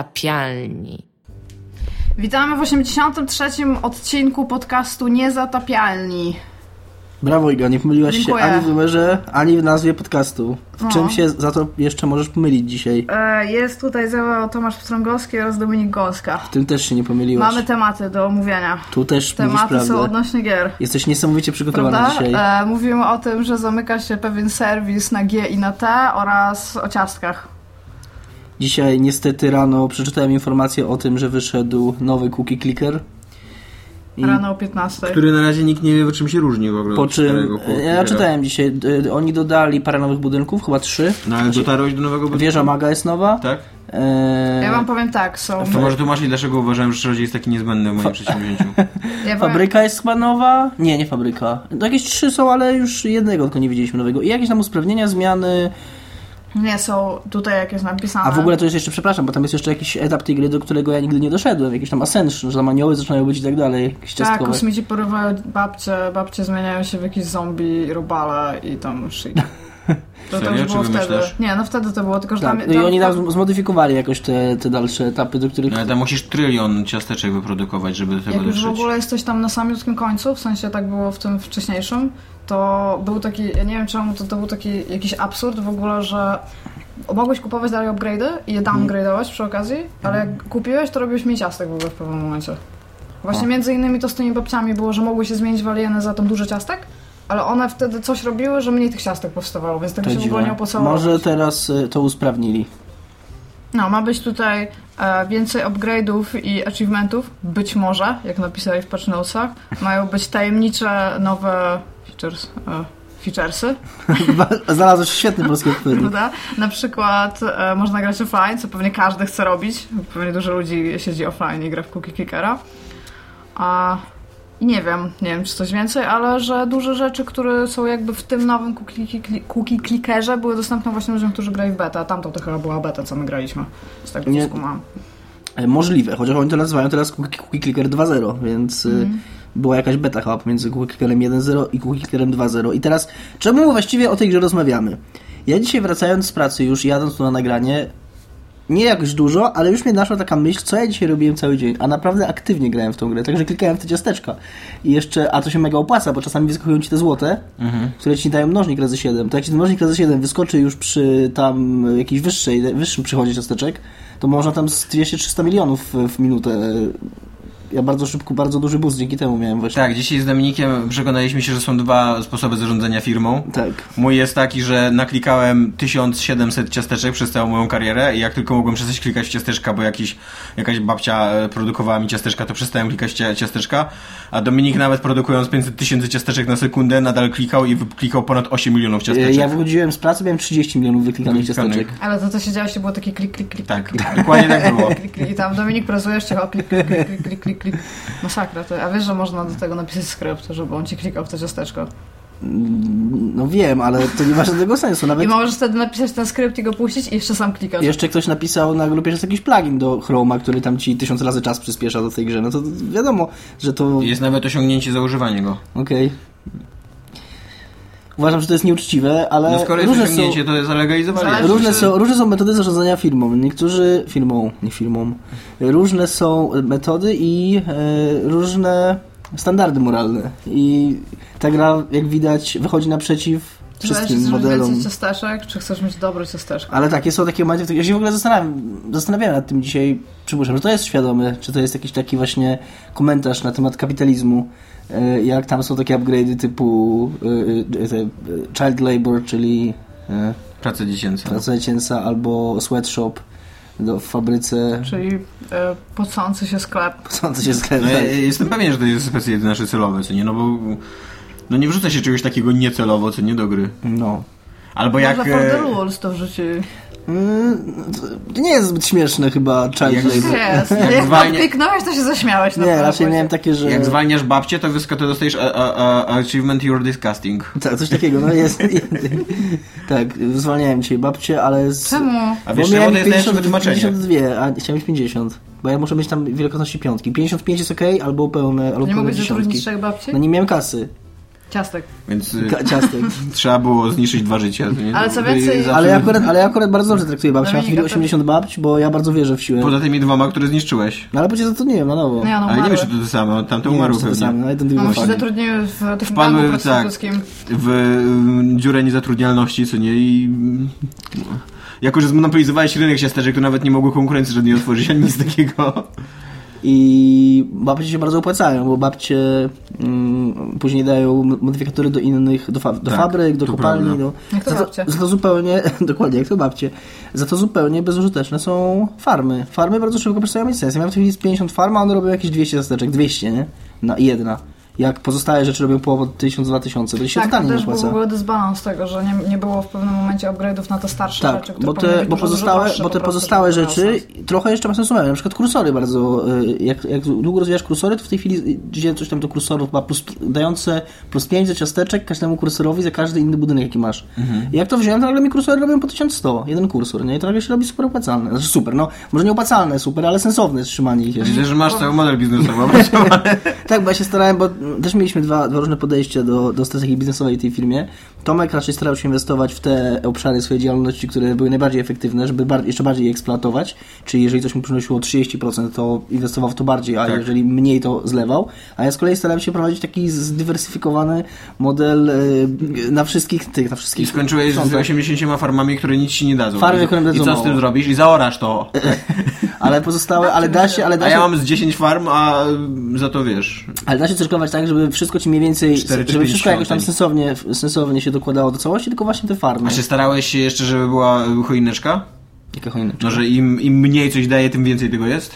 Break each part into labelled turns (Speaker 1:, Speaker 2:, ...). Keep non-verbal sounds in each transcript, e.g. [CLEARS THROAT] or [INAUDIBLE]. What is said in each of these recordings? Speaker 1: Niezatapialni.
Speaker 2: Witamy w 83. odcinku podcastu Niezatapialni.
Speaker 3: Brawo Iga, nie pomyliłaś
Speaker 2: Dziękuję.
Speaker 3: się ani w numerze, ani w nazwie podcastu. W
Speaker 2: No.
Speaker 3: czym się za to jeszcze możesz pomylić dzisiaj?
Speaker 2: E, Jest tutaj ze mną Tomasz Pstrągowski oraz Dominik Gąska.
Speaker 3: W tym też się nie pomyliłaś.
Speaker 2: Mamy tematy do omówienia.
Speaker 3: Tu też mówisz
Speaker 2: Tematy są
Speaker 3: prawdę.
Speaker 2: odnośnie gier.
Speaker 3: Jesteś niesamowicie przygotowana
Speaker 2: Prawda?
Speaker 3: dzisiaj.
Speaker 2: E, mówimy o tym, że zamyka się pewien serwis na G i na T oraz o ciastkach.
Speaker 3: Dzisiaj niestety rano przeczytałem informację o tym, że wyszedł nowy cookie clicker. I
Speaker 2: Rano o 15.
Speaker 4: Który na razie nikt nie wie, czym się różni w ogóle.
Speaker 3: po
Speaker 4: od starego
Speaker 3: czym... e,
Speaker 4: chłopca. tak?
Speaker 3: Ja czytałem dzisiaj. y, Oni dodali parę nowych budynków, chyba trzy.
Speaker 4: No ale dotarłeś do nowego budynku?
Speaker 3: Wieża Maga jest nowa.
Speaker 4: Tak?
Speaker 3: E,
Speaker 2: Ja wam powiem tak, są...
Speaker 4: To może tłumaczyć, dlaczego uważałem, że czarodziej jest taki niezbędny w
Speaker 3: [LAUGHS]
Speaker 4: moim przedsięwzięciu.
Speaker 2: Ja powiem-
Speaker 3: Fabryka jest chyba nowa? Nie, nie fabryka. No Jakieś trzy są, ale już jednego tylko nie widzieliśmy nowego. I jakieś tam usprawnienia, zmiany.
Speaker 2: Nie są tutaj, jak jest napisane.
Speaker 3: A w ogóle to jest jeszcze, przepraszam, bo tam jest jeszcze jakiś etap tej gry, do którego ja nigdy nie doszedłem. Jakiś tam Ascension, że tam anioły zaczynają być i tak dalej. Jakieś
Speaker 2: Tak,
Speaker 3: ciastkowe.
Speaker 2: kosmici porywają babcie, babcie zmieniają się w jakieś zombie, robale i tam
Speaker 3: [LAUGHS]
Speaker 2: shit.
Speaker 4: Serio? Czy wymyślasz?
Speaker 2: Nie, no wtedy to było, tylko że tam...
Speaker 3: Tak, no i oni tam zmodyfikowali jakoś te, te dalsze etapy, do których...
Speaker 4: No, Ale tam musisz trylion ciasteczek wyprodukować, żeby do tego
Speaker 2: Jak już
Speaker 4: dotrzeć.
Speaker 2: w ogóle jesteś tam na samiutkim końcu, w sensie tak było w tym wcześniejszym, to był taki, ja nie wiem czemu, to, to był taki jakiś absurd w ogóle, że mogłeś kupować dalej upgrade'y i je
Speaker 3: Mhm.
Speaker 2: downgrade'ować przy okazji, ale jak kupiłeś, to robiłeś mi ciastek w ogóle w pewnym momencie. Właśnie między innymi to z tymi babciami było, że mogły się zmienić w alieny za tam dużo ciastek, ale one wtedy coś robiły, że mniej tych ciastek powstawało, więc tak
Speaker 3: To
Speaker 2: się w ogóle nie
Speaker 3: dziwne.
Speaker 2: opłacało.
Speaker 3: Może
Speaker 2: robić.
Speaker 3: teraz y, to usprawnili. [LAUGHS]
Speaker 2: No, ma być tutaj e, więcej upgrade'ów i achievementów, być może, jak napisali w patch notesach. Mają być tajemnicze nowe features, e, featuresy, [LAUGHS]
Speaker 3: Znalazłeś świetny polski odpowiednik.
Speaker 2: prawda? Na przykład e, można grać offline, co pewnie każdy chce robić. Pewnie dużo ludzi siedzi offline i gra w cookie kickera. A i nie wiem, nie wiem czy coś więcej, ale że dużo rzeczy, które są jakby w tym nowym cookie, kli- cookie clickerze były dostępne właśnie ludziom, którzy grali w beta. Tamtą to chyba była beta, co my graliśmy. Z tego
Speaker 3: Nie-
Speaker 2: co skumam.
Speaker 3: E, Możliwe, chociaż oni to nazywają teraz Cookie, cookie Clicker 2.0, więc y, była jakaś beta chyba pomiędzy Cookie Clickerem 1.0 i Cookie Clickerem 2.0. I teraz, czemu właściwie o tej grze rozmawiamy? Ja dzisiaj wracając z pracy już, jadąc tu na nagranie, nie jakoś dużo, ale już mnie naszła taka myśl, co ja dzisiaj robiłem cały dzień, a naprawdę aktywnie grałem w tą grę, także klikałem w te ciasteczka. I jeszcze, a to się mega opłaca, bo czasami wyskakują ci te złote, które ci dają mnożnik razy 7. To jak ci ten mnożnik razy 7 wyskoczy już przy tam y, jakiejś wyższej, wyższym przychodzie ciasteczek, to można tam z 200-300 milionów w, w minutę. Ja bardzo szybko, bardzo duży boost dzięki temu miałem właśnie.
Speaker 4: Tak, dzisiaj z Dominikiem przekonaliśmy się, że są dwa sposoby zarządzania firmą.
Speaker 3: Tak.
Speaker 4: Mój jest taki, że naklikałem 1700 ciasteczek przez całą moją karierę i jak tylko mogłem przestać klikać ciasteczka, bo jakiś, jakaś babcia e, produkowała mi ciasteczka, to przestałem klikać cia- ciasteczka, a Dominik nawet produkując 500 tysięcy ciasteczek na sekundę nadal klikał i wyklikał ponad 8 milionów
Speaker 3: Y,
Speaker 4: ciasteczek.
Speaker 3: Ja wychodziłem z pracy, miałem 30 milionów wyklikanych
Speaker 4: Wyklikanych.
Speaker 3: ciasteczek.
Speaker 2: Ale to, co się działo, to było taki klik, klik, klik.
Speaker 4: Tak, dokładnie tak było.
Speaker 2: Klik, klik, I tam Dominik pracuje jeszcze, o klik, klik, klik, klik, klik, klik, klik. Masakra to. A wiesz, że można do tego napisać skrypt, żeby on ci klikał w to ciasteczko.
Speaker 3: No wiem, ale to nie ma żadnego sensu. Nawet
Speaker 2: I możesz wtedy napisać ten skrypt i go puścić i jeszcze sam klikasz.
Speaker 3: Jeszcze ktoś napisał na grupie, że jest jakiś plugin do Chroma, który tam ci tysiąc razy czas przyspiesza do tej grze. No to wiadomo, że to... Okej.
Speaker 4: Jest nawet osiągnięcie za używanie go.
Speaker 3: Uważam, że to jest nieuczciwe, ale
Speaker 4: No skoro jest
Speaker 3: różne, są, Tak.
Speaker 4: osiągnięcie, to zalegalizowali.
Speaker 2: Zależy,
Speaker 3: różne,
Speaker 2: czy-
Speaker 3: są, różne są metody zarządzania firmą. Niektórzy... firmą, nie firmą. Różne są metody i e, różne standardy moralne. I ta gra, jak widać, wychodzi naprzeciw
Speaker 2: Zależy, czy
Speaker 3: wszystkim
Speaker 2: chcesz mieć
Speaker 3: modelom.
Speaker 2: więcej ciasteczek, czy chcesz mieć dobre ciasteczko.
Speaker 3: Ale takie są takie momenty, w których ja się w ogóle zastanawiam, zastanawiałem nad tym dzisiaj, przypuszczam, że to jest świadome, czy to jest jakiś taki właśnie komentarz na temat kapitalizmu, e, jak tam są takie upgrade'y typu e, e, te, e, child labor, czyli e,
Speaker 4: Praca dziecięca.
Speaker 3: praca dziecięca, albo sweatshop do, w fabryce,
Speaker 2: Czyli e, pocący się sklep.
Speaker 3: co się
Speaker 4: No,
Speaker 3: sklepa.
Speaker 4: ja, ja jestem pewien, że to jest specjalnie nasze celowe, co nie, no bo... No nie wrzuca się czegoś takiego niecelowo, co nie do gry.
Speaker 3: No.
Speaker 4: Albo
Speaker 2: Może
Speaker 4: jak...
Speaker 2: for
Speaker 4: e,
Speaker 2: the rules to w życiu.
Speaker 3: Mm, to nie jest zbyt śmieszne chyba child
Speaker 4: Jak-
Speaker 3: labor.
Speaker 2: Jest. Jak
Speaker 4: zwalnia-
Speaker 2: podpiknąłeś, to się zaśmiałeś. na
Speaker 3: Nie,
Speaker 2: pewno.
Speaker 3: raczej miałem takie, że...
Speaker 4: Jak zwalniasz babcię, to, wyska- to dostajesz a, a, a, achievement you're disgusting.
Speaker 3: Tak, coś takiego, no jest. [LAUGHS] tak, zwalniałem dzisiaj babcię, ale... Z...
Speaker 2: Czemu?
Speaker 4: A wiesz, czemu to jest najlepsze wytłumaczenie?
Speaker 3: 52, a chciałem mieć 50. Bo ja muszę mieć tam wielkości piątki. 55 jest ok, albo pełne, albo
Speaker 2: Nie
Speaker 3: pełne
Speaker 2: mogłeś zatrudnić
Speaker 3: dziesiątki.
Speaker 2: trzech babci?
Speaker 3: No nie miałem kasy.
Speaker 2: Ciastek.
Speaker 4: Więc y,
Speaker 3: Ka-
Speaker 4: [LAUGHS]
Speaker 3: ciastek.
Speaker 4: trzeba było zniszczyć dwa życia. Nie?
Speaker 2: Ale co
Speaker 4: By-
Speaker 2: więcej-
Speaker 4: zawsze-
Speaker 3: Ale ja akurat, ale ja akurat bardzo dobrze traktuję babci. Mam w
Speaker 2: Dominika,
Speaker 3: chwili
Speaker 2: to-
Speaker 3: 80 babci, bo ja bardzo wierzę w siłę.
Speaker 4: Poza tymi dwoma, które zniszczyłeś.
Speaker 3: No ale przecież zatrudniłem na nowo.
Speaker 2: No ja no
Speaker 4: Ale nie
Speaker 2: umarły.
Speaker 4: wiem, czy to to samo, tamte
Speaker 3: Nie
Speaker 4: umarł
Speaker 3: wiem, czy to
Speaker 4: pewnie.
Speaker 3: same, ale ten
Speaker 2: No,
Speaker 3: no,
Speaker 2: my się zatrudniły w takim gangu
Speaker 4: Wpadły, tak,
Speaker 2: prostytuckim.
Speaker 4: w y, dziurę niezatrudnialności, co nie, i... mm, Jako, że zmonopolizowałeś rynek siasterzek, to nawet nie mogło konkurencji żadnej otworzyć, ani nic takiego.
Speaker 3: I babcie się bardzo opłacają, bo babcie mm, później dają modyfikatory do innych, do, fa- do
Speaker 4: Tak,
Speaker 3: fabryk, do
Speaker 4: to
Speaker 3: kopalni.
Speaker 4: prawda.
Speaker 3: Do,
Speaker 2: Jak to
Speaker 3: za,
Speaker 2: babcie.
Speaker 3: za to zupełnie, [LAUGHS] dokładnie jak to babcie, za to zupełnie bezużyteczne są farmy. Farmy bardzo szybko przestają mieć sens. Ja miałem w tej chwili jest 50 farm, a one robią jakieś 200 zasteczek, 200, nie? Na jedna. Jak pozostałe rzeczy robią po 1000-2000, to się
Speaker 2: Tak, to
Speaker 3: totalnie nie
Speaker 2: też
Speaker 3: opłaca.
Speaker 2: był w ogóle dysbalans tego, że nie, nie było w pewnym momencie upgrade'ów na te starsze
Speaker 3: Tak,
Speaker 2: rzeczy, które
Speaker 3: bo
Speaker 2: powinny
Speaker 3: te,
Speaker 2: być
Speaker 3: bo
Speaker 2: dużo, dużo
Speaker 3: pozostałe,
Speaker 2: droższe
Speaker 3: bo
Speaker 2: po
Speaker 3: te
Speaker 2: prostu,
Speaker 3: pozostałe
Speaker 2: żeby to miało
Speaker 3: rzeczy
Speaker 2: sens.
Speaker 3: trochę jeszcze ma sens umawiać. Na przykład kursory bardzo, y, jak, jak długo rozwijasz kursory, to w tej chwili idzie coś tam do kursorów, ma plus, dające plus 5 za ciasteczek każdemu kursorowi za każdy inny budynek, jaki masz. I jak to wziąłem, to nagle mi kursory robią po 1100, jeden kursor, nie? I to nagle się robi super opłacalne. Znaczy super, no, może nie opłacalne, super, ale sensowne trzymanie ich jeszcze.
Speaker 4: Widzę, Znaczy, że masz cały
Speaker 2: [LAUGHS]
Speaker 4: model biznesowy opracowany.
Speaker 3: Tak, bo ja się starałem, bo mm, też mieliśmy dwa, dwa różne podejścia do, do strategii biznesowej w tej firmie. Tomek raczej starał się inwestować w te obszary swojej działalności, które były najbardziej efektywne, żeby bar- jeszcze bardziej je eksploatować. Czyli jeżeli coś mu przynosiło 30%, to inwestował w to bardziej, a
Speaker 4: Tak.
Speaker 3: jeżeli mniej, to zlewał. A ja z kolei starałem się prowadzić taki zdywersyfikowany model y, na wszystkich tych, na
Speaker 4: I
Speaker 3: wszystkich
Speaker 4: skończyłeś z
Speaker 3: frontach.
Speaker 4: 80 farmami, które nic ci nie dadzą.
Speaker 3: Farmy,
Speaker 4: I-
Speaker 3: które będą
Speaker 4: I co z tym
Speaker 3: mało.
Speaker 4: zrobisz? I zaorasz to.
Speaker 3: Ale pozostałe, ale da się, ale da
Speaker 4: A
Speaker 3: się...
Speaker 4: ja mam z 10 farm, a y, za to wiesz.
Speaker 3: Ale da się cyrkować tak, żeby wszystko ci mniej więcej,
Speaker 4: Cztery czy
Speaker 3: żeby
Speaker 4: pięć
Speaker 3: wszystko jakoś tam
Speaker 4: świątyń.
Speaker 3: sensownie, sensownie się dokładało do całości, tylko właśnie te farmy.
Speaker 4: A się starałeś się jeszcze, żeby była y, choineczka?
Speaker 3: Jaka choineczka?
Speaker 4: No, że im, im mniej coś daje, tym więcej tego jest?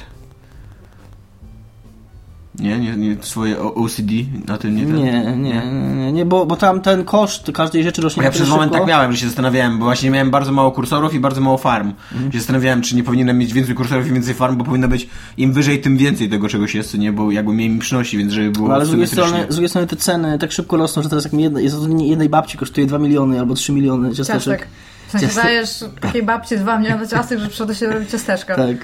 Speaker 4: Nie, nie, nie swoje O- OCD na tym nie
Speaker 3: Nie, nie, nie, nie, nie bo, bo tam ten koszt każdej rzeczy rośnie
Speaker 4: Ja
Speaker 3: na
Speaker 4: przez
Speaker 3: tyle
Speaker 4: moment
Speaker 3: szybko.
Speaker 4: tak miałem, że się zastanawiałem, bo właśnie miałem bardzo mało kursorów i bardzo mało farm.
Speaker 3: Mhm.
Speaker 4: Się zastanawiałem, czy nie powinienem mieć więcej kursorów i więcej farm, bo powinno być im wyżej, tym więcej tego czegoś jest, co nie, bo jakby mniej mi przynosi, więc żeby było
Speaker 3: No, ale z drugiej,
Speaker 4: symetrycznie.
Speaker 3: strony, z drugiej strony te ceny tak szybko rosną, że teraz jak mi jedna, jest zatrudnienie jednej babci kosztuje 2 miliony albo 3 miliony ciasteczek.
Speaker 2: Ciastek. W sensie
Speaker 3: Ciastek.
Speaker 2: dajesz takiej babci dwa miliony ciastek, że przyszedł się robić ciasteczka.
Speaker 3: Tak.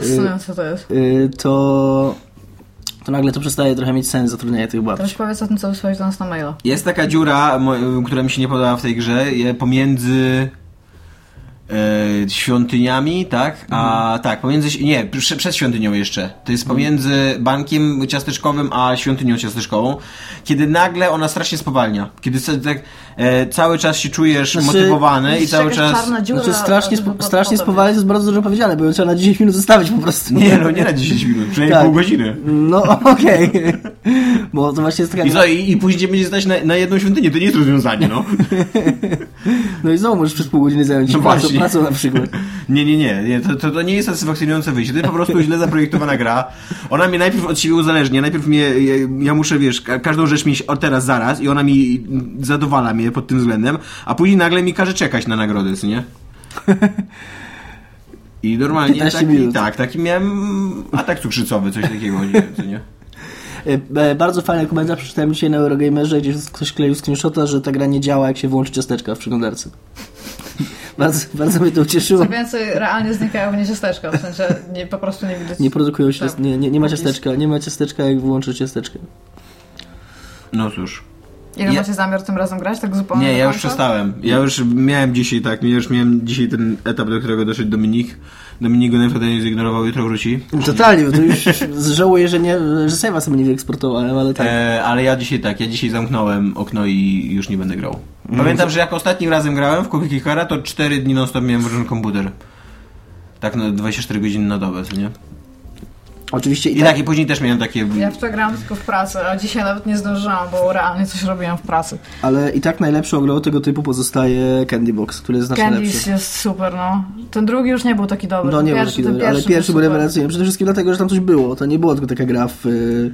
Speaker 2: Zastanawiam się, co to jest.
Speaker 3: Y, to, to nagle to przestaje trochę mieć sens zatrudnienie tych
Speaker 2: Teraz
Speaker 3: babci.
Speaker 2: powiedz o tym, co wysłałeś do nas na maila.
Speaker 4: Jest taka dziura, mo- która mi się nie podoba w tej grze, je- pomiędzy e, świątyniami, tak? A
Speaker 3: Mhm.
Speaker 4: tak, pomiędzy. Nie, prze, przed świątynią jeszcze. To jest pomiędzy bankiem ciasteczkowym a świątynią ciasteczkową, kiedy nagle ona strasznie spowalnia. Kiedy se- tak, e, cały czas się czujesz
Speaker 3: Znaczy-
Speaker 4: motywowany No i
Speaker 2: Jest
Speaker 4: cały
Speaker 2: jakaś
Speaker 4: czas.
Speaker 2: czarna dziura
Speaker 3: Znaczy strasznie,
Speaker 2: pod
Speaker 3: spo,
Speaker 2: spodem,
Speaker 3: strasznie
Speaker 2: więc-
Speaker 3: spowalniać to jest bardzo dużo powiedziane, bo ją trzeba na 10 minut zostawić po prostu.
Speaker 4: Nie, no nie na 10 minut, przynajmniej
Speaker 3: Tak.
Speaker 4: pół godziny.
Speaker 3: No okej. [LAUGHS] Bo to właśnie jest taka...
Speaker 4: I, co, i, I później będzie stać na, na jedną świątynię, to nie jest rozwiązanie, no.
Speaker 3: No i znowu możesz przez pół godziny zająć się
Speaker 4: No
Speaker 3: pracą,
Speaker 4: właśnie.
Speaker 3: pracą na przykład.
Speaker 4: Nie, nie, nie, nie to, to, to nie jest satysfakcjonujące wyjście, to jest po prostu źle zaprojektowana gra. Ona mnie najpierw od siebie uzależnia, najpierw mnie, ja, ja muszę, wiesz, ka- każdą rzecz mieć od teraz, zaraz i ona mi zadowala mnie pod tym względem, a później nagle mi każe czekać na nagrodę, co nie? I normalnie
Speaker 3: 15
Speaker 4: taki,
Speaker 3: minut.
Speaker 4: tak, taki miałem atak cukrzycowy, coś takiego, nie, co nie?
Speaker 3: E, e, Bardzo fajny komentarz przeczytałem dzisiaj na Eurogamerze, gdzie ktoś kleił screenshota, że ta gra nie działa, jak się włączy ciasteczka w przeglądarce. [LAUGHS] bardzo, bardzo mnie to ucieszyło.
Speaker 2: Co więcej, realnie znikają mnie ciasteczka, w sensie nie, po prostu nie widać.
Speaker 3: Nie produkują się,
Speaker 2: Tak.
Speaker 3: nie, nie, nie ma ciasteczka, nie ma ciasteczka, jak włączy ciasteczkę.
Speaker 4: No cóż.
Speaker 2: Ile
Speaker 4: Ja-
Speaker 2: macie zamiar tym razem grać? Tak zupełnie
Speaker 4: Nie,
Speaker 2: do
Speaker 4: ja już
Speaker 2: końca?
Speaker 4: przestałem. Ja już miałem dzisiaj, tak, ja już miałem dzisiaj ten etap, do którego doszedł Dominik. Dominik go najprawdopodobniej zignorował, jutro wróci.
Speaker 3: Totalnie, bo to już [LAUGHS] żałuję, że, nie, że save'a sobie nie wyeksportowałem, ale tak.
Speaker 4: E, ale ja dzisiaj tak, ja dzisiaj zamknąłem okno i już nie będę grał.
Speaker 3: Mhm.
Speaker 4: Pamiętam, że jak ostatnim razem grałem w Cookie Kickera, to 4 dni non-stop miałem włączony komputer. Tak na 24 godziny na dobę, co nie?
Speaker 3: Oczywiście i
Speaker 4: I
Speaker 3: tak,
Speaker 4: tak, i później też miałem takie...
Speaker 2: Ja w to grałam tylko w pracy, a dzisiaj nawet nie zdążyłam, bo realnie coś robiłam w pracy.
Speaker 3: ale i tak najlepszą grą tego typu pozostaje Candy Box, który jest znacznie lepszy.
Speaker 2: Candice jest super, no. Ten drugi już nie był taki dobry.
Speaker 3: No
Speaker 2: ten
Speaker 3: nie był
Speaker 2: pierwszy,
Speaker 3: taki
Speaker 2: ten
Speaker 3: dobry, ale pierwszy był
Speaker 2: super.
Speaker 3: rewelacyjny. Przede wszystkim dlatego, że tam coś było. To nie było tylko taka gra w, y,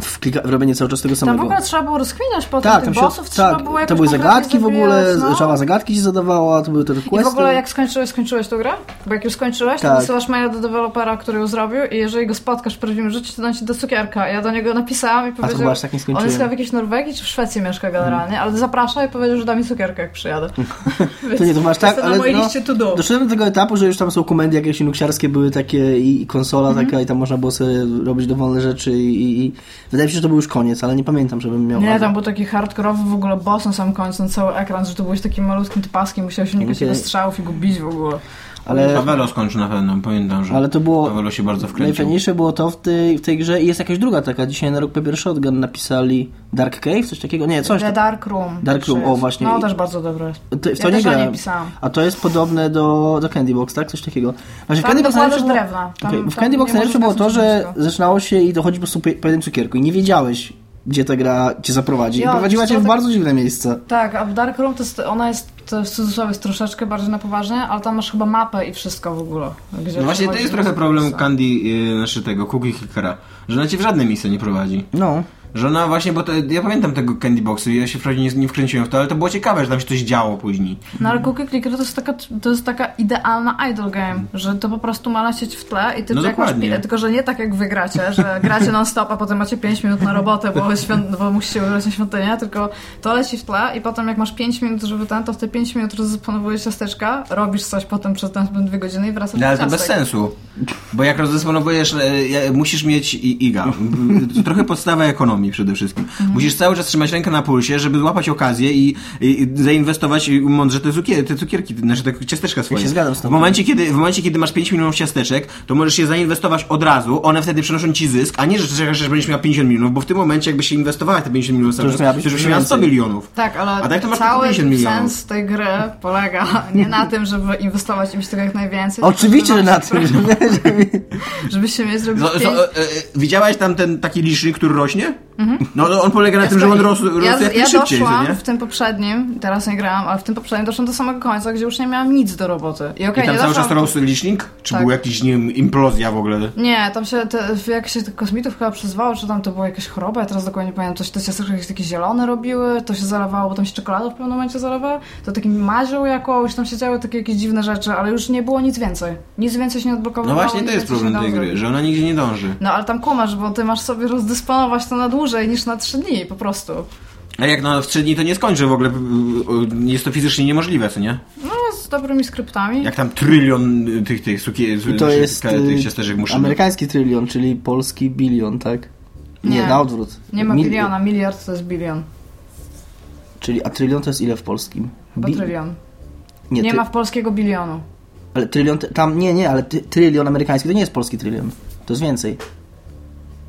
Speaker 3: w, klika, w robienie cały czas tego
Speaker 2: Tam w
Speaker 3: samego.
Speaker 2: ogóle trzeba było rozkminiać potem
Speaker 3: tak,
Speaker 2: tych
Speaker 3: tam się,
Speaker 2: bossów, trzeba
Speaker 3: tak,
Speaker 2: było jakoś
Speaker 3: to były
Speaker 2: konkretnie
Speaker 3: zagadki w ogóle,
Speaker 2: zabijać, no.
Speaker 3: żaba zagadki ci zadawała, to były te
Speaker 2: I
Speaker 3: requesty.
Speaker 2: w ogóle jak skończyłeś, skończyłeś tę grę? Bo jak już skończyłeś, to
Speaker 3: Tak.
Speaker 2: wysyłasz maila do dewelopera, który ją zrobił i jeżeli go spotkasz w prawdziwym życiu, to da ci do cukierka. Ja do niego napisałam i
Speaker 3: A to
Speaker 2: powiedział...
Speaker 3: chyba aż tak Hmm. nie
Speaker 2: on
Speaker 3: skończyłem.
Speaker 2: jest chyba w jakiejś Norwegii czy w Szwecji mieszka generalnie, ale zaprasza i powiedział, że da mi cukierkę jak przyjadę. Więc
Speaker 3: To nie, to masz tak,
Speaker 2: jest to
Speaker 3: ale
Speaker 2: na mojej
Speaker 3: no,
Speaker 2: liście to do.
Speaker 3: Doszedłem do tego etapu, że już tam są komendy
Speaker 2: Mhm.
Speaker 3: jakieś nuksiarskie były takie i i konsola taka i tam można było sobie robić dowolne rzeczy i, i, i Wydaje mi się, że to był już koniec, ale nie pamiętam, żebym miał.
Speaker 2: Nie, tam był taki hardkorowy w ogóle boss na samym końcu, na cały ekran, że tu byłeś takim malutkim typaskiem, musiałeś unikać
Speaker 3: Okej.
Speaker 2: jego strzałów i go bić w ogóle.
Speaker 3: ale,
Speaker 4: Pawelo skończy na pewno, pamiętam, że
Speaker 3: ale to było.
Speaker 4: Pawelo się bardzo wkręcił.
Speaker 3: Najfajniejsze było to w tej, w tej grze i jest jakaś druga taka. Dzisiaj na Rock Paper Shotgun napisali Dark Cave, coś takiego? Nie, coś.
Speaker 2: The
Speaker 3: tam.
Speaker 2: Dark Room.
Speaker 3: Dark Room,
Speaker 2: Czy-
Speaker 3: o, właśnie.
Speaker 2: No,
Speaker 3: I-
Speaker 2: też bardzo dobre.
Speaker 3: To, w
Speaker 2: Ja
Speaker 3: to nie
Speaker 2: też o niej
Speaker 3: grałem.
Speaker 2: pisałam.
Speaker 3: A to jest podobne do, do Candy Box, tak? Coś takiego. Właśnie
Speaker 2: Tam dokładasz
Speaker 3: było-
Speaker 2: drewna. Tam-
Speaker 3: Okej, bo w
Speaker 2: tam
Speaker 3: Candy Box
Speaker 2: nie możesz
Speaker 3: najlepsze było to,
Speaker 2: zgasić
Speaker 3: że
Speaker 2: wszystko.
Speaker 3: zaczynało się i dochodzi po prostu po, po jednym cukierku i nie wiedziałeś, gdzie ta gra cię zaprowadzi. I
Speaker 2: Ja,
Speaker 3: prowadziła
Speaker 2: co
Speaker 3: cię w
Speaker 2: tak-
Speaker 3: bardzo dziwne miejsce.
Speaker 2: Tak, a w Dark Room to jest, ona jest to w cudzysłowie jest troszeczkę bardziej na poważnie, ale tam masz chyba mapę i wszystko w ogóle. Gdzie
Speaker 4: No właśnie, to
Speaker 2: przechodzisz
Speaker 4: jest trochę
Speaker 2: do
Speaker 4: problem
Speaker 2: bossa.
Speaker 4: Candy, yy, znaczy tego, Cookie Clickera, że ona cię w żadne miejsce nie prowadzi.
Speaker 3: No.
Speaker 4: Że ona właśnie, bo to, ja pamiętam tego Candy Boxu i ja się wprawdzie nie, nie wkręciłem w to, ale to było ciekawe, że tam się coś działo później.
Speaker 2: No ale Cookie Clicker to jest, taka, to jest taka idealna idol game, że to po prostu ma lecieć w tle i ty
Speaker 4: No
Speaker 2: jak masz
Speaker 4: dokładnie.
Speaker 2: pi- tylko że nie tak jak wygracie, że gracie non stop, a potem macie 5 minut na robotę, bo, świąt, bo musicie wybrać na świątynię, tylko to leci w tle i potem jak masz 5 minut, żeby ten, to w te 5 minut rozdysponowujesz ciasteczka, robisz coś potem przez następne 2 godziny i wracasz
Speaker 4: No, ale
Speaker 2: do
Speaker 4: to bez
Speaker 2: ciastek.
Speaker 4: sensu, bo jak rozdysponowujesz, e, ja- musisz mieć i- iga. M, to Trochę podstawa ekonomii przede wszystkim. Musisz cały czas trzymać rękę na pulsie, żeby łapać okazję i, i i zainwestować mądrze te, cukier, te cukierki, znaczy te ciasteczka swoje.
Speaker 3: się zgadzam z tobą.
Speaker 4: W momencie, kiedy, w momencie, kiedy masz 5 milionów ciasteczek, to możesz je zainwestować od razu, one wtedy przynoszą ci zysk, a nie, że czekasz, że będziesz miał 50 milionów, bo w tym momencie jakby się inwestowała te 50 milionów,
Speaker 3: już miałabyś
Speaker 4: to już miał 100
Speaker 3: więcej.
Speaker 4: milionów.
Speaker 2: Tak, ale
Speaker 4: A tak to masz tylko
Speaker 2: cały
Speaker 4: 50 milionów.
Speaker 2: sens tej gry polega [LAUGHS] nie na tym, żeby inwestować im się tego jak najwięcej.
Speaker 3: Oczywiście, że
Speaker 2: tylko
Speaker 3: na tym, że
Speaker 2: Żebyście mieli zrobić
Speaker 4: No,
Speaker 2: pięć...
Speaker 4: so, e, e, widziałaś tam ten taki licznik, który rośnie? No to on polega na tym, że on rosł, rosł
Speaker 2: Mhm. ja,
Speaker 4: jak
Speaker 2: ja
Speaker 4: najszybciej, co
Speaker 2: doszłam
Speaker 4: nie?
Speaker 2: w tym poprzednim, teraz nie grałam, ale w tym poprzednim doszłam do samego końca, gdzie już nie miałam nic do roboty. I,
Speaker 4: I
Speaker 2: okej,
Speaker 4: tam
Speaker 2: nie
Speaker 4: cały
Speaker 2: doszłam-
Speaker 4: czas rosł licznik? Czy
Speaker 2: Tak. No
Speaker 4: był jakiś, nie wiem, implozja w ogóle?
Speaker 2: Nie, tam się, te, jak się tych kosmitów chyba przyzwało, czy tam to była jakaś choroba, ja teraz dokładnie nie pamiętam, coś te ciasteczka jakieś takie zielone robiły, to się zalewało, bo tam się czekolada w pewnym momencie zalewała, to takim mazią jakoś, tam się działy takie jakieś dziwne rzeczy, ale już nie było nic więcej. Nic więcej się nie odblokowało.
Speaker 4: No właśnie,
Speaker 2: nic
Speaker 4: to jest
Speaker 2: więcej się
Speaker 4: problem
Speaker 2: nie
Speaker 4: tej
Speaker 2: dało
Speaker 4: gry,
Speaker 2: zrobić.
Speaker 4: że ona nigdzie nie dąży.
Speaker 2: No ale tam kumasz, bo ty masz sobie rozdysponować to na dłużej niż na trzy dni, po prostu.
Speaker 4: A jak na w trzy dni to nie skończy w ogóle, y, y, y, jest to fizycznie niemożliwe, co nie?
Speaker 2: No, z dobrymi skryptami.
Speaker 4: Jak tam trylion y, tych, tych sukier,
Speaker 3: I to jest
Speaker 4: tych
Speaker 3: y,
Speaker 4: ciasteczek muszę...
Speaker 3: amerykański trylion, czyli polski bilion, tak? Nie,
Speaker 2: Nie.
Speaker 3: na odwrót.
Speaker 2: Nie ma
Speaker 3: Mil-
Speaker 2: biliona, miliard to jest bilion.
Speaker 3: Czyli, a trylion to jest ile w polskim?
Speaker 2: Bo
Speaker 3: Bi-
Speaker 2: trylion.
Speaker 3: Nie,
Speaker 2: Nie
Speaker 3: ty-
Speaker 2: ma w polskiego bilionu.
Speaker 3: Ale trylion, te- tam, nie, nie, ale ty, trylion amerykański to nie jest polski trylion. To jest więcej.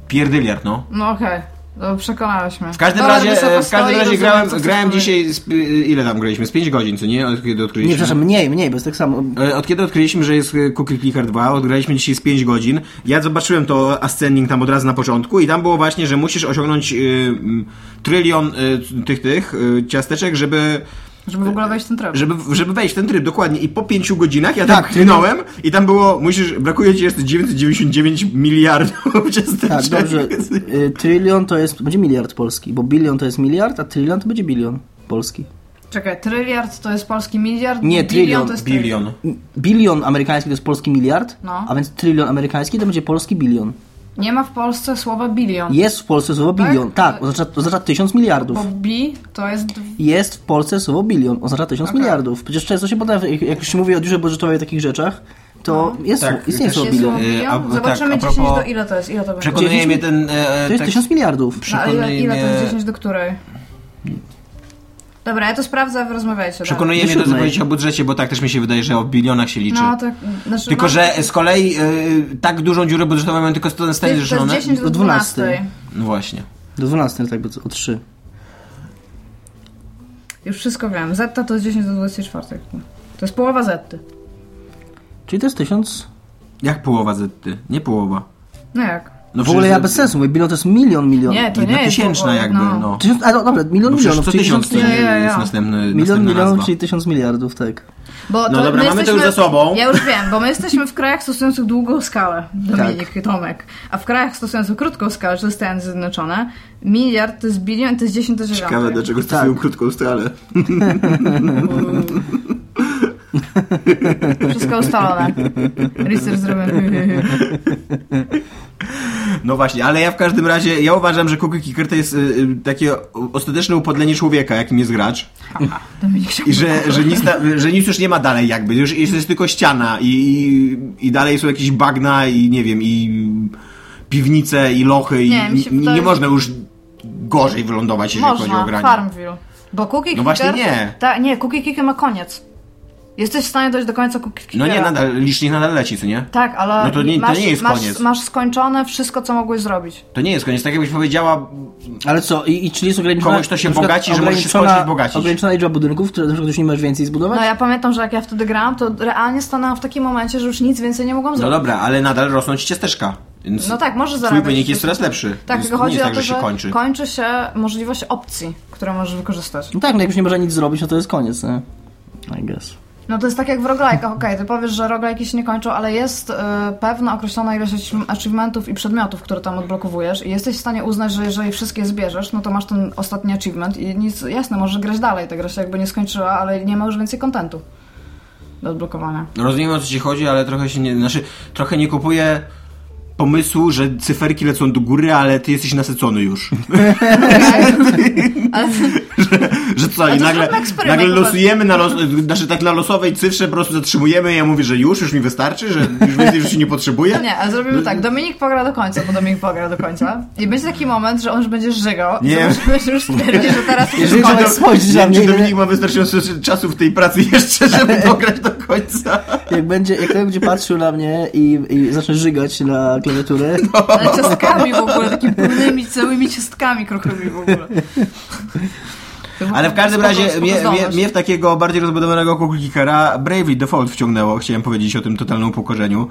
Speaker 4: Pierdyliard, no.
Speaker 2: No okej, no, przekonałeś mnie.
Speaker 4: W każdym
Speaker 2: Dolar
Speaker 4: razie,
Speaker 2: wysoko
Speaker 4: e, w każdym
Speaker 2: stoi,
Speaker 4: razie
Speaker 2: rozumiem,
Speaker 4: grałem,
Speaker 2: co chcesz
Speaker 4: grałem
Speaker 2: powiedzieć.
Speaker 4: dzisiaj, z, y, ile tam graliśmy? Z 5 godzin, co nie? Od kiedy odkryliśmy?
Speaker 3: Nie, przepraszam, mniej, mniej, bo jest tak samo.
Speaker 4: E, Od kiedy odkryliśmy, że jest e, Cookie Clicker 2, odgraliśmy dzisiaj z 5 godzin. Ja zobaczyłem to ascending tam od razu na początku i tam było właśnie, że musisz osiągnąć y, mm, trylion y, tych tych y, ciasteczek, żeby,
Speaker 2: Żeby w ogóle wejść w ten tryb.
Speaker 4: żeby, żeby wejść w ten tryb dokładnie. I po 5 godzinach ja tam
Speaker 3: Tak,
Speaker 4: tak, knąłem i tam było, musisz, brakuje ci jeszcze 999 miliardów [LAUGHS] ciasteczek.
Speaker 3: Tak, dobrze. Y, Trylion to jest, będzie miliard polski, bo bilion to jest miliard, a trylion to będzie bilion polski.
Speaker 2: Czekaj, tryliard to jest polski miliard,
Speaker 3: Nie,
Speaker 2: bilion
Speaker 3: trylion,
Speaker 2: to jest trylion.
Speaker 4: Bilion.
Speaker 3: M- Bilion amerykański to jest polski miliard,
Speaker 2: No.
Speaker 3: a więc trylion amerykański to będzie polski bilion.
Speaker 2: Nie ma w Polsce słowa bilion,
Speaker 3: Jest w Polsce słowo
Speaker 2: Tak?
Speaker 3: bilion, tak, oznacza, oznacza tysiąc miliardów.
Speaker 2: bo bi to jest... dw-
Speaker 3: Jest w Polsce słowo bilion, oznacza tysiąc
Speaker 2: Okej.
Speaker 3: miliardów. Przecież często się podaje, jak- jak się mówi o dziurze budżetowej i takich rzeczach, to
Speaker 2: No.
Speaker 3: jest,
Speaker 4: Tak,
Speaker 3: tak, istnieje
Speaker 4: też
Speaker 3: słowo
Speaker 2: Jest słowo
Speaker 3: bilion.
Speaker 4: Y, a-
Speaker 2: bilion.
Speaker 4: tak,
Speaker 2: Zobaczymy
Speaker 4: a
Speaker 2: 10
Speaker 4: propos-
Speaker 2: do ile to jest, ile to będzie.
Speaker 3: Przekon-
Speaker 4: Przekonuje mnie ten... E, e,
Speaker 3: To jest
Speaker 4: tekst-
Speaker 3: tysiąc miliardów.
Speaker 2: No, a ile,
Speaker 4: przekonuje
Speaker 2: ile to jest
Speaker 4: mnie-
Speaker 2: 10 do której? Dobra, ja to sprawdzę, a wy rozmawiajcie. dalej.
Speaker 4: Przekonuje mnie do
Speaker 3: Siódmej.
Speaker 4: zapowiedzi o budżecie, bo tak też mi się wydaje, że o bilionach się liczy.
Speaker 2: No, tak, znaczy,
Speaker 4: Tylko,
Speaker 2: no,
Speaker 4: że z kolei y, tak dużą dziurę budżetową mają tylko Stany
Speaker 2: to jest, to jest
Speaker 4: Zjednoczone.
Speaker 2: 10 do
Speaker 3: Do 12.
Speaker 2: 12.
Speaker 4: No właśnie.
Speaker 3: Do 12, tak by o 3.
Speaker 2: Już wszystko wiem. Zetta to jest 10 do 24. To jest połowa Zetty.
Speaker 3: Czyli to jest tysiąc.
Speaker 4: Jak połowa Zetty? Nie połowa.
Speaker 2: No jak?
Speaker 4: No
Speaker 3: W ogóle
Speaker 4: przecież
Speaker 3: ja
Speaker 4: Zet-
Speaker 3: bez sensu mówię, bilion to jest milion milion.
Speaker 2: Nie, to
Speaker 4: jedna
Speaker 2: nie jest
Speaker 4: tysięczna
Speaker 2: połowa,
Speaker 4: jakby,
Speaker 2: no.
Speaker 4: no.
Speaker 3: Tysiąc, a no, dobra, milion
Speaker 4: No przecież
Speaker 3: milionów,
Speaker 4: co
Speaker 3: czyli
Speaker 4: tysiąc to
Speaker 2: tysiąc-
Speaker 4: nie
Speaker 2: nie, nie,
Speaker 4: jest
Speaker 2: nie.
Speaker 4: następny,
Speaker 3: Milion
Speaker 4: następna
Speaker 3: milionów,
Speaker 4: nazwa.
Speaker 3: czyli tysiąc miliardów, tak.
Speaker 2: Bo
Speaker 4: No dobra,
Speaker 2: my
Speaker 4: mamy to już za sobą.
Speaker 2: Ja już wiem, bo my jesteśmy w
Speaker 4: [LAUGHS]
Speaker 2: krajach stosujących długą skalę, Dominik
Speaker 4: Tak.
Speaker 2: i Tomek, a w krajach stosujących krótką skalę, czyli Stany Zjednoczone, miliard to jest bilion, to jest 10 do 9.
Speaker 4: Ciekawe, dlaczego
Speaker 3: Tak.
Speaker 4: stosują krótką skalę.
Speaker 2: Wszystko
Speaker 4: [LAUGHS]
Speaker 2: ustalone. Research zrobiony.
Speaker 4: No właśnie, ale ja w każdym razie, ja uważam, że Cookie Kicker to jest y, y, takie o- ostateczne upodlenie człowieka, jakim jest gracz.
Speaker 2: Dominik się
Speaker 4: I że, że, nic, na- że nic już nie ma dalej jakby, już jest tylko ściana i, i, i dalej są jakieś bagna i nie wiem, i piwnice i lochy i
Speaker 2: Nie, mi się
Speaker 4: nie,
Speaker 2: wydaje,
Speaker 4: nie
Speaker 2: że-
Speaker 4: można już gorzej wylądować, jeżeli chodzi o
Speaker 2: Można,
Speaker 4: granie.
Speaker 2: Farmville. Bo Cookie Kicker...
Speaker 4: No właśnie nie.
Speaker 2: Ta, nie, Cookie Kicker ma koniec. Jesteś w stanie dojść do końca Cookie
Speaker 4: No
Speaker 2: Kickera.
Speaker 4: nie, nadal, licznik nadal leci, co nie?
Speaker 2: Tak, ale
Speaker 4: No to nie- to
Speaker 2: masz,
Speaker 4: nie jest
Speaker 2: masz,
Speaker 4: koniec.
Speaker 2: masz skończone wszystko, co mogłeś zrobić.
Speaker 4: To nie jest koniec. Tak jakbyś powiedziała,
Speaker 3: Ale co, i, i czyli jest ograniczona...
Speaker 4: Komuś to się
Speaker 3: na przykład
Speaker 4: bogaci, że może się
Speaker 3: ograniczona-
Speaker 4: skończyć bogacić.
Speaker 3: Ograniczona liczba budynków, które na przykład już nie masz więcej zbudować?
Speaker 2: No ja pamiętam, że jak ja wtedy grałam, to realnie stanęłam w takim momencie, że już nic więcej nie mogłam
Speaker 4: no
Speaker 2: zrobić.
Speaker 4: dobra, ale nadal rosną ci ciasteczka. Więc
Speaker 2: No tak, może
Speaker 4: Twój
Speaker 2: zarabiać
Speaker 4: wynik jest
Speaker 2: coś.
Speaker 4: coraz lepszy.
Speaker 2: Tak,
Speaker 4: więc
Speaker 2: tylko
Speaker 4: to nie
Speaker 2: chodzi o
Speaker 4: jest tak,
Speaker 2: to,
Speaker 4: że się kończy.
Speaker 2: kończy się możliwość opcji, które możesz wykorzystać.
Speaker 3: No tak, no jak już nie można nic zrobić, no to jest koniec, nie? I guess.
Speaker 2: No to jest tak jak w roglajkach, okej, ty powiesz, że roglajki się nie kończą, ale jest y, pewna określona ilość achieve- achievementów i przedmiotów, które tam odblokowujesz i jesteś w stanie uznać, że jeżeli wszystkie zbierzesz, no to masz ten ostatni achievement i nic, jasne, możesz grać dalej, ta gra się jakby nie skończyła, ale nie ma już więcej kontentu do odblokowania.
Speaker 4: No Rozumiem o co ci chodzi, ale trochę się nie. Znaczy, trochę nie kupuję pomysłu, że cyferki lecą do góry, ale ty jesteś nasycony już. że, [LAUGHS] że co,
Speaker 2: A
Speaker 4: i
Speaker 2: to
Speaker 4: nagle,
Speaker 2: zróbmy eksperyment,
Speaker 4: nagle
Speaker 2: chłopaki.
Speaker 4: losujemy na los, znaczy tak na losowej cyfrze po prostu zatrzymujemy i ja mówię, że już, już mi wystarczy, że już więcej już się nie potrzebuję.
Speaker 2: [LAUGHS] Nie, ale zrobimy tak, Dominik pogra do końca, bo Dominik pogra do końca i będzie taki moment, że on już będzie żygał,
Speaker 4: Nie.
Speaker 2: nie. że już stwierdzi, że teraz już
Speaker 3: Jeżeli
Speaker 2: koniec.
Speaker 3: to jest- spojrzysz na
Speaker 4: nie wiem,
Speaker 3: mnie,
Speaker 4: czy
Speaker 3: ile-
Speaker 4: Dominik ma wystarczająco czasu w tej pracy [LAUGHS] jeszcze, żeby dograć do końca.
Speaker 3: Jak będzie, jak ktoś będzie patrzył na mnie i, i zacznie żygać na klawiaturę,
Speaker 2: Ale
Speaker 4: [LAUGHS]
Speaker 2: ciastkami w ogóle, takimi pełnymi, całymi ciastkami kruchymi w ogóle.
Speaker 4: Ale w każdym
Speaker 2: Spoko-
Speaker 4: razie
Speaker 2: spoko
Speaker 4: mnie, mnie,
Speaker 2: zdolność.
Speaker 4: mnie w takiego bardziej rozbudowanego Google Kickera Bravely Default wciągnęło, chciałem powiedzieć o tym totalnym upokorzeniu.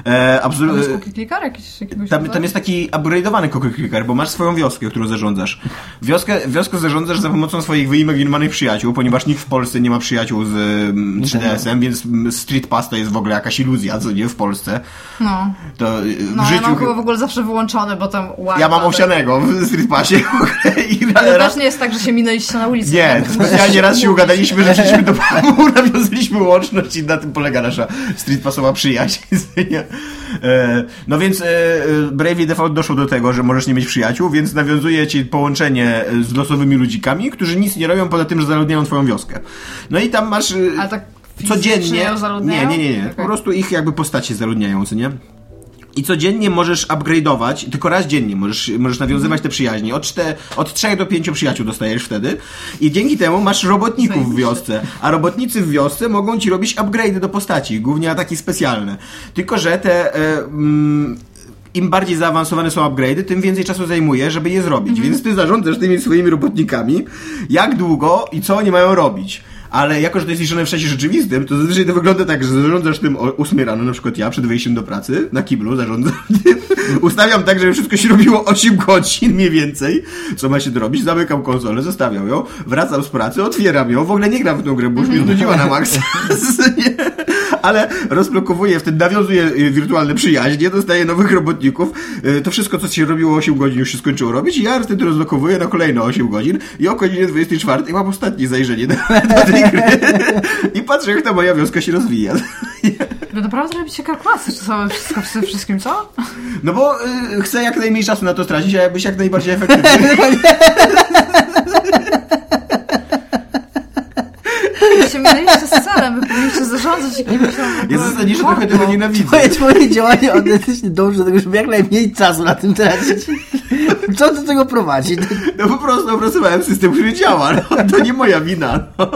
Speaker 4: E,
Speaker 2: To jest
Speaker 4: absolutnie.
Speaker 2: cookie clicker jakiś, jakiegoś
Speaker 4: Tam,
Speaker 2: rodzaju?
Speaker 4: tam jest taki upgrade'owany Google Clicker, bo masz swoją wioskę, którą zarządzasz. Wioskę, wioskę zarządzasz za pomocą swoich wyimaginowanych przyjaciół, ponieważ nikt w Polsce nie ma przyjaciół z mm, 3DS-em, więc mm, Street Pass to jest w ogóle jakaś iluzja, co nie w Polsce.
Speaker 2: No,
Speaker 4: To y, w
Speaker 2: no
Speaker 4: życiu...
Speaker 2: ja mam go w ogóle zawsze wyłączony, bo tam wow,
Speaker 4: ja mam
Speaker 2: ale-
Speaker 4: owsianego w Street Passie w ogóle i
Speaker 2: Ale
Speaker 4: raz,
Speaker 2: też nie jest tak, że się minęliście na ulicy.
Speaker 4: Nie,
Speaker 2: Tak,
Speaker 4: to specjalnie raz się ugadaliśmy, że szliśmy do [LAUGHS] pamu, nawiązaliśmy łączność i na tym polega nasza streetpassowa przyjaźń. [LAUGHS] Nie? E, No więc e, e, Bravely Default doszło do tego, że możesz nie mieć przyjaciół, więc nawiązuje ci połączenie e, z losowymi ludzikami, którzy nic nie robią poza tym, że zaludniają twoją wioskę. No i tam masz... e,
Speaker 2: Ale tak fizycznie
Speaker 4: codziennie...
Speaker 2: ją
Speaker 4: Nie,
Speaker 2: zaludniają?
Speaker 4: nie, nie, nie.
Speaker 2: Okej.
Speaker 4: Po prostu ich jakby postacie zaludniają, co nie? I codziennie możesz upgrade'ować, tylko raz dziennie możesz, możesz nawiązywać te
Speaker 2: Mhm.
Speaker 4: przyjaźnie. Od, czte, od 3 do 5 przyjaciół dostajesz wtedy. I dzięki temu masz robotników w wiosce. A robotnicy w wiosce mogą ci robić upgrade'y do postaci, głównie ataki specjalne. Tylko, że te... E, mm, im bardziej zaawansowane są upgrade'y, tym więcej czasu zajmuje, żeby je zrobić.
Speaker 2: Mhm.
Speaker 4: Więc ty zarządzasz tymi swoimi robotnikami, jak długo i co oni mają robić. Ale jako, że to jest liczone w czasie rzeczywistym, to zazwyczaj to wygląda tak, że zarządzasz tym o 8 rano, na przykład ja przed wejściem do pracy, na kiblu zarządzam [LAUGHS] tym. Ustawiam tak, żeby wszystko się robiło 8 godzin mniej więcej, co ma się dorobić, zamykam konsolę, zostawiam ją, wracam z pracy, otwieram ją, w ogóle nie gram w tą grę, bo już mnie znudziła na maksa. [LAUGHS] Nie. Ale rozblokowuję, wtedy nawiązuję y, wirtualne przyjaźnie, dostaję nowych robotników. Y, To wszystko, co się robiło 8 godzin, już się skończyło robić i ja wtedy rozblokowuję na kolejne 8 godzin i o godzinie 24 mam ostatnie zajrzenie do, do tej gry i patrzę, jak ta moja wioska się rozwija.
Speaker 2: Wy naprawdę robicie kalkulacje czasowe wszystko ze wszystkim, co?
Speaker 4: [LAUGHS] No bo y, chcę jak najmniej czasu na to stracić, a być jak najbardziej [LAUGHS] efektywny.
Speaker 2: Wy się minęliście z celem, wy powinniście zarządzać jakimś tam... w ogóle no.
Speaker 4: Ja zasadniczo trochę tego
Speaker 2: mordą.
Speaker 4: nienawidzę.
Speaker 3: twoje, twoje działanie autentycznie dąży do tego, żeby jak najmniej czasu na tym tracić. Co do tego prowadzi?
Speaker 4: No po prostu opracowałem system, który działa. No, to nie moja wina. No.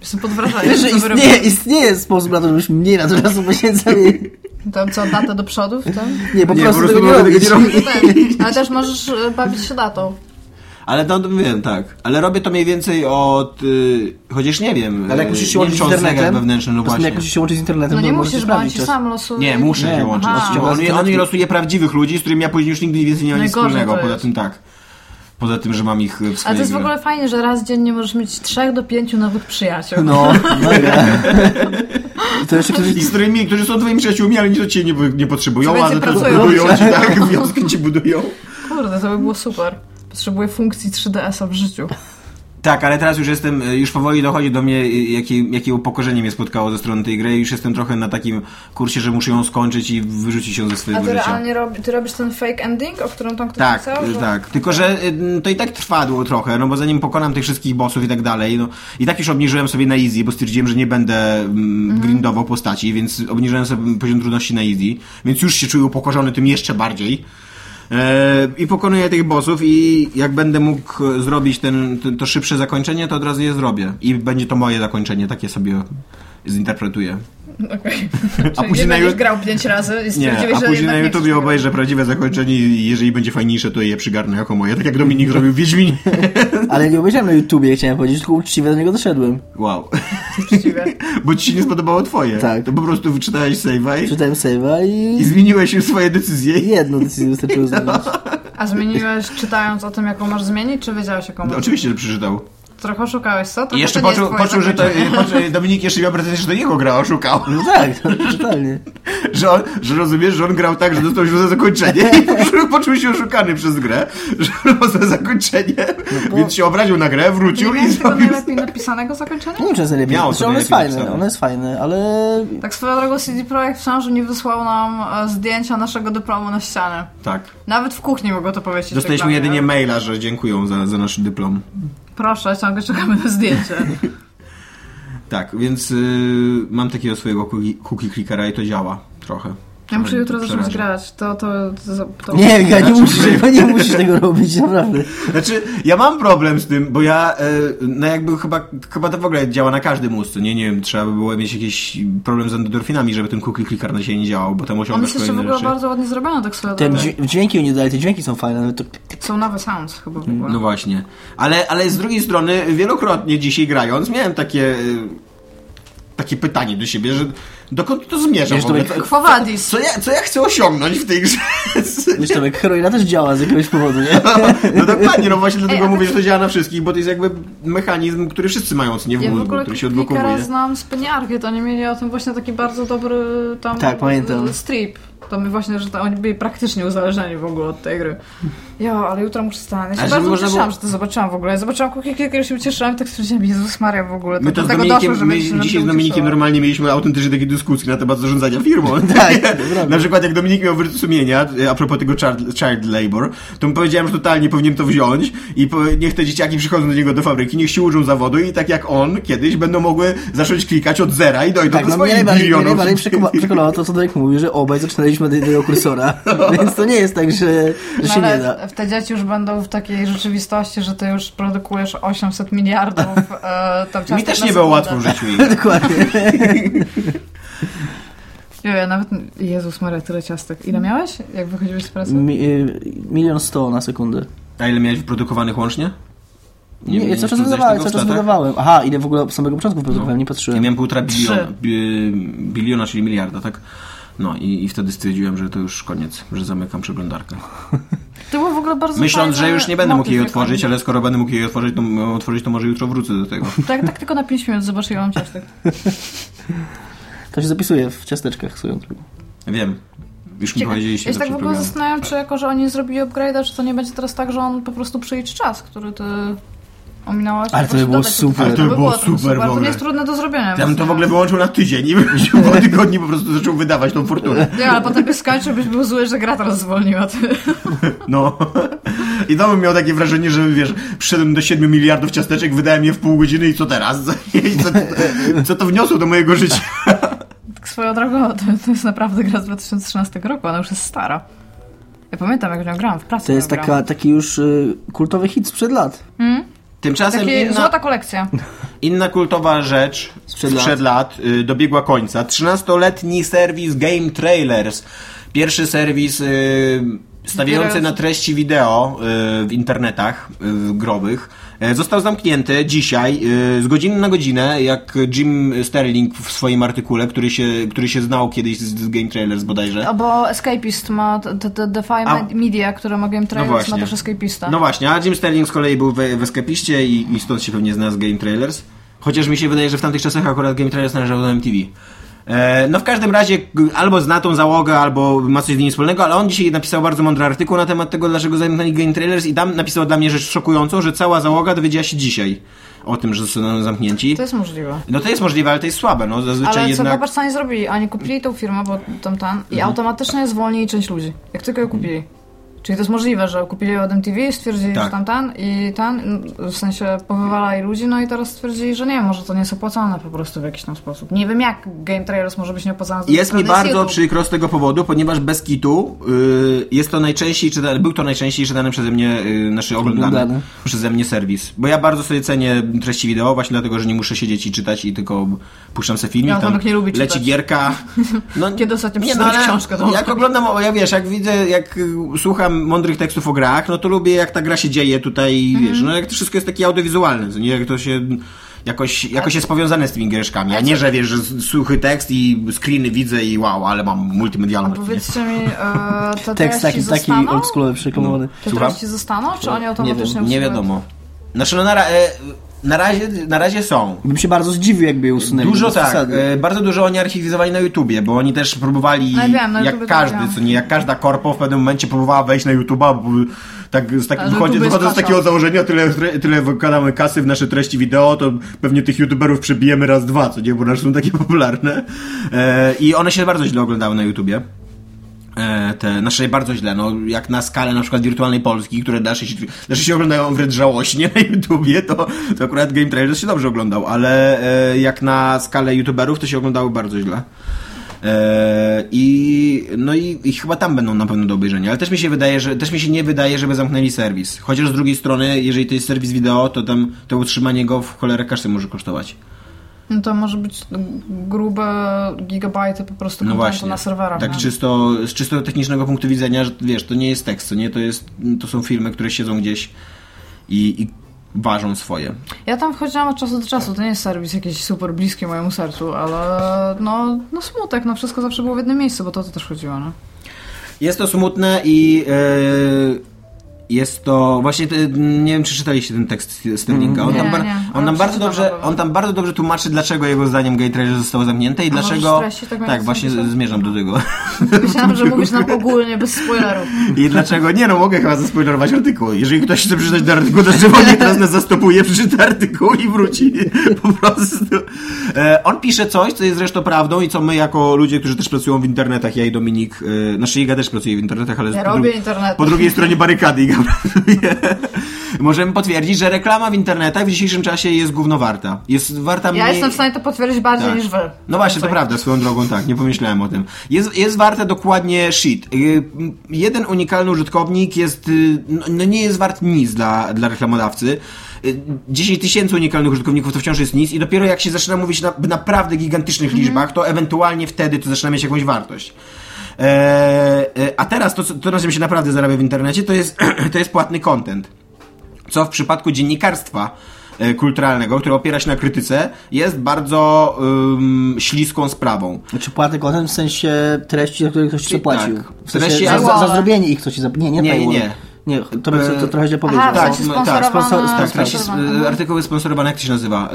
Speaker 2: Jestem pod
Speaker 4: [LAUGHS]
Speaker 2: wrażeniem,
Speaker 3: Wiesz, że
Speaker 2: co wy
Speaker 3: istnieje,
Speaker 2: robicie.
Speaker 3: istnieje sposób na to, żebyśmy mniej na to czasu poświęcali.
Speaker 2: Tam co, datę do przodu w tym?
Speaker 3: Nie, po
Speaker 4: Nie,
Speaker 3: prostu
Speaker 4: po prostu
Speaker 3: tego nie
Speaker 4: mamy tego
Speaker 3: robić.
Speaker 4: nie robić.
Speaker 2: No tak, ale też możesz y, bawić się datą.
Speaker 4: Ale no, to wiem, tak. Ale robię to mniej więcej od... Y, chociaż nie wiem.
Speaker 3: Ale
Speaker 4: y,
Speaker 3: jak musisz się
Speaker 4: nie
Speaker 3: łączyć z
Speaker 4: wiem, czy on zegar
Speaker 3: internetem,
Speaker 4: wewnętrzny,
Speaker 3: to
Speaker 4: no
Speaker 3: znaczy,
Speaker 4: właśnie.
Speaker 3: jak musisz się łączyć z internetem,
Speaker 2: No
Speaker 3: to
Speaker 2: nie
Speaker 3: możesz
Speaker 2: musisz, bo on
Speaker 3: sprawdzić
Speaker 2: ci
Speaker 3: czas.
Speaker 2: sam losuje.
Speaker 4: Nie, muszę
Speaker 3: Nie,
Speaker 4: się łączyć.
Speaker 2: aha.
Speaker 4: Bo On, on mi losuje prawdziwych ludzi, z którymi ja później już nigdy więcej nie mam nic
Speaker 2: Najgorzej
Speaker 4: wspólnego.
Speaker 2: to
Speaker 4: Poza
Speaker 2: jest.
Speaker 4: tym tak. Poza tym, że mam ich y, w
Speaker 2: Ale
Speaker 4: swojej
Speaker 2: to jest w
Speaker 4: grze.
Speaker 2: ogóle fajnie, że raz dziennie możesz mieć trzech do pięciu nowych przyjaciół.
Speaker 3: [LAUGHS] No, mega. To jeszcze ktoś...
Speaker 4: I z którymi, którzy są twoimi przyjaciółmi, ale nic od ciebie nie, nie potrzebują,
Speaker 2: Czy
Speaker 4: a
Speaker 2: więcej
Speaker 4: za to
Speaker 2: pracują?
Speaker 4: budują ci, tak? Wiązki ci budują.
Speaker 2: Kurde, to by było super. Potrzebuję funkcji 3DS-a w życiu.
Speaker 4: Tak, ale teraz już jestem, już powoli dochodzi do mnie, y, jakie, jakie upokorzenie mnie spotkało ze strony tej gry i już jestem trochę na takim kursie, że muszę ją skończyć i wyrzucić ją ze
Speaker 2: A
Speaker 4: swojego
Speaker 2: ty
Speaker 4: życia.
Speaker 2: realnie rob, ty robisz ten fake ending, o którym tam ktoś
Speaker 4: Tak,
Speaker 2: pisał?
Speaker 4: y, tak. Tylko, że y, to i tak trwadło trochę, no bo zanim pokonam tych wszystkich bossów i tak dalej, no i tak już obniżyłem sobie na easy, bo stwierdziłem, że nie będę mm,
Speaker 2: Mhm.
Speaker 4: grindował postaci, więc obniżyłem sobie poziom trudności na easy, więc już się czuję upokorzony tym jeszcze bardziej. E, I pokonuję tych bossów i jak będę mógł e, zrobić ten, to, to szybsze zakończenie, to od razu je zrobię. I będzie to moje zakończenie, takie sobie zinterpretuję.
Speaker 2: [LAUGHS] Okej.
Speaker 4: A
Speaker 2: Czyli
Speaker 4: później
Speaker 2: nie
Speaker 4: na
Speaker 2: będziesz
Speaker 4: ju-
Speaker 2: grał pięć razy i
Speaker 4: Nie,
Speaker 2: stwierdziłeś,
Speaker 4: a
Speaker 2: że
Speaker 4: później
Speaker 2: jednak
Speaker 4: na
Speaker 2: nie
Speaker 4: YouTubie
Speaker 2: chcesz.
Speaker 4: obejrzę prawdziwe zakończenie i jeżeli będzie fajniejsze, to je przygarnę jako moje, tak
Speaker 2: [LAUGHS]
Speaker 4: jak Dominik zrobił w Wiedźminie.
Speaker 3: Ale ja nie obejrzałem na YouTubie, chciałem powiedzieć, tylko uczciwie do niego doszedłem.
Speaker 4: Wow. [LAUGHS]
Speaker 2: Uczciwie.
Speaker 4: Bo ci się nie spodobało twoje.
Speaker 3: Tak.
Speaker 4: To po prostu wyczytałeś save'a i,
Speaker 3: Czytałem save'a
Speaker 4: i
Speaker 3: i
Speaker 4: zmieniłeś już swoje decyzje.
Speaker 3: jedną decyzję wystarczyło zmienić.
Speaker 2: A zmieniłeś czytając o tym, jaką masz zmienić, czy wiedziałeś jaką masz?
Speaker 4: No, oczywiście, że przeczytał.
Speaker 2: Trochę szukałeś, co?
Speaker 4: I
Speaker 2: Trochę
Speaker 4: jeszcze
Speaker 2: to nie jest
Speaker 4: poczuł,
Speaker 2: twoje
Speaker 4: poczuł, że to,
Speaker 2: zakończenie.
Speaker 4: poczuł, Dominik jeszcze miał pretensję, że to jego gra oszukał.
Speaker 3: No tak, to totalnie.
Speaker 4: [LAUGHS] Że, on, że rozumiesz, że on grał tak, że dostał źle zakończenie i [LAUGHS] poczuł, poczuł się oszukany przez grę, [LAUGHS] że dostał zakończenie, więc się obraził na grę,
Speaker 2: Nie
Speaker 4: wrócił i
Speaker 2: miałeś tego
Speaker 4: zrobił...
Speaker 2: najlepiej napisanego zakończenia?
Speaker 3: Nie wiem, czy jest najlepiej.
Speaker 4: Miało
Speaker 3: Znaczy,
Speaker 4: to
Speaker 3: ono jest
Speaker 4: najlepiej
Speaker 3: fajne,
Speaker 4: napisane.
Speaker 3: ono jest fajne, ale...
Speaker 2: Tak swoją drogą CD Projekt w szansu nie wysłał nam e, zdjęcia naszego dyplomu na ścianę.
Speaker 4: Tak.
Speaker 2: Nawet w kuchni mogło to powiedzieć.
Speaker 4: Dostaliśmy
Speaker 2: tak dla mnie. tak?
Speaker 4: jedynie maila, że dziękują za, za nasz dyplom.
Speaker 2: Proszę, ciągle czekamy na
Speaker 4: [LAUGHS]
Speaker 2: zdjęcie.
Speaker 4: Tak, więc y, mam takiego swojego cookie, cookie clickera i to działa trochę.
Speaker 2: Ja muszę
Speaker 4: Ale
Speaker 2: jutro
Speaker 4: to
Speaker 2: zacząć
Speaker 4: przeraża.
Speaker 2: grać. To, to, to, to...
Speaker 3: Nie, ja nie
Speaker 4: Znaczy,
Speaker 3: musisz,
Speaker 4: że-
Speaker 3: tego- [LAUGHS] nie musisz tego robić, naprawdę.
Speaker 4: Znaczy, ja mam problem z tym, bo ja, e, no jakby chyba, chyba to w ogóle działa na każdym mózgu, nie? Nie wiem, trzeba by było mieć jakiś problem z endorfinami, żeby ten cookie clicker na siebie nie działał, bo tam
Speaker 2: On
Speaker 4: osiągasz
Speaker 2: jest jeszcze w
Speaker 4: kolejne
Speaker 2: ogóle
Speaker 4: rzeczy.
Speaker 2: bardzo ładnie zrobione tak swoją
Speaker 3: Te
Speaker 2: drogą.
Speaker 3: dźwię- dźwięki oni dali, te dźwięki są fajne, nawet to...
Speaker 2: Są nowe sounds chyba w ogóle.
Speaker 4: No właśnie. Ale, ale z drugiej strony, wielokrotnie dzisiaj grając, miałem takie... e, Takie pytanie do siebie, że dokąd to zmierza
Speaker 3: Wiesz,
Speaker 4: w ogóle?
Speaker 3: to
Speaker 4: Co-
Speaker 2: Chwowadis.
Speaker 4: no, Co ja, co ja chcę osiągnąć w tej grze?
Speaker 3: Wiesz, to jak heroina też działa z jakiegoś powodu, nie?
Speaker 4: No dokładnie, no właśnie dlatego
Speaker 2: a to
Speaker 4: mówię, że to działa na wszystkich, bo to jest jakby mechanizm, który wszyscy mają, co nie w
Speaker 2: Ja w
Speaker 4: mózgu,
Speaker 2: ogóle
Speaker 4: który się
Speaker 2: kilka
Speaker 4: odblokowuje.
Speaker 2: znam z Peniarchy, to oni mieli o tym właśnie taki bardzo dobry tam
Speaker 3: Tak, pamiętam.
Speaker 2: strip. To mi właśnie, że to oni byli praktycznie uzależnieni w ogóle od tej gry. Jo, ale jutro muszę stanąć. Ja
Speaker 4: A
Speaker 2: się
Speaker 4: żeby
Speaker 2: bardzo
Speaker 4: można
Speaker 2: ucieszyłam,
Speaker 4: było-
Speaker 2: że to zobaczyłam w ogóle. Ja zobaczyłam kuki kilka, się ucieszyłam i tak stwierdziłam, Jezus Maria w ogóle.
Speaker 4: My to
Speaker 2: do
Speaker 4: z
Speaker 2: tego
Speaker 4: Dominikiem,
Speaker 2: doszło, że
Speaker 4: my
Speaker 2: będę się na
Speaker 4: dzisiaj z
Speaker 2: tym
Speaker 4: Dominikiem
Speaker 2: ucieszyła.
Speaker 4: normalnie mieliśmy autentycznie takie dyskusje na temat zarządzania firmą.
Speaker 3: Tak, naprawdę.
Speaker 4: na przykład jak Dominik miał wyrzut sumienia, a propos tego child, child labor, to mu powiedziałem, że totalnie powinien to wziąć i po, niech te dzieciaki przychodzą do niego do fabryki, niech się uczą zawodu i tak jak on, kiedyś będą mogły zacząć klikać od zera i dojdą
Speaker 3: Tak, no
Speaker 4: do
Speaker 3: mnie
Speaker 4: swoich
Speaker 3: najbardziej, mnie
Speaker 4: milionów. [LAUGHS]
Speaker 3: najbardziej przekona- przekonało to, co Darek mówi, że obaj zaczynaliśmy od jednego [LAUGHS] kursora, więc to nie jest tak, że, że
Speaker 2: No
Speaker 3: się nie
Speaker 2: ale
Speaker 3: da.
Speaker 2: w te dzieci już będą w takiej rzeczywistości, że ty już produkujesz 800 miliardów
Speaker 4: [LAUGHS]
Speaker 2: e, tam
Speaker 4: Mi
Speaker 2: ciastek
Speaker 4: też
Speaker 2: na
Speaker 4: nie było
Speaker 2: sekundę.
Speaker 4: łatwo w życiu. i-
Speaker 3: Dokładnie. [LAUGHS]
Speaker 2: Jo, ja nawet... Jezus Maria, tyle ciastek. Ile miałeś, jak wychodziłeś z pracy?
Speaker 3: Mi, y, milion sto na sekundę.
Speaker 4: A ile miałeś wyprodukowanych łącznie?
Speaker 3: Nie, ja cały czas
Speaker 4: sprawdzałeś
Speaker 3: wydawałem, cały
Speaker 4: tego
Speaker 3: czas
Speaker 4: w statach?
Speaker 3: wydawałem. Aha, ile w ogóle od samego początku produkowałem, tak? No. nie
Speaker 4: Ja
Speaker 3: patrzyłem.
Speaker 4: miałem półtora biliona,
Speaker 2: Trzy.
Speaker 4: bi- biliona, czyli miliarda, tak? No i, i wtedy stwierdziłem, że to już koniec, że zamykam przeglądarkę.
Speaker 2: To był w ogóle bardzo
Speaker 4: Myśląc,
Speaker 2: fajny
Speaker 4: że już nie będę mógł
Speaker 2: motyw,
Speaker 4: jej
Speaker 2: jak
Speaker 4: otworzyć,
Speaker 2: on-
Speaker 4: ale skoro będę mógł jej otworzyć, to, m- otworzyć, to może jutro wrócę do tego.
Speaker 2: Tak, tak tylko na 5 minut, zobacz, ile mam
Speaker 4: [LAUGHS]
Speaker 2: ciastek.
Speaker 3: To się zapisuje w ciasteczkach swoją drogą.
Speaker 4: Wiem. Już mi
Speaker 2: Ciekawe.
Speaker 4: powiedzieliście
Speaker 2: Ja się
Speaker 4: to
Speaker 2: tak w
Speaker 4: przed
Speaker 2: ogóle
Speaker 4: programem.
Speaker 2: zastanawiam, czy jako, że oni zrobili upgrade'a, czy to nie będzie teraz tak, że on po prostu przeliczy czas, który ty ominęłaś.
Speaker 3: Ale to
Speaker 2: Właśnie
Speaker 3: by było
Speaker 2: dodać
Speaker 3: super.
Speaker 2: trochę.
Speaker 3: Ale
Speaker 4: to by było
Speaker 2: trochę
Speaker 4: super w
Speaker 2: ale To
Speaker 4: ogóle.
Speaker 2: nie jest trudne do zrobienia.
Speaker 4: Ja bym to
Speaker 2: więc
Speaker 4: w ogóle
Speaker 2: nie.
Speaker 4: wyłączył na tydzień i wrócił po tygodniu po prostu zaczął wydawać tą fortunę.
Speaker 2: Nie, ale potem by skończył, byś był zły, że gra teraz zwolniła. [LAUGHS] Ty.
Speaker 4: No. I to bym miał takie wrażenie, że wiesz, przyszedłem do 7 miliardów ciasteczek, wydałem je w pół godziny i co teraz? [LAUGHS] I co, co to wniosło do mojego życia?
Speaker 2: Tak swoją drogą, to, to jest naprawdę gra z 2013 roku, ona już jest stara. Ja pamiętam, jak w nią grałam w pracy.
Speaker 3: To jest
Speaker 2: w nią grałam.
Speaker 3: taka, taki już y, kultowy hit sprzed lat.
Speaker 4: Tymczasem
Speaker 2: Takie
Speaker 4: inna-
Speaker 2: złota kolekcja.
Speaker 4: Inna kultowa rzecz
Speaker 3: Sprzed
Speaker 4: sprzed,
Speaker 3: lat.
Speaker 4: lat y, dobiegła końca. 13-letni serwis Game Trailers. Pierwszy serwis y, stawiający
Speaker 2: Zbierający-
Speaker 4: na treści wideo y, w internetach y, growych. E, Został zamknięty dzisiaj y, z godziny na godzinę, jak Jim Sterling w swoim artykule, który się, który się znał kiedyś z z Game Trailers bodajże.
Speaker 2: O, No bo Escapist ma, t- t- t- Defy
Speaker 4: A- No
Speaker 2: Media, które mogłem trailers, ma
Speaker 4: właśnie.
Speaker 2: też Escapista.
Speaker 4: No właśnie, a Jim Sterling z kolei był w, w Escapiście i, i stąd się pewnie zna z Game Trailers. Chociaż mi się wydaje, że w tamtych czasach akurat Game Trailers należał do MTV. E, No w każdym razie g- albo zna tą załogę, albo ma coś z nimi wspólnego, ale on dzisiaj napisał bardzo mądry artykuł na temat tego, dlaczego zamknęli Game Trailers i tam napisał dla mnie rzecz szokującą, że cała załoga dowiedziała się dzisiaj o tym, że zostaną zamknięci.
Speaker 2: To jest możliwe.
Speaker 4: No to jest możliwe, ale to jest słabe, no zazwyczaj
Speaker 2: Ale co
Speaker 4: jednak... Mhm.
Speaker 2: popatrz, co oni zrobili? Oni kupili tą firmę, bo tam ten, i automatycznie zwolnili część ludzi, jak tylko ją kupili. Czyli to jest możliwe, że kupili ją od MTV, stwierdzili,
Speaker 4: Tak.
Speaker 2: że tam ten i ten, w sensie powywalali ludzi, no i teraz stwierdzili, że nie, może to nie jest opłacalne po prostu w jakiś tam sposób. Nie wiem jak Game Trailers może być nieopłacalne. z drugiej
Speaker 4: Jest mi
Speaker 2: strony
Speaker 4: bardzo
Speaker 2: YouTube.
Speaker 4: przykro z tego powodu, ponieważ bez kitu y, jest to najczęściej, czyta, był to najczęściej czytany przeze mnie, y, znaczy oglądany
Speaker 3: Oglądany.
Speaker 4: przeze mnie serwis. Bo ja bardzo sobie cenię treści wideo, właśnie dlatego, że nie muszę siedzieć i czytać i tylko puszczam sobie filmik,
Speaker 2: Ja
Speaker 4: tam
Speaker 2: Tomek nie lubi czytać.
Speaker 4: leci
Speaker 2: [LAUGHS]
Speaker 4: gierka. No,
Speaker 2: Kiedy ostatnio
Speaker 4: nie,
Speaker 2: przeczytałeś
Speaker 4: ale
Speaker 2: książkę, Tomek?
Speaker 4: Jak Tak oglądam, o, ja wiesz, jak widzę, jak y, słucham mądrych tekstów o grach, no to lubię jak ta gra się dzieje tutaj,
Speaker 2: Mhm.
Speaker 4: wiesz, no jak to wszystko jest takie audiowizualne, co nie jak to się... Jakoś, jakoś jest powiązane z tymi giereczkami, a nie, że wiesz, że suchy tekst i screeny widzę i wow, ale mam multimedialną.
Speaker 2: Powiedzcie mi, e, te
Speaker 3: Tekst taki,
Speaker 2: treści
Speaker 3: taki
Speaker 2: zostaną?
Speaker 3: oldschoolowy, przeklamowany.
Speaker 2: Te
Speaker 4: Słucham?
Speaker 2: treści zostaną, czy oni automatycznie
Speaker 3: wiem,
Speaker 4: Nie
Speaker 2: usuną?
Speaker 4: wiadomo. Znaczy no na, ra- e, na, razie, na razie są.
Speaker 3: Bym się bardzo zdziwił, jakby je usunęli.
Speaker 4: Dużo
Speaker 3: bez
Speaker 4: tak,
Speaker 3: przesady.
Speaker 4: e, bardzo dużo oni archiwizowali na YouTubie, bo oni też próbowali,
Speaker 2: No ja wiem, na
Speaker 4: jak
Speaker 2: YouTubie to
Speaker 4: każdy,
Speaker 2: widziałam.
Speaker 4: co nie, jak każda korpo w pewnym momencie próbowała wejść na YouTuba, bo tak, z tak,
Speaker 2: Ale
Speaker 4: wychodzi,
Speaker 2: YouTube jest
Speaker 4: wychodząc z
Speaker 2: kasa.
Speaker 4: takiego założenia, tyle, tyle wykładamy kasy w nasze treści wideo, to pewnie tych YouTuberów przebijemy raz, dwa, co nie, bo nasze są takie [LAUGHS] popularne. E, I one się bardzo źle oglądały na YouTubie. E, te nasze bardzo źle, no jak na skalę na przykład wirtualnej Polski, które dalsze się, dalsze się oglądają wręcz żałośnie na YouTubie, to, to akurat Game Trailers się dobrze oglądał, ale e, jak na skalę YouTuberów to się oglądało bardzo źle. E, I no i, i chyba tam będą na pewno do obejrzenia, ale też mi się wydaje, że też mi się nie wydaje, żeby zamknęli serwis. Chociaż z drugiej strony, jeżeli to jest serwis wideo, to tam to utrzymanie go w cholerę każdy może kosztować.
Speaker 2: No to może być grube gigabajty po prostu
Speaker 4: No
Speaker 2: kontentu
Speaker 4: właśnie.
Speaker 2: tak, na serwerach. no.
Speaker 4: tak
Speaker 2: nie?
Speaker 4: czysto, z czysto technicznego punktu widzenia, że wiesz, to nie jest tekst, co nie? To, jest, to są filmy, które siedzą gdzieś i, i ważą swoje.
Speaker 2: Ja tam wchodziłam od czasu do czasu, to nie jest serwis jakiś super bliski mojemu sercu, ale no, no smutek, no wszystko zawsze było w jednym miejscu, bo to, to też chodziło, no.
Speaker 4: Jest to smutne i yy, jest to właśnie te, nie wiem czy czytaliście ten tekst Sterlinga. On,
Speaker 2: Nie,
Speaker 4: tam, bar-
Speaker 2: nie, ale
Speaker 4: on tam bardzo
Speaker 2: przeczytałam
Speaker 4: dobrze,
Speaker 2: na pewno.
Speaker 4: on tam bardzo dobrze tłumaczy dlaczego jego zdaniem Gay Trail zostało zamknięte i
Speaker 2: A możesz
Speaker 4: dlaczego
Speaker 2: streścić, tak jak
Speaker 4: tak właśnie
Speaker 2: napisałem?
Speaker 4: zmierzam do
Speaker 2: [LAUGHS]
Speaker 4: tego. [LAUGHS]
Speaker 2: Myślałam, że mówisz nam ogólnie, bez spoilerów.
Speaker 4: I dlaczego? Nie no, mogę chyba zaspoilerować artykuł. Jeżeli ktoś chce przeczytać ten artykuł, to [LAUGHS] czemu niech teraz nas zastopuje, przeczyta artykuł i wróci [LAUGHS] po prostu. E, on pisze coś, co jest zresztą prawdą i co my jako ludzie, którzy też pracują w internetach, ja i Dominik, e, znaczy Iga też pracuje w internetach, ale... z-
Speaker 2: Ja
Speaker 4: po
Speaker 2: robię
Speaker 4: dru-
Speaker 2: internet.
Speaker 4: Po drugiej stronie barykady Iga pracuje. [LAUGHS] Możemy potwierdzić, że reklama w internetach w dzisiejszym czasie jest głównowarta. Jest warta mniej...
Speaker 2: Ja jestem w stanie to potwierdzić bardziej
Speaker 4: Tak.
Speaker 2: niż wy.
Speaker 4: No właśnie, to prawda, swoją drogą tak, nie pomyślałem o tym. Jest, jest warte dokładnie shit. Yy, m, Jeden unikalny użytkownik jest, yy, no- no nie jest wart nic dla, dla reklamodawcy. Yy, 10 tysięcy unikalnych użytkowników to wciąż jest nic i dopiero jak się zaczyna mówić na, w naprawdę gigantycznych
Speaker 2: Mhm.
Speaker 4: liczbach, to ewentualnie wtedy to zaczyna mieć jakąś wartość. Eee, e, a teraz to, co- to, na czym się naprawdę zarabia w internecie, to jest, [CLEARS THROAT] to jest płatny content co w przypadku dziennikarstwa e, kulturalnego, które opiera się na krytyce, jest bardzo ym, śliską sprawą.
Speaker 3: Znaczy płatny content w sensie treści, za które ktoś ci
Speaker 4: Tak.
Speaker 3: zapłacił. W sensie
Speaker 4: Treści-
Speaker 3: za, za, za
Speaker 2: Paywalla.
Speaker 3: zrobienie ich ktoś ci zapłacił. Nie, nie,
Speaker 4: Nie, nie,
Speaker 3: paywalla. Nie, to bym to, to trochę źle powiedział.
Speaker 2: Aha,
Speaker 4: Tak,
Speaker 2: w sensie
Speaker 4: no, tak,
Speaker 2: sponsorowana... Mhm.
Speaker 3: sponsor-
Speaker 4: Tak,
Speaker 3: sponsor-
Speaker 4: treści,
Speaker 2: sponsorowana.
Speaker 4: sp- artykuły sponsorowane, jak to się nazywa?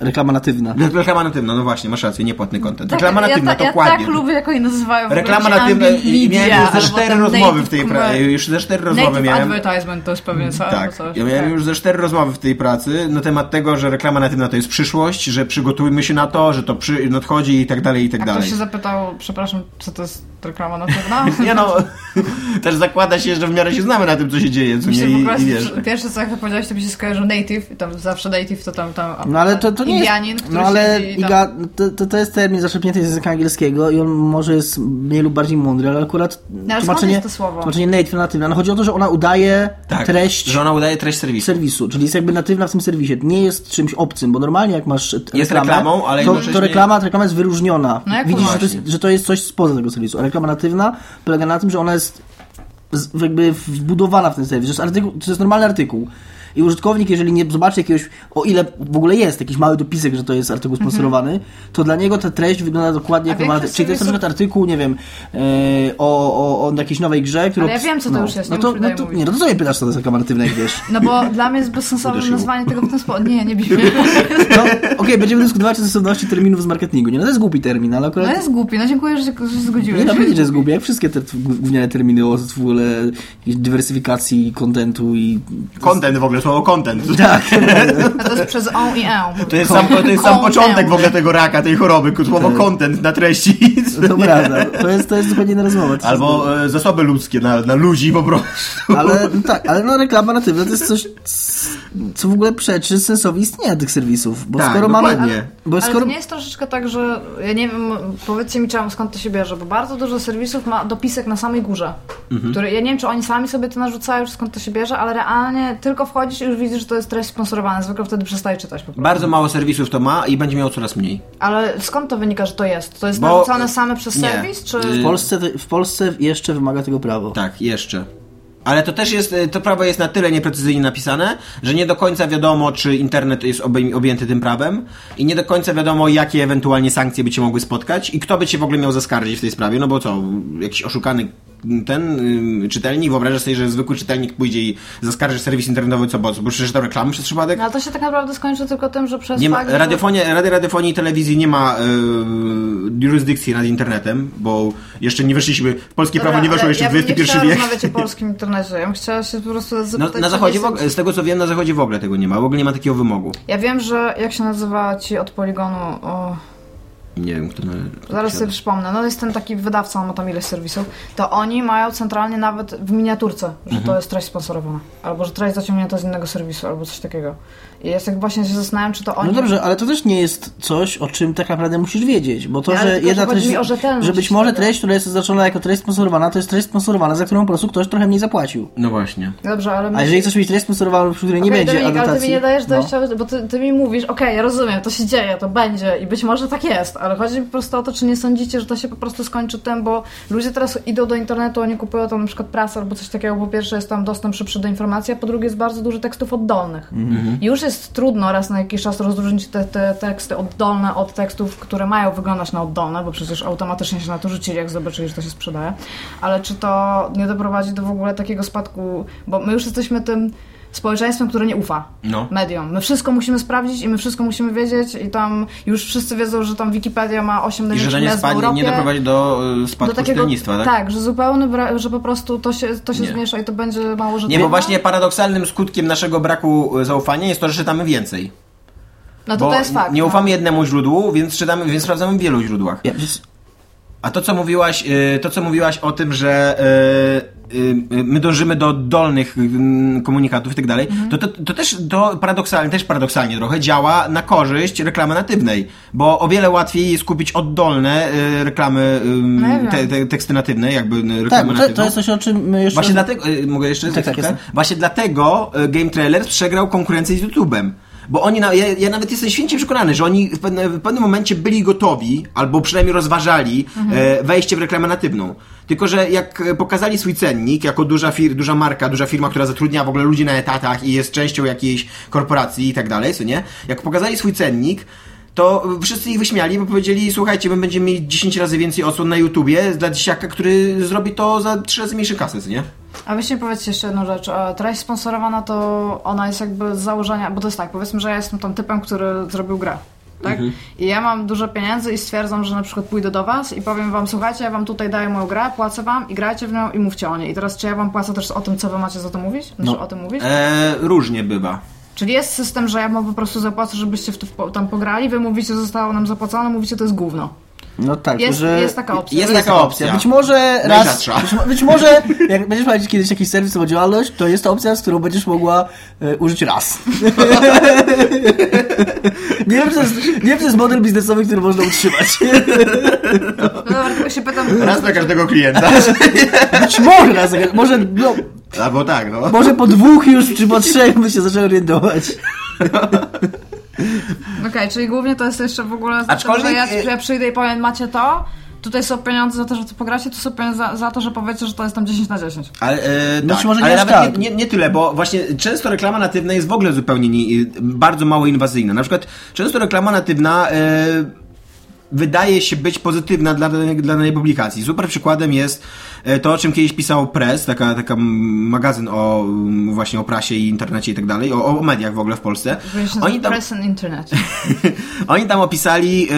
Speaker 3: Reklama natywna.
Speaker 4: Yy, reklama natywna, no właśnie, masz rację, niepłatny content.
Speaker 2: Tak,
Speaker 4: Reklama natywna,
Speaker 2: ja, ta,
Speaker 4: dokładnie.
Speaker 2: Ja tak lubię, jak oni nazywają. w ogóle
Speaker 4: Reklama
Speaker 2: jakieś
Speaker 4: natywna, i- i
Speaker 2: ambimedia,
Speaker 4: miałem już ze
Speaker 2: albo
Speaker 4: cztery
Speaker 2: tam
Speaker 4: rozmowy w
Speaker 2: native
Speaker 4: tej
Speaker 2: commer-
Speaker 4: pracy, już ze cztery rozmowy
Speaker 2: Native
Speaker 4: miałem.
Speaker 2: advertisement to jest pewnie co?
Speaker 4: Tak,
Speaker 2: albo coś.
Speaker 4: ja miałem
Speaker 2: Tak.
Speaker 4: już ze cztery rozmowy w tej pracy na temat tego, że reklama natywna to jest przyszłość, że przygotujmy się na to, że to przy, nadchodzi i tak dalej, i tak
Speaker 2: A
Speaker 4: dalej.
Speaker 2: ktoś się zapytał, przepraszam, co to jest reklama natywna?
Speaker 4: [LAUGHS] Nie no, też zakłada się, że w miarę się znamy na tym, co się dzieje, co
Speaker 2: Mi
Speaker 4: nie
Speaker 2: się
Speaker 4: i,
Speaker 2: po
Speaker 4: i
Speaker 2: prostu,
Speaker 4: wiesz.
Speaker 2: pierwsze co jak to powiedziałeś, to mi się skojarzył native, i tam zawsze native to tam tam
Speaker 3: No ale to, to nie
Speaker 2: Indianin,
Speaker 3: jest...
Speaker 2: który
Speaker 3: No ale
Speaker 2: siedzi i tam...
Speaker 3: Iga, to, to, to jest termin zaszczepnięty z języka angielskiego i on może jest mniej lub bardziej mądry, ale akurat
Speaker 2: No, ale skąd
Speaker 3: tłumaczenie,
Speaker 2: jest to słowo?
Speaker 3: tłumaczenie native natywna. No chodzi o to, że ona udaje
Speaker 4: Tak.
Speaker 3: treść
Speaker 4: że ona udaje treść serwisu.
Speaker 3: serwisu, czyli jest jakby natywna w tym serwisie. Nie jest czymś obcym, bo normalnie jak masz t-
Speaker 4: Jest
Speaker 3: reklamę,
Speaker 4: reklamą, ale
Speaker 3: to, to
Speaker 4: jednocześnie-
Speaker 3: reklama, ta reklama jest wyróżniona.
Speaker 2: No jak
Speaker 3: Widzisz, że to,
Speaker 4: właśnie.
Speaker 3: jest, że to jest coś spoza tego serwisu. A reklama natywna polega na tym, że ona jest z- jakby wbudowana w ten serwis. To jest, artykuł, to jest normalny artykuł. I użytkownik, jeżeli nie zobaczy jakiegoś, o ile w ogóle jest jakiś mały dopisek, że to jest artykuł sponsorowany, to dla niego ta treść wygląda dokładnie
Speaker 2: Mhm. A
Speaker 3: jak ma.
Speaker 2: większość
Speaker 3: Czyli to jest na
Speaker 2: serwisów-
Speaker 3: przykład artykuł, nie wiem, e, o, o, o jakiejś nowej grze, którą.
Speaker 2: Ale ja wiem, co to już jest,
Speaker 3: No
Speaker 2: nie
Speaker 3: to,
Speaker 2: muszę
Speaker 3: no
Speaker 2: dalej
Speaker 3: to,
Speaker 2: mówić.
Speaker 3: nie, no to co mnie pytasz, co to jest reklamatywne, jak wiesz?
Speaker 2: No bo dla mnie jest bezsensowne
Speaker 4: Uderzyło.
Speaker 2: nazwanie tego w ten sposób. Nie, nie bij
Speaker 4: [LAUGHS]
Speaker 2: mnie.
Speaker 3: No, Okej, będziemy dyskutować o stosowności terminów z marketingu. Nie, no to jest głupi termin, ale akurat.
Speaker 2: [LAUGHS] No jest głupi, no dziękuję, że się, że się zgodziłeś.
Speaker 4: no,
Speaker 3: Nie, na pewno, że zgubię. Jak wszystkie te t- gówniane terminy o w ogóle jakiejś dywersyfikacji kontentu i...
Speaker 4: Content w ogóle, słowo content.
Speaker 3: Tak,
Speaker 2: [LAUGHS] A to jest przez on i on.
Speaker 4: To jest sam, to jest sam
Speaker 2: Content.
Speaker 4: początek w ogóle tego raka, tej choroby, ku- słowo content na treści. [LAUGHS]
Speaker 3: to prawda. To jest, to jest zupełnie inna rozmowa. To jest-
Speaker 4: Albo e, zasoby ludzkie na, na ludzi po prostu.
Speaker 3: Ale no tak, ale no reklama natywna to jest coś, c- co w ogóle przeczy sensowi istnienia tych serwisów. Bo
Speaker 4: Tak,
Speaker 3: skoro mamy...
Speaker 4: dokładnie.
Speaker 3: Bo
Speaker 2: Ale
Speaker 3: skoro...
Speaker 2: to nie jest troszeczkę tak, że ja nie wiem, powiedzcie mi czemu, skąd to się bierze, bo bardzo dużo serwisów ma dopisek na samej górze,
Speaker 4: Mhm.
Speaker 2: który ja nie wiem, czy oni sami sobie to narzucają, czy skąd to się bierze, ale realnie tylko wchodzisz i już widzisz, że to jest treść sponsorowana, zwykle wtedy przestaje czytać po prostu.
Speaker 4: Bardzo mało serwisów to ma i będzie miało coraz mniej.
Speaker 2: Ale skąd to wynika, że to jest? To jest
Speaker 4: Bo-
Speaker 2: narzucane same przez
Speaker 4: nie.
Speaker 2: serwis, czy...
Speaker 4: Y,
Speaker 3: W Polsce, w Polsce jeszcze wymaga tego prawo.
Speaker 4: Tak, jeszcze. Ale to też jest, e, to prawo jest na tyle nieprecyzyjnie napisane, że nie do końca wiadomo, czy internet jest obejm- objęty tym prawem i nie do końca wiadomo, jakie ewentualnie sankcje by cię mogły spotkać i kto by cię w ogóle miał zaskarżyć w tej sprawie, no bo co, jakiś oszukany ten ym, czytelnik, wyobrażasz sobie, że zwykły czytelnik pójdzie i zaskarży serwis internetowy, co, bo, bo przeczytał reklamy przez przypadek?
Speaker 2: No ale to się tak naprawdę skończy tylko tym, że przez
Speaker 4: Nie ma,
Speaker 2: fakt, że-
Speaker 4: radiofonia, Rady Radiofonii i Telewizji nie ma y, jurysdykcji nad internetem, bo jeszcze nie weszliśmy, polskie
Speaker 2: Dobra,
Speaker 4: prawo nie weszło
Speaker 2: ale
Speaker 4: jeszcze
Speaker 2: ja
Speaker 4: w
Speaker 2: bym nie
Speaker 4: XXI wiek.
Speaker 2: chciała rozmawiać o polskim internecie, ja bym chciała się po prostu
Speaker 4: No,
Speaker 2: zapytać...
Speaker 4: na
Speaker 2: czy
Speaker 4: zachodzie, w
Speaker 2: jest-
Speaker 4: ogóle, z tego co wiem, na zachodzie w ogóle tego nie ma. W ogóle nie ma takiego wymogu.
Speaker 2: Ja wiem, że jak się nazywa ci od poligonu... O...
Speaker 4: Nie wiem, kto należy.
Speaker 2: Zaraz sobie przypomnę. No jest ten taki wydawca, on ma tam ileś serwisów. To oni mają centralnie nawet w miniaturce, że
Speaker 3: Mhm.
Speaker 2: to jest treść sponsorowana. Albo że treść zaciągnięta z innego serwisu, albo coś takiego. I ja tak właśnie się zastanawiam, czy to oni...
Speaker 3: No dobrze, ale to też nie jest coś, o czym tak naprawdę musisz wiedzieć, bo to,
Speaker 2: Nie, ale
Speaker 3: że
Speaker 2: tylko, że
Speaker 3: jedna
Speaker 2: chodzi
Speaker 3: treść,
Speaker 2: mi o rzetelność
Speaker 3: że być może
Speaker 2: wtedy.
Speaker 3: treść, która jest oznaczona jako treść sponsorowana, to jest treść sponsorowana, za którą po prostu ktoś trochę mniej zapłacił.
Speaker 4: No właśnie.
Speaker 2: Dobrze, ale...
Speaker 3: A jeżeli chcesz mieć treść sponsorowaną, przy której nie
Speaker 2: Okej,
Speaker 3: będzie
Speaker 2: Dominik, ale
Speaker 3: anotacji...
Speaker 2: ty mi nie dajesz
Speaker 3: no.
Speaker 2: dojścia, bo ty, ty mi mówisz, okej, ja rozumiem, to się dzieje, to będzie i być może tak jest, ale chodzi mi po prostu o to, czy nie sądzicie, że to się po prostu skończy tym, bo ludzie teraz idą do internetu, oni kupują tam na przykład prasę albo coś takiego, po pierwsze jest tam dostęp szybszy do informacji, a po drugie jest bardzo dużo tekstów oddolnych. Już jest trudno raz na jakiś czas rozróżnić te, te teksty oddolne od tekstów, które mają wyglądać na oddolne, bo przecież automatycznie się na to rzucili, jak zobaczyli, że to się sprzedaje, ale czy to nie doprowadzi do w ogóle takiego spadku, bo my już jesteśmy tym społeczeństwem, które nie ufa
Speaker 4: No.
Speaker 2: mediom. My wszystko musimy sprawdzić i my wszystko musimy wiedzieć i tam już wszyscy wiedzą, że tam Wikipedia ma 8
Speaker 4: I że to
Speaker 2: największych
Speaker 4: nie
Speaker 2: miast w
Speaker 4: spadnie,
Speaker 2: Europie.
Speaker 4: nie doprowadzi do y, spadku do tak?
Speaker 2: że zupełny bra- że po prostu to się, to się
Speaker 4: Nie.
Speaker 2: zmniejsza i to będzie mało rzetelne.
Speaker 4: Nie, bo właśnie paradoksalnym skutkiem naszego braku y, zaufania jest to, że czytamy więcej.
Speaker 2: No to
Speaker 4: bo
Speaker 2: to jest fakt.
Speaker 4: nie
Speaker 2: no.
Speaker 4: ufamy jednemu źródłu, więc czytamy, więc sprawdzamy w wielu źródłach.
Speaker 3: Ja, przecież-
Speaker 4: A to co mówiłaś, y, to co mówiłaś o tym, że y, y, y, my dążymy do dolnych y, komunikatów i tak dalej, to, to, to też to paradoksalnie, też paradoksalnie trochę działa na korzyść reklamy natywnej, bo o wiele łatwiej jest kupić oddolne y, reklamy, y,
Speaker 2: No ja wiem.
Speaker 4: te, te, teksty natywne, jakby y,
Speaker 3: tak,
Speaker 4: reklamy
Speaker 3: to,
Speaker 4: natywną.
Speaker 3: to jest coś, o czym my jeszcze...
Speaker 4: Właśnie dlatego, y, mogę jeszcze
Speaker 3: Tak, tak,
Speaker 4: chwilkę?
Speaker 3: jasne.
Speaker 4: Właśnie dlatego y, Game Trailers przegrał konkurencję z YouTube'em. Bo oni, na, ja, ja nawet jestem święcie przekonany, że oni w, pewne, w pewnym momencie byli gotowi, albo przynajmniej rozważali
Speaker 3: Mhm.
Speaker 4: e, wejście w reklamę natywną. Tylko, że jak e, pokazali swój cennik, jako duża, fir, duża marka, duża firma, która zatrudnia w ogóle ludzi na etatach i jest częścią jakiejś korporacji i tak dalej, co nie? Jak pokazali swój cennik, to wszyscy ich wyśmiali, bo powiedzieli, słuchajcie, my będziemy mieli 10 razy więcej osób na YouTubie dla dzieciaka, który zrobi to za 3 razy mniejszy kasy, co nie?
Speaker 2: A weźcie mi powiedzcie jeszcze jedną rzecz. E, Treść sponsorowana to ona jest jakby z założenia, bo to jest tak, powiedzmy, że ja jestem tam typem, który zrobił grę. Tak?
Speaker 4: Mhm.
Speaker 2: I ja mam dużo pieniędzy i stwierdzam, że na przykład pójdę do was i powiem wam, słuchajcie, ja wam tutaj daję moją grę, płacę wam i grajcie w nią i mówcie o niej. I teraz czy ja wam płacę też o tym, co wy macie za to mówić? Znaczy,
Speaker 3: No.
Speaker 2: o tym mówić?
Speaker 4: E, różnie bywa.
Speaker 2: Czyli jest system, że ja wam po prostu zapłacę, żebyście w to, po- tam pograli, wy mówicie, zostało nam zapłacone, mówicie, to jest gówno.
Speaker 3: No tak,
Speaker 2: Jest,
Speaker 3: że...
Speaker 2: jest taka opcja.
Speaker 4: Znaczy, Jest taka opcja. No
Speaker 3: Być może raz,
Speaker 4: Najrzadsza.
Speaker 3: być, mo- być może jak będziesz prowadzić kiedyś jakiś serwis albo działalność, to jest to opcja, z którą będziesz mogła e, użyć raz. [LAUGHS] nie, wiem, czy to jest, nie wiem, czy to jest model biznesowy, który można utrzymać.
Speaker 2: No dobra, tylko się pytam, Znaczy,
Speaker 4: Raz dla każdego klienta.
Speaker 3: być może raz, może, no,
Speaker 4: [LAUGHS] Albo tak, no.
Speaker 3: może po dwóch już, czy po trzech by się zaczęły orientować.
Speaker 2: Okej, czyli głównie to jest jeszcze w ogóle z tym,
Speaker 4: Aczkolwiek,
Speaker 2: że ja,
Speaker 4: y-
Speaker 2: ja przyjdę i powiem, macie to, tutaj są pieniądze za to, że to pogracie, tu są pieniądze za, za to, że powiecie, że to jest tam 10 na 10.
Speaker 4: Ale, e,
Speaker 3: Znaczy,
Speaker 4: tak,
Speaker 3: może nie
Speaker 4: ale
Speaker 3: aż
Speaker 4: nawet
Speaker 3: tak.
Speaker 4: nie, nie, nie tyle, bo właśnie często reklama natywna jest w ogóle zupełnie nie, bardzo mało inwazyjna. Na przykład często reklama natywna e, wydaje się być pozytywna dla, danej- dla danej publikacji. Super przykładem jest e, to, o czym kiedyś pisał Press, taka, taka magazyn o mm, właśnie o prasie i internecie i tak dalej, o, o mediach w ogóle w Polsce.
Speaker 2: Powinien się nazywać Press and Internet.
Speaker 4: [LAUGHS] Oni tam opisali y,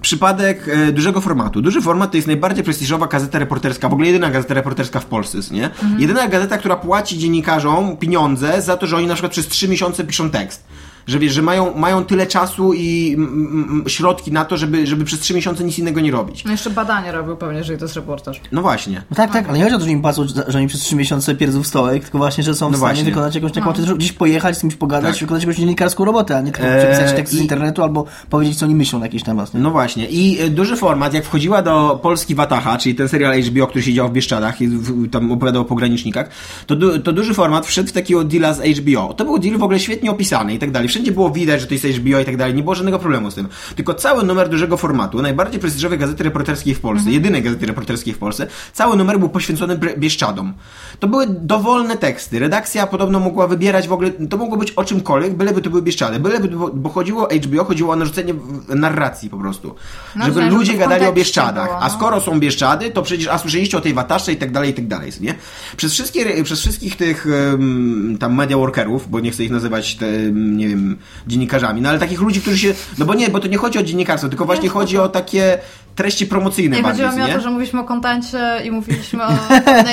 Speaker 4: przypadek y, dużego formatu. Duży format to jest najbardziej prestiżowa gazeta reporterska, w ogóle jedyna gazeta reporterska w Polsce, jest, nie? Jedyna gazeta, która płaci dziennikarzom pieniądze za to, że oni na przykład przez trzy miesiące piszą tekst. Że wiesz, że mają, mają tyle czasu i mm, mm, środki na to, żeby, żeby przez trzy miesiące nic innego nie robić.
Speaker 2: No jeszcze badanie robił pewnie, jeżeli to jest reportaż.
Speaker 4: No właśnie.
Speaker 3: No tak, tak, ale nie chodzi o to, że im płacą, że- że im przez trzy miesiące pierdzą w stołek, tylko właśnie, że są
Speaker 4: No
Speaker 3: w stanie
Speaker 4: właśnie.
Speaker 3: wykonać jakąś taką, czy gdzieś pojechać, z kimś pogadać,
Speaker 4: Tak.
Speaker 3: wykonać jakąś dziennikarską robotę, a nie tylko
Speaker 4: Eee,
Speaker 3: przepisać tekst z
Speaker 4: i-
Speaker 3: internetu albo powiedzieć, co oni myślą na jakiś temat. Nie?
Speaker 4: No właśnie. I e, duży format, jak wchodziła do Polski Wataha, czyli ten serial HBO, który się działo w Bieszczadach i w- tam opowiadał o pogranicznikach, to, du- to duży format wszedł w takiego deala z HBO. To był deal w ogóle świetnie opisany i tak dalej. Wszędzie było widać, że to jest HBO i tak dalej. Nie było żadnego problemu z tym. Tylko cały numer dużego formatu, najbardziej prestiżowej gazety reporterskiej w Polsce,
Speaker 2: Mhm.
Speaker 4: jedynej gazety reporterskiej w Polsce, cały numer był poświęcony Bre- Bieszczadom. To były dowolne teksty. Redakcja podobno mogła wybierać w ogóle, to mogło być o czymkolwiek, byleby to były Bieszczady. Byleby, to było- bo chodziło o HBO, chodziło o narzucenie w- narracji po prostu.
Speaker 2: No
Speaker 4: żeby
Speaker 2: tak, żeby
Speaker 4: ludzie
Speaker 2: w
Speaker 4: gadali o
Speaker 2: kontekście
Speaker 4: Bieszczadach.
Speaker 2: było,
Speaker 4: A
Speaker 2: no.
Speaker 4: skoro są Bieszczady, to przecież, a słyszeliście o tej Wataszce i tak dalej, i tak dalej, nie? Przez, wszystkie, przez wszystkich tych em, tam media workerów, bo nie chcę ich nazywać, te, em, nie wiem, dziennikarzami, no ale takich ludzi, którzy się, no bo nie, bo to nie chodzi o dziennikarstwo, tylko właśnie
Speaker 2: spoko.
Speaker 4: chodzi o takie treści promocyjne
Speaker 2: Nie
Speaker 4: bardziej,
Speaker 2: chodziło mi o
Speaker 4: nie?
Speaker 2: to, że mówiliśmy o kontencie i
Speaker 4: [LAUGHS]
Speaker 2: mówiliśmy o...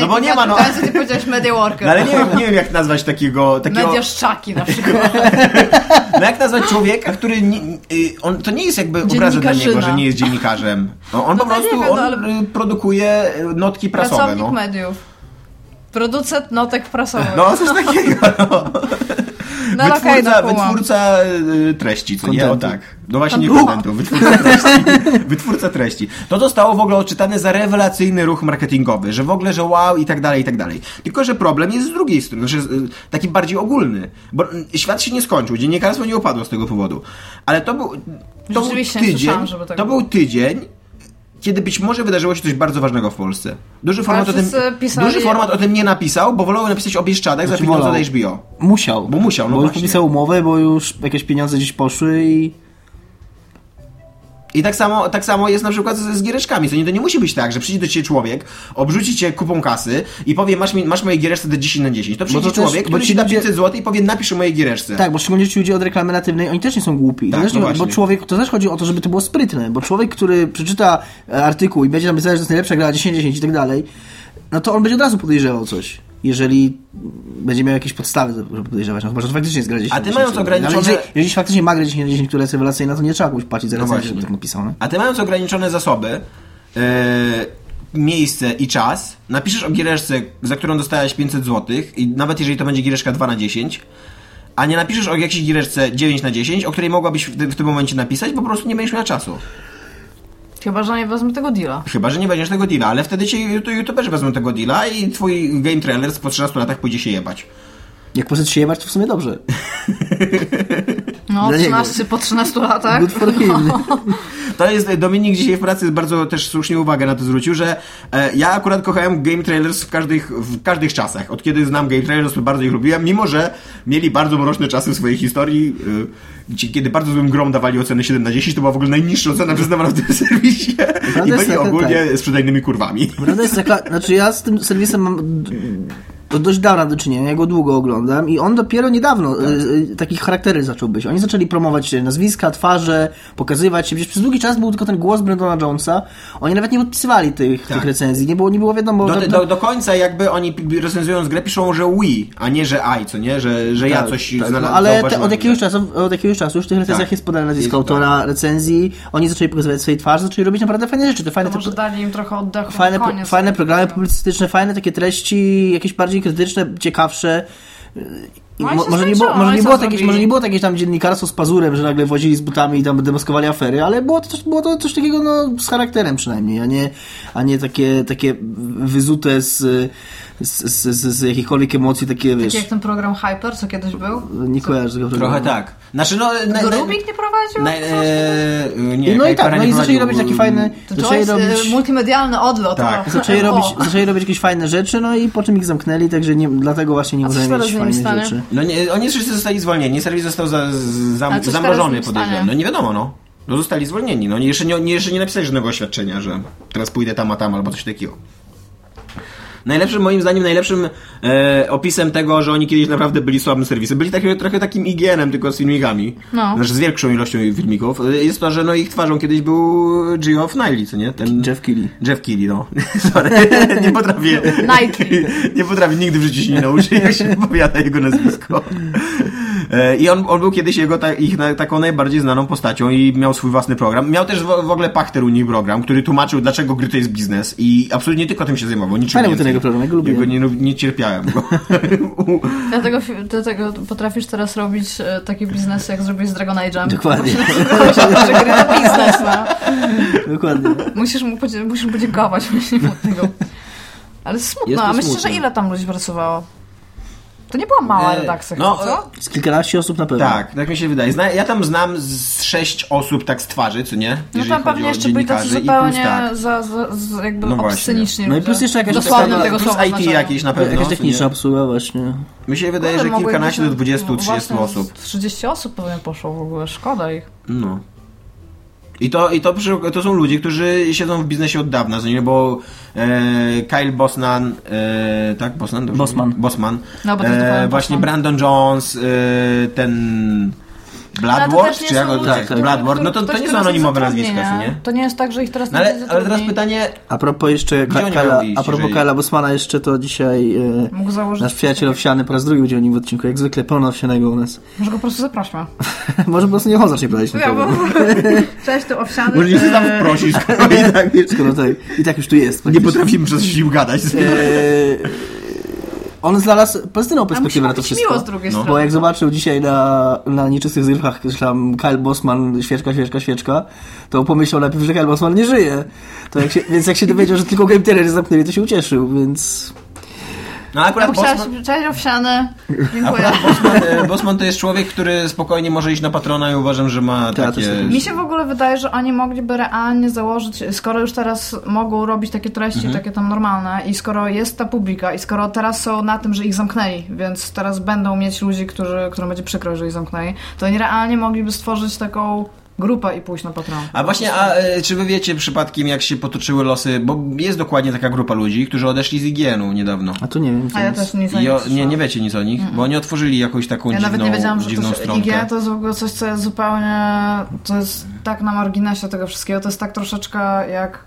Speaker 4: No bo nie
Speaker 2: [LAUGHS]
Speaker 4: ma, no.
Speaker 2: Teraz ty powiedziałeś media worker.
Speaker 4: No ale nie wiem, nie wiem jak nazwać takiego, takiego
Speaker 2: Media szczaki na przykład.
Speaker 4: no jak nazwać człowieka, który nie, y, on, to nie jest jakby obraza dla niego,
Speaker 2: Dziennikarzyna.
Speaker 4: że nie jest dziennikarzem. No, on
Speaker 2: No
Speaker 4: po
Speaker 2: to nie
Speaker 4: prostu
Speaker 2: wiem, no,
Speaker 4: on
Speaker 2: ale-
Speaker 4: y, produkuje y, notki [LAUGHS] prasowe.
Speaker 2: Pracownik
Speaker 4: No.
Speaker 2: mediów. Producent notek prasowych.
Speaker 4: no coś takiego. No.
Speaker 2: No, ale okej,
Speaker 4: wytwórca,
Speaker 2: no, kumam.
Speaker 4: wytwórca y, treści, co nie? O
Speaker 3: Kontentu.
Speaker 4: tak. No właśnie nie kontentu, wytwórca
Speaker 2: [LAUGHS]
Speaker 4: treści. wytwórca treści. To zostało w ogóle odczytane za rewelacyjny ruch marketingowy, że w ogóle, że wow i tak dalej, i tak dalej. Tylko, że problem jest z drugiej strony, że y, taki bardziej ogólny, bo y, świat się nie skończył, dziennikarstwo nie opadło z tego powodu. Ale to był, to był
Speaker 2: Rzeczywiście, nie
Speaker 4: tydzień,
Speaker 2: słyszałam, żeby tak
Speaker 4: to był
Speaker 2: było.
Speaker 4: tydzień, kiedy być może wydarzyło się coś bardzo ważnego w Polsce. Duży format, o tym,
Speaker 2: wszyscy pisali-
Speaker 4: duży format o tym nie napisał, bo wolał napisać o Bieszczadach za
Speaker 3: Znaczy,
Speaker 4: pieniądze
Speaker 3: wolał.
Speaker 4: od HBO.
Speaker 3: Musiał.
Speaker 4: Bo musiał, no
Speaker 3: Bo już
Speaker 4: właśnie.
Speaker 3: podpisał umowę, bo już jakieś pieniądze gdzieś poszły i...
Speaker 4: I tak samo, tak samo jest na przykład z, z giereczkami. To nie, to nie musi być tak, że przyjdzie do ciebie człowiek, obrzuci cię kupą kasy i powie, masz, mi, masz moje giereczce do 10 na 10. To przyjdzie
Speaker 3: to też-
Speaker 4: człowiek,
Speaker 3: bo
Speaker 4: który
Speaker 3: ci
Speaker 4: ci da
Speaker 3: ludzie-
Speaker 4: 500 zł i powie, napisz o mojej giereczce.
Speaker 3: Tak, bo szczególnie ci ludzie od reklamy natywnej, oni też nie są głupi. I
Speaker 4: Tak,
Speaker 3: to też
Speaker 4: no
Speaker 3: nie- bo
Speaker 4: właśnie.
Speaker 3: człowiek, to też chodzi o to, żeby to było sprytne, bo człowiek, który przeczyta e, artykuł i będzie tam pisał, że to jest najlepsza gra 10-10 i tak dalej, no to on będzie od razu podejrzewał coś. Jeżeli będzie miał jakieś podstawy, żeby podejrzewać, no chyba, że to faktycznie jest gra 10
Speaker 4: A ty mając ograniczone-
Speaker 3: Jeżeli, jeżeli faktycznie ma grę 10 10 która jest rewelacyjna, to nie trzeba komuś płacić za
Speaker 4: No
Speaker 3: recenzję,
Speaker 4: właśnie.
Speaker 3: żeby tak napisał, nie?
Speaker 4: A ty mając ograniczone zasoby, yy, miejsce i czas, napiszesz o giereczce, za którą dostałeś 500 zł i nawet jeżeli to będzie giereczka 2 na 10, a nie napiszesz o jakiejś giereczce 9 na 10, o której mogłabyś w, ty- w tym momencie napisać, bo po prostu nie będziesz miała czasu.
Speaker 2: Chyba, że nie wezmę tego deala.
Speaker 4: Chyba, że nie weźmiesz tego deala, ale wtedy ci you- youtuberzy wezmą tego deala i twój game trailer po 13 latach pójdzie się jebać.
Speaker 3: Jak poszedł się jebać, to w sumie dobrze.
Speaker 2: No,
Speaker 3: Dla niego.
Speaker 2: 13, po 13 latach.
Speaker 3: Good for him.
Speaker 4: To jest, e, Dominik dzisiaj w pracy bardzo też słusznie uwagę na to zwrócił, że e, ja akurat kochałem game trailers w każdych, w każdych czasach. Od kiedy znam game trailers, to bardzo ich lubiłem, mimo że mieli bardzo mroczne czasy w swojej historii, e, gdzie- kiedy bardzo złym grom dawali oceny 7 na 10, to była w ogóle najniższa ocena przyznawana w tym serwisie i
Speaker 3: jest
Speaker 4: byli
Speaker 3: taka,
Speaker 4: ogólnie sprzedajnymi kurwami.
Speaker 3: Prawda jest taka, znaczy ja z tym serwisem mam d- od dość dawna do czynienia, ja go długo oglądam i on dopiero niedawno
Speaker 4: Tak.
Speaker 3: y, y, takich charaktery zaczął być. Oni zaczęli promować y, nazwiska, twarze, pokazywać się. Przecież przez długi czas był tylko ten głos Brendona Jonesa. Oni nawet nie podpisywali tych, tych recenzji, nie było, nie było wiadomo...
Speaker 4: Tak. Do,
Speaker 3: tam-
Speaker 4: No do, do końca jakby oni p- recenzując grę piszą, że we, a nie, że I, co nie? Że, że ja
Speaker 3: tak,
Speaker 4: coś
Speaker 3: tak,
Speaker 4: znalazłem.
Speaker 3: no, ale te, od, jakiegoś czasu, od jakiegoś czasu już w tych recenzjach
Speaker 4: Tak.
Speaker 3: jest podane nazwisko
Speaker 4: Jest,
Speaker 3: autora recenzji, oni zaczęli pokazywać swoje twarze, zaczęli robić naprawdę fajne rzeczy. Te fajne
Speaker 2: To
Speaker 3: te-
Speaker 2: może dali im trochę oddechu
Speaker 3: fajne,
Speaker 2: na koniec. Tak
Speaker 3: fajne programy publicystyczne, fajne takie treści, jakieś bardziej krytyczne, ciekawsze.
Speaker 2: No i
Speaker 3: Mo-
Speaker 2: się
Speaker 3: może, nie
Speaker 2: skończyło,
Speaker 3: było, może,
Speaker 2: no i co
Speaker 3: nie było jakieś,
Speaker 2: zrobili?
Speaker 3: może nie było jakieś tam dziennikarstwo z pazurem, że nagle włazili z butami i tam demaskowali afery, ale było to coś, było to coś takiego no, z charakterem przynajmniej, a nie, a nie takie, takie wyzute z, z, z, z, z jakichkolwiek emocji, takie wiesz,
Speaker 2: Taki Tak jak ten program Hyper, co kiedyś był.
Speaker 3: nie kojarzę tego
Speaker 4: Trochę tak. Znaczy, no... Na,
Speaker 2: Go Rubik nie prowadził?
Speaker 4: na,
Speaker 2: Coś?
Speaker 4: e, nie,
Speaker 3: I no i
Speaker 4: Kajpera
Speaker 3: tak, no
Speaker 4: nie
Speaker 3: i zaczęli
Speaker 4: prowadził,
Speaker 3: robić taki
Speaker 4: mm,
Speaker 3: fajny,
Speaker 2: To, to
Speaker 3: zaczęli
Speaker 2: jest e, robić...
Speaker 3: robić...
Speaker 2: multimedialny odlot.
Speaker 4: Tak.
Speaker 2: o.
Speaker 3: Zaczęli
Speaker 2: [LAUGHS] O.
Speaker 3: robić, zaczęli robić jakieś fajne rzeczy, no i po czym ich zamknęli, także nie, dlatego właśnie nie
Speaker 2: A co
Speaker 3: możemy
Speaker 2: się
Speaker 3: mieć
Speaker 2: teraz z nimi
Speaker 3: fajnych
Speaker 2: stanie?
Speaker 3: rzeczy.
Speaker 4: No nie, oni wszyscy zostali zwolnieni, serwis został za, z-
Speaker 2: A
Speaker 4: zam,
Speaker 2: co się
Speaker 4: zamrożony
Speaker 2: teraz stanie?
Speaker 4: podejrzewam. No nie wiadomo, no. No zostali zwolnieni, no nie, jeszcze nie, nie, jeszcze nie napisali żadnego oświadczenia, że teraz pójdę tam, a tam, albo coś takiego. Najlepszym, moim zdaniem, najlepszym e, opisem tego, że oni kiedyś naprawdę byli słabym serwisem, byli taki, trochę takim IGN-em, tylko z filmikami.
Speaker 2: No.
Speaker 4: Znaczy z większą ilością filmików. E, Jest to, że no ich twarzą kiedyś był Geoff Niley, co nie? Ten
Speaker 3: Jeff Keighley.
Speaker 4: Jeff Keighley, no. [LAUGHS] Sorry, nie potrafię.
Speaker 2: Nike.
Speaker 4: [LAUGHS] Nie potrafi, nigdy w życiu się nie nauczy, [LAUGHS] jak się wypowiada jego nazwisko. E, I on, on był kiedyś jego, ta, ich na, taką najbardziej znaną postacią i miał swój własny program. Miał też w, w ogóle Pachter u nich program, który tłumaczył, dlaczego gry to jest biznes i absolutnie tylko tym się zajmował. Niczym
Speaker 3: Fajny był
Speaker 4: więcej.
Speaker 3: ten jego program, ja go
Speaker 4: Ja
Speaker 3: lubiłem.
Speaker 4: nie, lu- nie cierpiałem
Speaker 2: [LAUGHS]
Speaker 4: go. U-
Speaker 2: Dlatego, fi- dlatego potrafisz teraz robić e, takie biznesy, jak zrobiłeś z Dragon Age'em. [LAUGHS]
Speaker 3: Dokładnie,
Speaker 2: Że gry to biznes, no.
Speaker 3: dokładnie.
Speaker 2: Musisz mu podzie- musisz podziękować [LAUGHS] właśnie mu tego. Ale
Speaker 3: Jest
Speaker 2: smutno,
Speaker 3: to
Speaker 2: a myślę, że
Speaker 3: smutne.
Speaker 2: ile tam ludzi pracowało? To nie była mała
Speaker 4: E,
Speaker 2: redakcja,
Speaker 4: no,
Speaker 2: no, co?
Speaker 3: Z kilkanaście osób na pewno.
Speaker 4: tak, tak mi się wydaje. Zna, ja tam znam z sześć osób tak z twarzy, co nie?
Speaker 2: No
Speaker 4: Jeżeli
Speaker 2: tam
Speaker 4: chodzi o
Speaker 2: pewnie jeszcze byli tacy
Speaker 4: dziennikarzy i plus
Speaker 2: zupełnie
Speaker 4: tak.
Speaker 2: za, za, za jakby
Speaker 4: No
Speaker 2: no
Speaker 4: właśnie.
Speaker 2: obsceniczni
Speaker 3: No i
Speaker 2: ludzie.
Speaker 3: plus jeszcze jakaś
Speaker 2: W dosłownym
Speaker 3: ustawa-
Speaker 2: tego
Speaker 4: plus
Speaker 2: słowa
Speaker 4: IT
Speaker 2: znaczeniu.
Speaker 4: jakieś na pewno.
Speaker 3: Jakaś
Speaker 4: co nie?
Speaker 3: techniczna obsługa właśnie.
Speaker 4: Mi się wydaje,
Speaker 2: Kurde,
Speaker 4: że
Speaker 2: mogło
Speaker 4: kilkanaście
Speaker 2: ich
Speaker 4: do
Speaker 2: być na-
Speaker 4: 20,
Speaker 2: no,
Speaker 4: 30
Speaker 2: właśnie,
Speaker 4: osób.
Speaker 2: 30 osób pewnie poszło w ogóle, szkoda ich.
Speaker 4: No. I to, i to, przy- to są ludzie, którzy siedzą w biznesie od dawna, co nie, bo e, Kyle Bosman, e, tak? Bosman? Dobrze
Speaker 3: Bosman.
Speaker 4: mówię? Bosman.
Speaker 2: No, bo to jest dokładnie
Speaker 4: E, właśnie
Speaker 2: Bosman.
Speaker 4: Brandon Jones, e, ten
Speaker 2: Ale No, to
Speaker 4: Bloodward,
Speaker 2: też nie
Speaker 4: czy
Speaker 2: są
Speaker 4: jak go-
Speaker 2: ludzie,
Speaker 4: tak,
Speaker 2: którzy-
Speaker 4: Bloodward, no to,
Speaker 2: którzy
Speaker 4: to nie są
Speaker 2: teraz
Speaker 4: anonimowe
Speaker 2: zatrudni,
Speaker 4: nazwiska, co nie?
Speaker 2: To nie jest tak, że ich teraz
Speaker 4: No,
Speaker 2: nie
Speaker 4: ale, ale teraz
Speaker 2: zatrudni.
Speaker 4: pytanie,
Speaker 3: A propos jeszcze
Speaker 4: Gdzie
Speaker 3: Ka-
Speaker 4: oni
Speaker 3: Kala,
Speaker 4: mają iść,
Speaker 3: a propos
Speaker 4: jeżeli-
Speaker 3: Kala Bosmana jeszcze to dzisiaj e,
Speaker 2: Mógł założyć
Speaker 3: nasz przyjaciel
Speaker 2: coś
Speaker 3: owsiany po raz drugi będzie o nim w odcinku, jak zwykle pełno owsianego u nas. [LAUGHS]
Speaker 2: takiego. Może go po prostu
Speaker 4: [LAUGHS]
Speaker 2: zaprośmy.
Speaker 3: Może po prostu nie można się podać
Speaker 2: Ja, bo...
Speaker 3: nikogo.
Speaker 2: Cześć, tu owsiany.
Speaker 4: może nie chcę tam
Speaker 2: e,
Speaker 4: [LAUGHS] wprosić, skoro i tak, wiesz,
Speaker 3: Skoro tutaj, I tak już tu jest.
Speaker 4: nie potrafimy przez sił gadać.
Speaker 3: E, on znalazł pozytywną
Speaker 2: A musi
Speaker 3: perspektywę na to
Speaker 2: być miło z
Speaker 3: wszystko.
Speaker 2: drugiej
Speaker 4: No.
Speaker 2: strony.
Speaker 3: Bo jak zobaczył dzisiaj na, na nieczystych zrywkach, że tam Kyle Bosman, świeczka, świeczka, świeczka, to pomyślał najpierw, że Kyle Bosman nie żyje. To jak się, więc jak się dowiedział, że tylko Game Terror jest zamknięty, to się ucieszył, więc...
Speaker 4: No
Speaker 2: Ja
Speaker 4: akurat
Speaker 2: bym chciała
Speaker 4: Bosman,
Speaker 2: się cześć owsiane. Dziękuję.
Speaker 4: Akurat Bosman, e, Bosman to jest człowiek, który spokojnie może iść na patrona i uważam, że ma
Speaker 3: Tak, to
Speaker 4: takie...
Speaker 3: jest-
Speaker 2: Mi się w ogóle wydaje, że oni mogliby realnie założyć, skoro już teraz mogą robić takie treści,
Speaker 3: Mhm.
Speaker 2: takie tam normalne i skoro jest ta publika i skoro teraz są na tym, że ich zamknęli, więc teraz będą mieć ludzi, którzy, którym będzie przykro, że ich zamknęli, to oni realnie mogliby stworzyć taką grupę i pójść na Patreon.
Speaker 4: A właśnie, a e, czy wy wiecie przypadkiem, jak się potoczyły losy, bo jest dokładnie taka grupa ludzi, którzy odeszli z IGN-u niedawno.
Speaker 3: A tu nie wiem. co
Speaker 2: A ja
Speaker 3: jest.
Speaker 2: też nic o
Speaker 4: I
Speaker 2: nich
Speaker 4: o, nie,
Speaker 2: słyszałam.
Speaker 4: nie wiecie nic o nich, bo oni otworzyli jakąś taką
Speaker 2: Ja
Speaker 4: dziwną,
Speaker 2: nawet nie wiedziałam, że to
Speaker 4: dziwną
Speaker 2: jest
Speaker 4: stronkę.
Speaker 2: IGN, to jest w ogóle coś, co jest zupełnie, to jest tak na marginesie tego wszystkiego, to jest tak troszeczkę jak,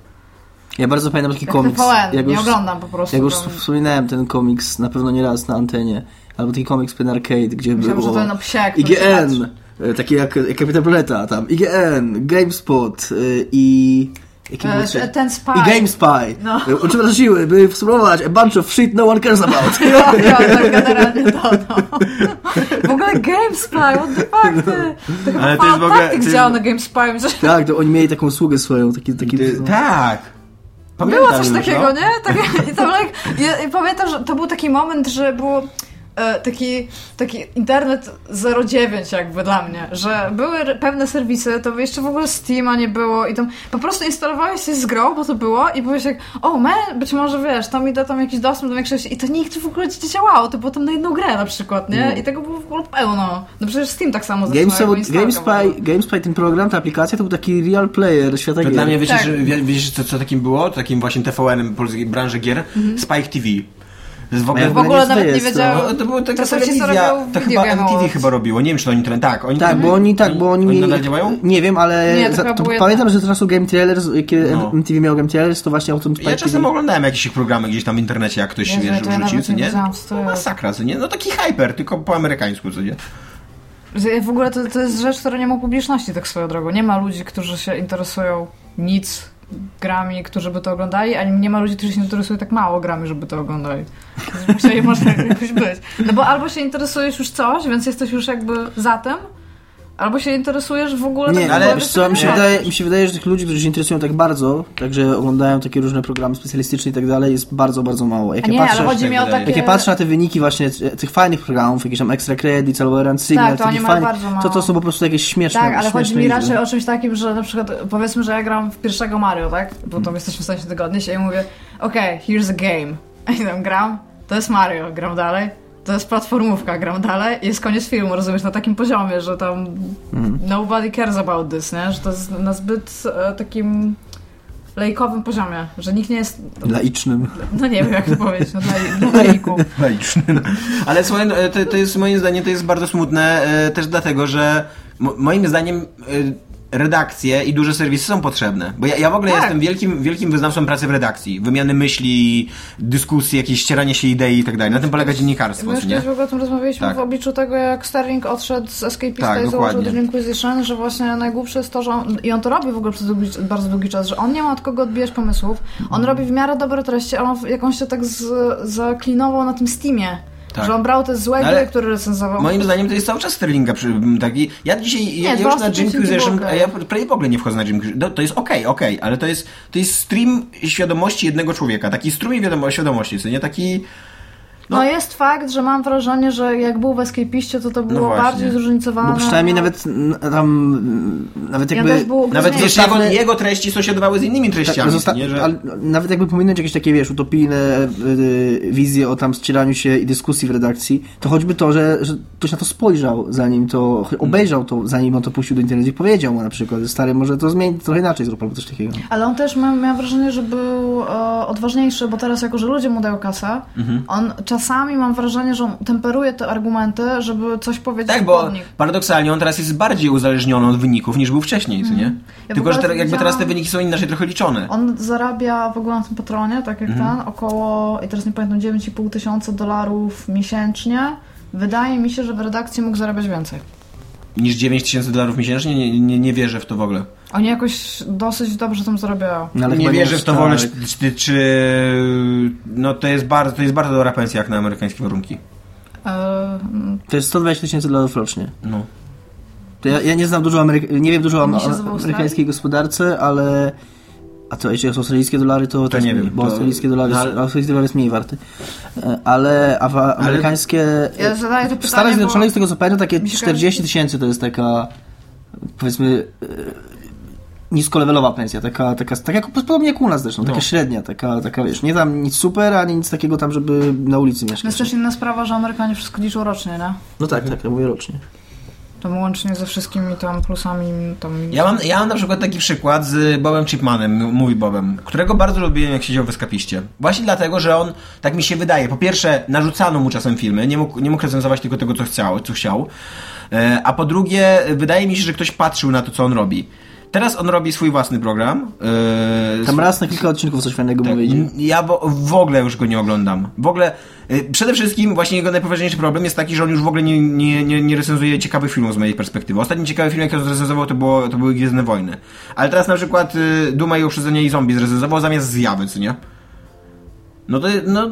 Speaker 3: Ja bardzo pamiętam taki
Speaker 2: jak
Speaker 3: komiks.
Speaker 2: TVN,
Speaker 3: jak
Speaker 2: nie
Speaker 3: już-
Speaker 2: oglądam po prostu.
Speaker 3: Jak już
Speaker 2: tam.
Speaker 3: wspominałem ten komiks na pewno nie raz na antenie, albo taki komiks Pen Arcade, gdzie
Speaker 2: Myślałam, że
Speaker 3: było
Speaker 2: to na psiak. to znaczy? się patrzy.
Speaker 3: IGN, e, taki jak jak Kapitan Planeta, tam IGN, GameSpot e, i... Jaki był
Speaker 2: E,
Speaker 3: trzeci?
Speaker 2: Ten spy.
Speaker 3: I GameSpy.
Speaker 2: No.
Speaker 3: No. Przeprosiły, by wspomować a bunch of shit no one
Speaker 2: [LAUGHS]
Speaker 3: cares about.
Speaker 2: Ja, ja, [LAUGHS] tak generalnie to, no. W ogóle GameSpy, what the fuck, ty? To chyba tak,
Speaker 4: Ale to jest w ogóle- to
Speaker 2: Taktik
Speaker 4: jest-
Speaker 2: działa na GameSpy. że-
Speaker 3: tak, to oni mieli taką usługę swoją, taki... taki
Speaker 4: Ty,
Speaker 3: no.
Speaker 4: tak!
Speaker 2: Było
Speaker 4: Pamiętam
Speaker 2: coś
Speaker 4: już,
Speaker 2: takiego,
Speaker 4: no.
Speaker 2: nie? Tak, i tam, like, i, i pamiętam, że to był taki moment, że było e, taki, taki internet 09 jakby dla mnie, że były r- pewne serwisy, to jeszcze w ogóle Steama nie było i tam po prostu instalowałeś się z grą, bo to było i byłeś jak, o man, być może wiesz, tam mi da tam jakiś dostęp do większości i to nigdy w ogóle ci nie działało, to było tam na jedną grę na przykład,
Speaker 4: Mm.
Speaker 2: nie? I tego było w ogóle pełno. No przecież Steam tak samo zaczynał, jakby
Speaker 3: GameSpy,
Speaker 2: instalka
Speaker 3: GameSpy, GameSpy, ten program, ta aplikacja, to był taki real player świata
Speaker 4: To
Speaker 3: gier.
Speaker 4: dla mnie, wiecie,
Speaker 2: Tak.
Speaker 4: że, wie- wiecie co, co takim było? Takim właśnie TVN-em polskiej branży gier? Spike TV. To jest w ogóle...
Speaker 2: Mhm. No W ogóle
Speaker 3: nic to
Speaker 2: nawet nie
Speaker 3: jest, to-
Speaker 2: wiedziałam.
Speaker 4: No, to była taka
Speaker 2: to są ci, co
Speaker 4: telewizja,
Speaker 2: robią
Speaker 4: to
Speaker 2: video
Speaker 4: chyba
Speaker 2: game
Speaker 4: MTV
Speaker 2: awards.
Speaker 4: chyba robiło, nie wiem czy oni trend, tak, oni
Speaker 3: Tak, bo oni tak, bo oni,
Speaker 4: Oni
Speaker 3: mieli.
Speaker 4: nadal działają?
Speaker 3: Nie wiem, ale
Speaker 2: Nie, to
Speaker 3: za,
Speaker 2: chyba
Speaker 3: to
Speaker 2: było
Speaker 3: pamiętam, że z czasu Game Trailers, kiedy
Speaker 4: No.
Speaker 3: MTV miał Game Trailers, to właśnie o tym
Speaker 4: Ja czasem oglądałem jakieś ich programy gdzieś tam w internecie, jak ktoś
Speaker 2: Jezu,
Speaker 4: wiesz,
Speaker 2: to ja
Speaker 4: wrzucił,
Speaker 2: nawet
Speaker 4: co
Speaker 2: nie
Speaker 4: nie?
Speaker 2: wiedziałam, co to
Speaker 4: No,
Speaker 2: jest.
Speaker 4: masakra, co nie? No taki hyper, tylko po amerykańsku, co nie? [LAUGHS]
Speaker 2: Że W ogóle to, to jest rzecz, która nie ma publiczności tak swoją drogą. Nie ma ludzi, którzy się interesują nic grami, którzy by to oglądali, ani nie ma ludzi, którzy się interesują tak mało grami, żeby to oglądali. Więc Musieli może jakoś być. No bo albo się interesujesz już coś, więc jesteś już jakby za tym, albo się interesujesz w ogóle tak
Speaker 3: Nie, ale
Speaker 2: naprawdę
Speaker 3: wiesz co, mi się,
Speaker 2: nie.
Speaker 3: wydaje, mi się wydaje, że tych ludzi, którzy się interesują tak bardzo, także oglądają takie różne programy specjalistyczne i tak dalej, jest bardzo, bardzo mało. Jak
Speaker 2: A nie,
Speaker 3: ja patrzę,
Speaker 2: ale chodzi mi o
Speaker 4: jak
Speaker 2: takie...
Speaker 3: jak ja tak patrzę na te wyniki właśnie t- tych fajnych programów, jakieś tam Extra Credits albo Rand Signal,
Speaker 2: Tak, to
Speaker 3: takich
Speaker 2: oni mają
Speaker 3: fajnych,
Speaker 2: bardzo mało.
Speaker 3: to to są po prostu jakieś śmieszne
Speaker 2: Tak, ale chodzi
Speaker 3: śmieszne
Speaker 2: mi
Speaker 3: liczby.
Speaker 2: raczej o czymś takim, że na przykład powiedzmy, że ja gram w pierwszego Mario, tak? Bo
Speaker 3: Mhm.
Speaker 2: tam jesteśmy w sensie tygodni się i mówię, okej, here's a game. [LAUGHS] I tam gram, to jest Mario, gram dalej. To jest platformówka, gram dalej i jest koniec filmu, rozumiesz, na takim poziomie, że tam
Speaker 3: Mhm.
Speaker 2: nobody cares about this, nie? Że to jest na zbyt e, takim lejkowym poziomie, że nikt nie jest,
Speaker 3: Laicznym.
Speaker 2: no nie wiem jak to powiedzieć, no dla, dla lejków.
Speaker 4: Laicznym. Ale słuchaj, no, to, to jest moim zdaniem to jest bardzo smutne e, też dlatego, że mo- moim zdaniem e, redakcje i duże serwisy są potrzebne. Bo ja, ja w ogóle
Speaker 2: Tak.
Speaker 4: jestem wielkim, wielkim wyznawcą pracy w redakcji. Wymiany myśli, dyskusji, jakieś ścieranie się idei i tak dalej. Na tym polega dziennikarstwo,
Speaker 2: My już
Speaker 4: czy nie?
Speaker 2: kiedyś w ogóle o tym rozmawialiśmy
Speaker 4: Tak.
Speaker 2: w obliczu tego, jak Sterling odszedł z Escapista
Speaker 4: Tak,
Speaker 2: i założył
Speaker 4: dokładnie.
Speaker 2: Dreamquisition, że właśnie najgłupsze jest to, że on, i on to robi w ogóle przez długi, bardzo długi czas, że on nie ma od kogo odbijać pomysłów,
Speaker 4: Mhm.
Speaker 2: on robi w miarę dobre treści, ale on, w- jak on się tak z, zaklinował na tym Steamie,
Speaker 4: Tak.
Speaker 2: że on brał te złe
Speaker 4: No ale
Speaker 2: gry, które recenzował.
Speaker 4: Moim zdaniem to jest cały czas Sterlinga przy, m, taki. Ja dzisiaj ja, ja
Speaker 2: dwa
Speaker 4: już na
Speaker 2: ostatnie
Speaker 4: Jim
Speaker 2: odcinki
Speaker 4: Cruiser'em,
Speaker 2: w ogóle.
Speaker 4: a ja prawie w ogóle nie wchodzę na Jim Cruiser. To, to jest okej, okej, ale to jest, to jest stream świadomości jednego człowieka, taki strumień wiadomo, świadomości, co nie taki.
Speaker 2: no. jest fakt, że mam wrażenie, że jak był w Escapiście, to to było
Speaker 4: No właśnie.
Speaker 2: bardziej zróżnicowane.
Speaker 3: Bo przynajmniej
Speaker 2: no.
Speaker 3: nawet n- tam, mm, nawet
Speaker 2: Ja
Speaker 3: jakby...
Speaker 2: też było
Speaker 4: Nawet
Speaker 2: Rozumiem.
Speaker 4: wiesz, jego, jego treści sąsiadowały z innymi
Speaker 3: Tak,
Speaker 4: treściami.
Speaker 3: zosta-
Speaker 4: nie, że...
Speaker 3: ale nawet jakby pominąć jakieś takie, wiesz, utopijne yy, wizje o tam ścieraniu się i dyskusji w redakcji, to choćby to, że, że ktoś na to spojrzał, zanim to,
Speaker 4: Mhm.
Speaker 3: obejrzał to, zanim on to puścił do internetu i powiedział mu na przykład, że stary, może to zmień, trochę inaczej zrób albo coś takiego.
Speaker 2: Ale on też ma, miałam wrażenie, że był e, odważniejszy, bo teraz jako, że ludzie mu dają kasę,
Speaker 4: Mhm.
Speaker 2: on czasami mam wrażenie, że on temperuje te argumenty, żeby coś powiedzieć
Speaker 4: Tak,
Speaker 2: pod
Speaker 4: bo
Speaker 2: nich.
Speaker 4: paradoksalnie on teraz jest bardziej uzależniony od wyników niż był wcześniej, co nie?
Speaker 2: Mm. Ja w
Speaker 4: Tylko,
Speaker 2: ogóle
Speaker 4: że te, jakby teraz te
Speaker 2: widziałam-
Speaker 4: wyniki są inaczej trochę liczone.
Speaker 2: On zarabia w ogóle na tym patronie, tak jak
Speaker 4: Mhm.
Speaker 2: ten, około, i teraz nie pamiętam, 9,5 tysiąca dolarów miesięcznie. Wydaje mi się, że w redakcji mógł zarabiać więcej.
Speaker 4: Niż 9 tysięcy dolarów miesięcznie? Nie, nie, nie wierzę w to w ogóle.
Speaker 2: Oni jakoś dosyć dobrze tam zarabiają.
Speaker 3: No, ale
Speaker 4: nie
Speaker 3: chyba
Speaker 4: wierzę w to w ogóle, czy,
Speaker 3: tak.
Speaker 4: czy, czy... No to jest, bardzo, to jest bardzo dobra pensja jak na amerykańskie warunki.
Speaker 2: E, mm,
Speaker 3: To jest 120 tysięcy dolarów rocznie.
Speaker 4: No.
Speaker 3: To ja, ja nie znam dużo, Ameryk- nie wiem dużo o
Speaker 2: Oni się z
Speaker 3: o
Speaker 2: Australii?
Speaker 3: amerykańskiej gospodarce, ale... A to jeśli są australijskie dolary, to,
Speaker 4: To
Speaker 3: jest
Speaker 4: nie
Speaker 3: mniej,
Speaker 4: wiem,
Speaker 3: bo
Speaker 4: to-
Speaker 3: australijskie dolary,
Speaker 4: no, ale-
Speaker 3: australijski dolar jest mniej warty. E, Ale, a wa- amerykańskie...
Speaker 2: Ja zadaję to
Speaker 3: W Stanach
Speaker 2: pytanie,
Speaker 3: Zjednoczonych, z tego co pamiętam, takie
Speaker 2: Mi się
Speaker 3: 40 tysięcy to jest taka, powiedzmy, e, niskolevelowa pensja, taka, taka, taka jak- podobnie jak u nas zresztą, taka
Speaker 4: No.
Speaker 3: średnia, taka, taka, wiesz, nie tam nic super, ani nic takiego tam, żeby na ulicy
Speaker 2: to jest
Speaker 3: mieszkać.
Speaker 2: też inna sprawa, że Amerykanie wszystko liczą rocznie, nie?
Speaker 3: No tak, tak, ja mówię rocznie.
Speaker 2: Tam łącznie ze wszystkimi tam plusami, tam minusami.
Speaker 4: Ja mam, ja mam na przykład taki przykład z Bobem Chipmanem, mój Bobem, którego bardzo lubiłem jak siedział w Eskapiście. Właśnie dlatego, że on, tak mi się wydaje, po pierwsze narzucano mu czasem filmy, nie mógł, nie mógł recenzować tylko tego, co chciał, co chciał. E, A po drugie, wydaje mi się, że ktoś patrzył na to, co on robi. Teraz on robi swój własny program. e,
Speaker 3: Tam raz na kilka odcinków coś fajnego tak. powiedział.
Speaker 4: N- Ja bo, w ogóle już go nie oglądam. W ogóle, y, przede wszystkim właśnie jego najpoważniejszy problem jest taki, że on już w ogóle nie, nie, nie, nie recenzuje ciekawych filmów z mojej perspektywy. Ostatni ciekawy film, jaki on zrecenzował, to, było, to były Gwiezdne Wojny. Ale teraz na przykład y, Duma i Uprzedzenie i Zombie zrecenzował zamiast Zjawy, co nie? No to, no,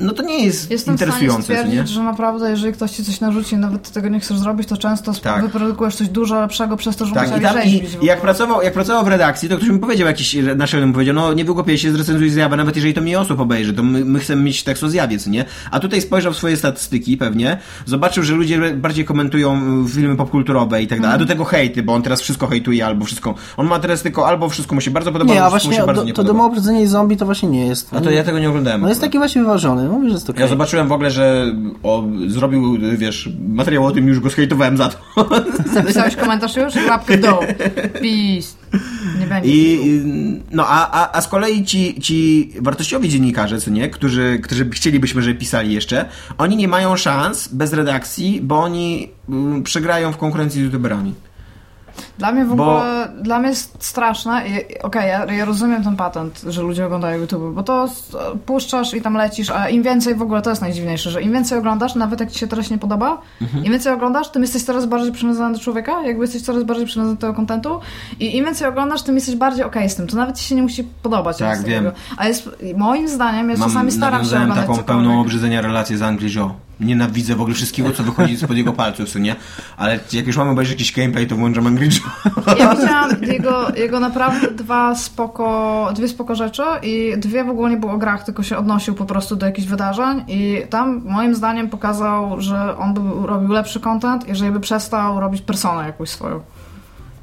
Speaker 4: no to nie jest
Speaker 2: Jestem w stanie
Speaker 4: interesujące, co
Speaker 2: stwierdzić,
Speaker 4: nie?
Speaker 2: że naprawdę, jeżeli ktoś ci coś narzuci, nawet ty tego nie chcesz zrobić, to często sp-
Speaker 4: Tak.
Speaker 2: wyprodukujesz coś dużo lepszego przez to, że
Speaker 4: Tak, i,
Speaker 2: musiałeś
Speaker 4: tam, i,
Speaker 2: rzeźbić. w
Speaker 4: i jak,
Speaker 2: ogóle.
Speaker 4: pracował, jak pracował w redakcji, to ktoś mi powiedział jakiś naszym powiedział, no nie wygłupiaj się, zrecenzuj zjawę, nawet jeżeli to mniej osób obejrzy, to my, my chcemy mieć tekst o zjawie, co nie? A tutaj spojrzał w swoje statystyki pewnie, zobaczył, że ludzie bardziej komentują y, filmy popkulturowe i tak dalej, a
Speaker 3: Mhm.
Speaker 4: do tego hejty, bo on teraz wszystko hejtuje albo wszystko, on ma teraz tylko albo wszystko mu się bardzo podoba,
Speaker 3: Nie,
Speaker 4: albo
Speaker 3: a
Speaker 4: wszystko mu
Speaker 3: właśnie
Speaker 4: się bardzo
Speaker 3: do,
Speaker 4: nie
Speaker 3: to
Speaker 4: podoba.
Speaker 3: domo obrzydzenie i zombie to właśnie nie jest.
Speaker 4: A to ja tego nie oglądałem.
Speaker 3: No jest
Speaker 4: akurat.
Speaker 3: taki właśnie wyważony, mówię, że jest to
Speaker 4: Ja zobaczyłem w ogóle, że o, zrobił, y, wiesz, materiał o tym, już go zhejtowałem za to.
Speaker 2: Napisałeś komentarz już? Łapkę w
Speaker 4: [LAUGHS]
Speaker 2: dół. Peace. Nie będzie.
Speaker 4: I, i- no, a, a, a z kolei ci, ci wartościowi dziennikarze, co nie, którzy, którzy chcielibyśmy, żeby pisali jeszcze, oni nie mają szans bez redakcji, bo oni mm, przegrają w konkurencji z youtuberami.
Speaker 2: Dla mnie w
Speaker 4: Bo-
Speaker 2: ogóle, dla mnie jest straszne, i- i- okej, ja, ja rozumiem ten patent, że ludzie oglądają YouTube, bo to s- puszczasz i tam lecisz, a im więcej w ogóle, to jest najdziwniejsze, że im więcej oglądasz, nawet jak ci się teraz nie podoba,
Speaker 4: Mhm.
Speaker 2: im więcej oglądasz, tym jesteś coraz bardziej przywiązany do człowieka, jakby jesteś coraz bardziej przywiązany do tego kontentu i im więcej oglądasz, tym jesteś bardziej okej z tym, to nawet ci się nie musi podobać.
Speaker 4: Tak,
Speaker 2: nic
Speaker 4: wiem.
Speaker 2: takiego. A jest, moim zdaniem, ja czasami staram się
Speaker 4: nawiązałem
Speaker 2: oglądać
Speaker 4: taką
Speaker 2: cokolwiek.
Speaker 4: pełną obrzydzenia relację z Angry Joe. Nienawidzę w ogóle wszystkiego, co wychodzi spod jego palców, co nie? Ale jak już mamy obejrzeć jakiś gameplay, to włączam Angry Joe.
Speaker 2: Ja widziałam jego, jego naprawdę dwa spoko, dwie spoko rzeczy i dwie w ogóle nie było o grach, tylko się odnosił po prostu do jakichś wydarzeń i tam moim zdaniem pokazał, że on by robił lepszy content, jeżeli by przestał robić personę jakąś swoją.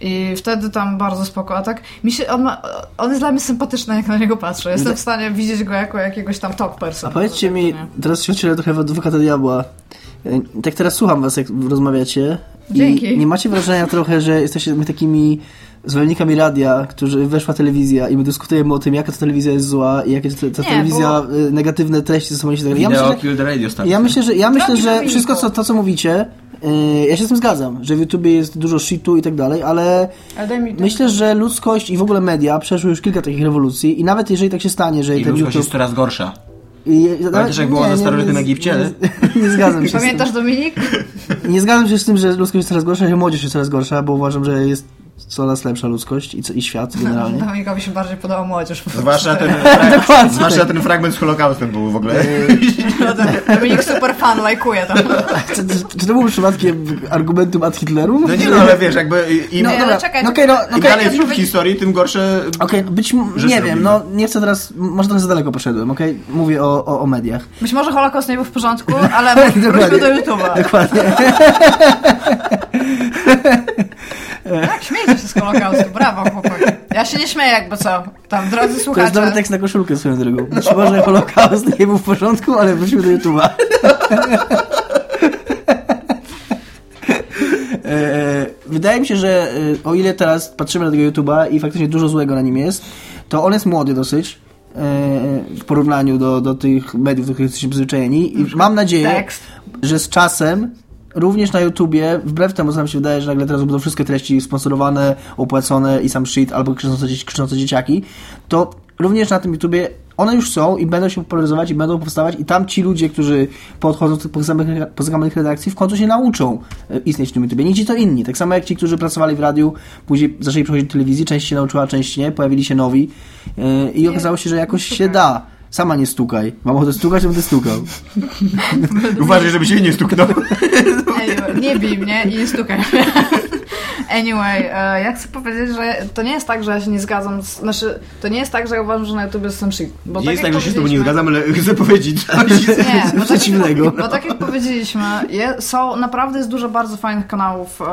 Speaker 2: I wtedy tam bardzo spoko. A tak mi się, on, ma, on jest dla mnie sympatyczny, jak na niego patrzę. Jestem w stanie widzieć go jako jakiegoś tam top person.
Speaker 3: No A powiedzcie mi,
Speaker 2: Nie.
Speaker 3: teraz się wcielę trochę w adwokata diabła. E, Tak teraz słucham was, jak rozmawiacie. i
Speaker 2: Dzięki.
Speaker 3: Nie macie wrażenia trochę, że jesteście my takimi zwolennikami radia, którzy weszła telewizja i my dyskutujemy o tym, jaka to telewizja jest zła i jakie to- ta
Speaker 2: Nie,
Speaker 3: telewizja e, negatywne treści ze sobą się tak dalej. Ja myślę, że-
Speaker 4: Killed Radio
Speaker 3: ja myślę, że, ja myślę,
Speaker 2: Drogi
Speaker 3: że
Speaker 2: Dominiko.
Speaker 3: wszystko co, to, co mówicie, e, ja się z tym zgadzam, że w YouTubie jest dużo shitu i tak dalej, ale
Speaker 2: Ale daj mi
Speaker 3: myślę, że ludzkość i w ogóle media przeszły już kilka takich rewolucji i nawet jeżeli tak się stanie, że
Speaker 4: I
Speaker 3: ten
Speaker 4: ludzkość
Speaker 3: YouTube...
Speaker 4: jest coraz gorsza.
Speaker 3: I, no,
Speaker 4: Pamiętasz, jak było
Speaker 3: nie,
Speaker 4: ze
Speaker 3: nie,
Speaker 4: starożytnym
Speaker 3: nie,
Speaker 4: Egipcie?
Speaker 3: Nie, nie zgadzam się. z tym.
Speaker 2: Pamiętasz Dominik?
Speaker 3: Nie zgadzam się z tym, że ludzkość jest coraz gorsza, że młodzież jest coraz gorsza, bo uważam, że jest coraz lepsza ludzkość i, co- i świat generalnie.
Speaker 2: [LAUGHS]
Speaker 3: Tak,
Speaker 2: Dominikowi się bardziej podoba młodzież. po prostu.
Speaker 4: Zwłaszcza [LAUGHS] ten,
Speaker 3: Dokładnie.
Speaker 4: zwłaszcza ten fragment z Holokaustem był w ogóle.
Speaker 2: [LAUGHS] Dominik super fan, lajkuje tam.
Speaker 3: [LAUGHS] Czy, czy, czy to był przypadkiem argumentum ad Hitlerum?
Speaker 4: No nie no,
Speaker 3: [LAUGHS]
Speaker 4: ale wiesz, jakby im,
Speaker 3: No
Speaker 4: im
Speaker 3: dobra,
Speaker 2: czekaj,
Speaker 3: no
Speaker 2: czekaj.
Speaker 3: okej, no, okej,
Speaker 4: dalej w historii, tym gorsze...
Speaker 3: okej, no być m-
Speaker 4: Że
Speaker 3: nie
Speaker 4: zrobimy.
Speaker 3: wiem, no nie chcę teraz, może trochę za daleko poszedłem, okej? Mówię o, o, o mediach. [LAUGHS]
Speaker 2: Być może Holokaust nie był w porządku, ale wróćmy do YouTube'a.
Speaker 3: Dokładnie.
Speaker 2: Tak, śmiejcie się z Holokaustu, brawo chłopaki. Ja się nie śmieję jakby co, tam drodzy
Speaker 3: To jest dobry
Speaker 2: słuchacze.
Speaker 3: tekst na koszulkę swoją drogą. Być może Holokaust nie był w porządku, ale wróćmy do YouTube'a. [LAUGHS] E, Wydaje mi się, że e, o ile teraz patrzymy na tego YouTube'a i faktycznie dużo złego na nim jest, to on jest młody dosyć e, w porównaniu do, do tych mediów, do których jesteśmy przyzwyczajeni i mam nadzieję,
Speaker 2: tekst.
Speaker 3: że z czasem również na YouTubie, wbrew temu co nam się wydaje, że nagle teraz będą wszystkie treści sponsorowane, opłacone i sam shit albo krzyczące, dzieci, krzyczące dzieciaki, to również na tym YouTubie one już są i będą się popularyzować i będą powstawać i tam ci ludzie, którzy podchodzą do tych pozakamych- pozakamych redakcji w końcu się nauczą e, istnieć w tym YouTubie. Nie ci to inni. Tak samo jak ci, którzy pracowali w radiu, później zaczęli przechodzić do telewizji, część się nauczyła, część nie, pojawili się nowi e, i okazało się, że jakoś się da. Sama nie stukaj. Mam ochotę stukać, to będę stukał.
Speaker 4: Uważaj, żeby się nie stuknął.
Speaker 2: Anyway, nie bij mnie [LAUGHS] i nie stukaj. Anyway, e, ja chcę powiedzieć, że to nie jest tak, że ja się nie zgadzam. Z, znaczy, to nie jest tak, że ja uważam, że na YouTube jest sam shit. Bo
Speaker 4: Nie jest
Speaker 2: jak
Speaker 4: tak, że się z tobą nie
Speaker 2: powiedzieliśmy-
Speaker 4: zgadzam, ale chcę
Speaker 3: [LAUGHS]
Speaker 4: powiedzieć
Speaker 2: Nie, bo tak,
Speaker 3: Przeciwnego.
Speaker 2: jak, bo tak jak powiedzieliśmy, je, są, naprawdę jest dużo bardzo fajnych kanałów, e,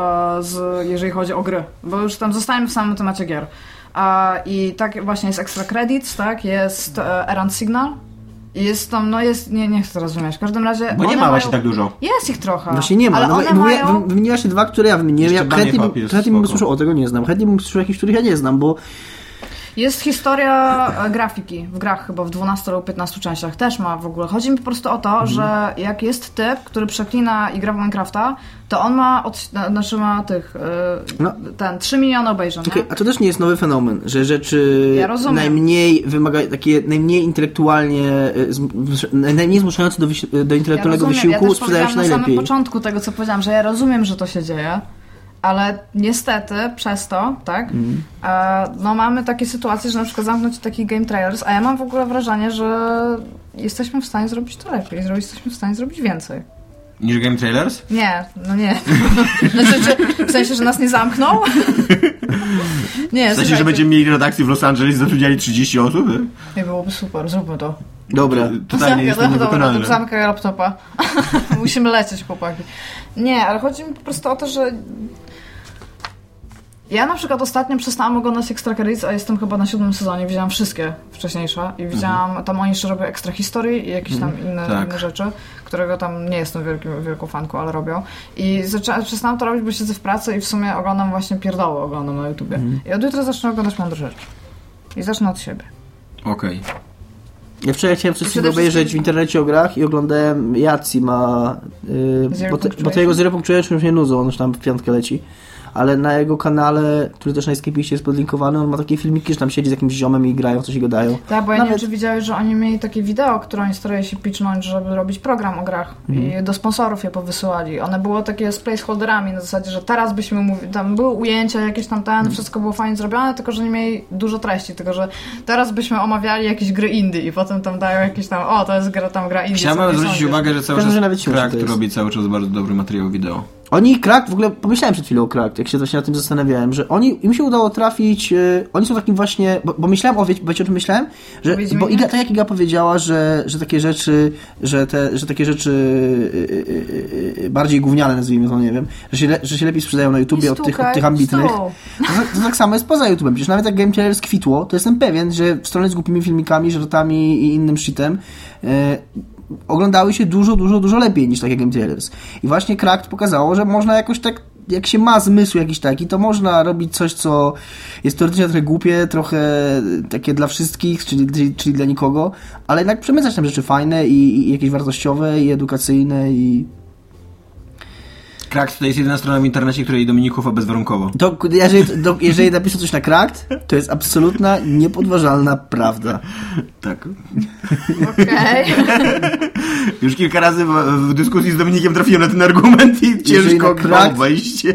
Speaker 2: z, jeżeli chodzi o gry, bo już tam zostajemy w samym temacie gier. A, I tak właśnie jest Extra Credits, tak, jest e, Errand Signal, i jest tam, no jest, nie, nie chcę teraz wymieniać, w każdym razie...
Speaker 4: Bo nie
Speaker 2: one
Speaker 4: ma właśnie
Speaker 2: mają-
Speaker 4: tak dużo.
Speaker 2: Jest ich trochę.
Speaker 3: Właśnie nie ma.
Speaker 2: Ale
Speaker 3: no,
Speaker 2: one
Speaker 3: bo ja-
Speaker 2: mają...
Speaker 3: Wymieniła się dwa, które ja wymieniłem.
Speaker 4: Jeszcze
Speaker 3: Ja
Speaker 4: Bunny
Speaker 3: chętnie,
Speaker 4: Hop
Speaker 3: bym-
Speaker 4: jest
Speaker 3: chętnie bym
Speaker 4: spoko.
Speaker 3: usłyszał, o tego nie znam. Chętnie bym usłyszał jakichś, których ja nie znam, bo
Speaker 2: Jest historia e, grafiki w grach chyba w 12 lub 15 częściach. Też ma w ogóle. Chodzi mi po prostu o to,
Speaker 3: Mhm.
Speaker 2: że jak jest typ, który przeklina i gra w Minecrafta, to on ma, od, znaczy ma tych, e,
Speaker 3: No.
Speaker 2: ten, 3 miliony obejrzeń.
Speaker 3: Czekaj,
Speaker 2: nie?
Speaker 3: a to też nie jest nowy fenomen, że rzeczy
Speaker 2: Tak. Ja rozumiem.
Speaker 3: najmniej wymaga, takie najmniej intelektualnie, y, zm- wsz- najmniej zmuszające do, wysi- do
Speaker 2: Ja
Speaker 3: intelektualnego
Speaker 2: rozumiem,
Speaker 3: wysiłku
Speaker 2: ja też
Speaker 3: sprzedają się
Speaker 2: powiedziałam na samym
Speaker 3: najlepiej.
Speaker 2: początku tego, co powiedziałam, że ja rozumiem, że to się dzieje, ale niestety przez to, tak,
Speaker 3: Mhm.
Speaker 2: e, no mamy takie sytuacje, że na przykład zamknąć taki game trailers, a ja mam w ogóle wrażenie, że jesteśmy w stanie zrobić to lepiej, że jesteśmy w stanie zrobić więcej.
Speaker 4: Niż Game Trailers?
Speaker 2: Nie, no nie. [LAUGHS] Znaczy, że, w sensie, że nas nie
Speaker 4: [LAUGHS]
Speaker 2: zamknął? Nie,
Speaker 4: W sensie,
Speaker 2: słuchajcie,
Speaker 4: że będziemy mieli redakcję w Los Angeles, zatrudniali 30 osób? nie?
Speaker 2: Nie, byłoby super, zróbmy to.
Speaker 3: Dobra.
Speaker 4: Totalnie jest to
Speaker 2: dobra, dobra,
Speaker 4: niewykonalne.
Speaker 2: to zamkaj laptopa. [LAUGHS] Musimy lecieć, chłopaki. Nie, ale chodzi mi po prostu o to, że... Ja na przykład ostatnio przestałam oglądać Extra Credits, a jestem chyba na siódmym sezonie. Widziałam wszystkie wcześniejsze i widziałam, tam oni jeszcze robią ekstra historii i jakieś tam inne,
Speaker 4: Mhm. tak.
Speaker 2: inne rzeczy, którego tam nie jestem wielkim, wielką fanką, ale robią. I zaczę- przestałam to robić, bo siedzę w pracy i w sumie oglądam właśnie pierdoły oglądam na YouTubie.
Speaker 4: Mhm.
Speaker 2: I od jutra zacznę oglądać mądre rzeczy. I zacznę od siebie.
Speaker 4: Okej.
Speaker 3: Ja wczoraj chciałem coś
Speaker 2: Przede
Speaker 3: sobie obejrzeć w
Speaker 2: wszystkim-
Speaker 3: internecie o grach i oglądałem Jaci ma, y,
Speaker 2: Zero
Speaker 3: bo, te,
Speaker 2: Punctuation?
Speaker 3: bo tego Zero Punctuation już nie nudzą, on już tam w piątkę leci. ale na jego kanale, który też na Escapiście jest podlinkowany, on ma takie filmiki, że tam siedzi z jakimś ziomem i grają, w coś i gadają.
Speaker 2: Tak, bo ja nie
Speaker 3: Nawet-
Speaker 2: wiem, czy widziałeś, że oni mieli takie wideo, które oni starali się pitchnąć, żeby robić program o grach.
Speaker 3: Mhm.
Speaker 2: I do sponsorów je powysyłali. One było takie z placeholderami na zasadzie, że teraz byśmy mówili, tam były ujęcia jakieś tam ten,
Speaker 3: Mhm.
Speaker 2: wszystko było fajnie zrobione, tylko że nie mieli dużo treści, tylko że teraz byśmy omawiali jakieś gry indie i potem tam dają jakieś tam, o, to jest gra, tam gra indie. co
Speaker 4: Chciałbym
Speaker 2: ty
Speaker 4: zwrócić
Speaker 2: sądzisz?
Speaker 4: uwagę, że cały
Speaker 3: W każdym
Speaker 4: czas
Speaker 3: razie nawet śmieszne
Speaker 4: Crack
Speaker 3: to jest.
Speaker 4: robi cały czas bardzo dobry materiał wideo.
Speaker 3: Oni Krak, w ogóle pomyślałem przed chwilą o Krak, jak się właśnie na tym zastanawiałem, że oni, im się udało trafić, e, oni są takim właśnie, bo, bo myślałem o, wiecie, wiecie o czym myślałem? Że,
Speaker 2: Powiedz mi.
Speaker 3: bo Iga, tak jak Iga powiedziała, że, że takie rzeczy, że, te, że takie rzeczy y, y, y, y, bardziej gówniane nazwijmy to, nie wiem, że się, le, że się lepiej sprzedają na YouTubie
Speaker 2: I
Speaker 3: od tych, od
Speaker 2: stukaj
Speaker 3: tych ambitnych.
Speaker 2: stół.
Speaker 3: To, tak- to tak samo jest poza YouTubem. Przecież nawet jak Game Trailer skwitło, to jestem pewien, że w strony z głupimi filmikami, żartami i innym shitem e, oglądały się dużo, dużo, dużo lepiej niż takie Game Trailers. I właśnie Cracked pokazało, że można jakoś tak, jak się ma zmysł jakiś taki, to można robić coś, co jest teoretycznie trochę głupie, trochę takie dla wszystkich, czyli, czyli dla nikogo, ale jednak przemycać tam rzeczy fajne i, i jakieś wartościowe i edukacyjne i
Speaker 4: Crack to jest jedyna strona w internecie, której Dominików bezwarunkowo.
Speaker 3: To, k- jeżeli, do, jeżeli napiszę coś na krakt, to jest absolutna, niepodważalna prawda.
Speaker 4: Tak.
Speaker 2: Okej.
Speaker 3: [LAUGHS]
Speaker 4: Już kilka razy w, w dyskusji z Dominikiem trafiłem na ten argument i ciężko
Speaker 3: na
Speaker 4: go
Speaker 3: krak-
Speaker 4: obejść.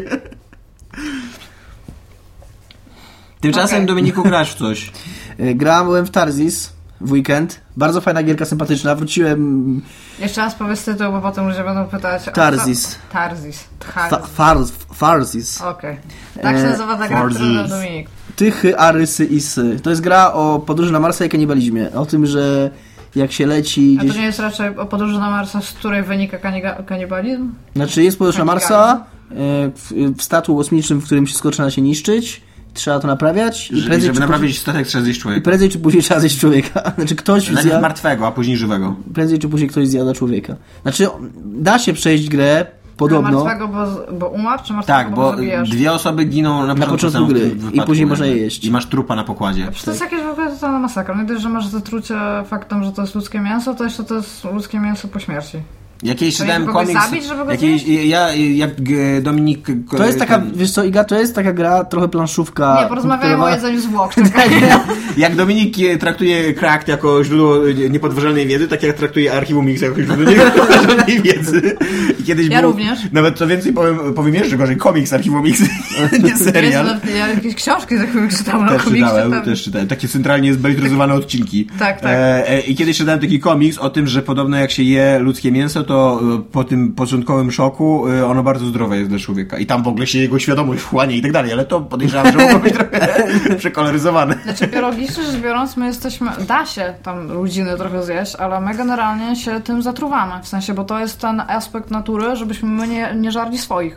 Speaker 4: Tymczasem
Speaker 2: Okej.
Speaker 4: Dominiku grasz w coś.
Speaker 3: E, Grałem byłem w Tarzis w weekend. Bardzo fajna gierka, sympatyczna. Wróciłem
Speaker 2: Jeszcze raz powiedz tytuł, bo potem ludzie będą pytać. o
Speaker 3: Tarzis.
Speaker 2: co- Tarzis.
Speaker 3: fa-
Speaker 2: Tarzis.
Speaker 3: farz- Farzis.
Speaker 2: Okej. Tak się
Speaker 3: E,
Speaker 2: nazywa ta gra, którą
Speaker 4: Tarzis.
Speaker 2: grał Dominik.
Speaker 3: Tychy, arysy i sy. To jest gra o podróży na Marsa i kanibalizmie. O tym, że jak się leci
Speaker 2: A to
Speaker 3: gdzieś...
Speaker 2: nie jest raczej o podróży na Marsa, z której wynika kaniga- kanibalizm?
Speaker 3: Znaczy jest podróż na
Speaker 2: Kanibalizm.
Speaker 3: Marsa, e, w, w statku kosmicznym, w którym wszystko trzeba się niszczyć. Trzeba to naprawiać. I
Speaker 4: Że,
Speaker 3: prędzej,
Speaker 4: żeby
Speaker 3: czy, później,
Speaker 4: naprawić statek, trzeba zjeść
Speaker 3: i
Speaker 4: człowieka.
Speaker 3: prędzej czy później trzeba zjeść człowieka. [LAUGHS] Znaczy ktoś
Speaker 4: Najpierw
Speaker 3: zja-
Speaker 4: martwego, a później żywego.
Speaker 3: prędzej czy później ktoś zjada człowieka. Znaczy, da się przejść grę,
Speaker 2: A
Speaker 3: podobno,
Speaker 2: Martwego, bo, z- bo umarł, czy martwego,
Speaker 4: Tak, bo
Speaker 2: zabijasz?
Speaker 4: dwie osoby giną na,
Speaker 3: początku
Speaker 4: samym
Speaker 3: gry.
Speaker 4: tym
Speaker 3: I
Speaker 4: wypadku,
Speaker 3: później można
Speaker 4: jakby.
Speaker 3: je jeść.
Speaker 4: I masz trupa na pokładzie.
Speaker 2: To jest jakieś w ogóle totalna masakra. Nie dość, że masz zatrucie faktem, że to jest ludzkie mięso, to jeszcze to jest ludzkie mięso po śmierci.
Speaker 4: Jakieś
Speaker 2: To
Speaker 4: czytałem
Speaker 2: jakby kogoś
Speaker 4: komiks.
Speaker 2: zabić, żeby go
Speaker 4: Jakiejś, ja, jak e, Dominik. e,
Speaker 3: To jest taka,
Speaker 4: ten-
Speaker 3: wiesz co, Iga, to jest taka gra, trochę planszówka.
Speaker 2: nie, porozmawiajmy o
Speaker 3: komputerowa.
Speaker 2: jedzeniu zwłok. tak?
Speaker 4: [LAUGHS] Tak,
Speaker 2: czekaj.
Speaker 4: Jak Dominik e, traktuje Krakt jako źródło e, niepodważalnej wiedzy, tak jak traktuje archiwum X jako źródło [LAUGHS] niepodważalnej wiedzy. I kiedyś
Speaker 2: Ja
Speaker 4: był,
Speaker 2: również.
Speaker 4: Nawet co więcej, powiem, powiem jeszcze gorzej, komiks archiwum X, [LAUGHS] nie serial.
Speaker 2: Jezu, ja jakieś książki za chwilę czytałam na
Speaker 4: Też
Speaker 2: komiksie.
Speaker 4: czytałem,
Speaker 2: no, tam-
Speaker 4: też czytałem. Takie centralnie zbelitryzowane odcinki.
Speaker 2: Tak, tak.
Speaker 4: E, e, I kiedyś czytałem taki komiks o tym, że podobno jak się je ludzkie mięso, to e, po tym początkowym szoku e, ono bardzo zdrowe jest dla człowieka. I tam w ogóle się jego świadomość wchłania i tak dalej, ale to podejrzewam,
Speaker 2: [LAUGHS]
Speaker 4: że mogło być trochę [LAUGHS] przekoloryzowane.
Speaker 2: Znaczy biologicznie rzecz biorąc, my jesteśmy, da się tam rodziny trochę zjeść, ale my generalnie się tym zatruwamy, w sensie, bo to jest ten aspekt natury, żebyśmy my nie, nie żarli swoich.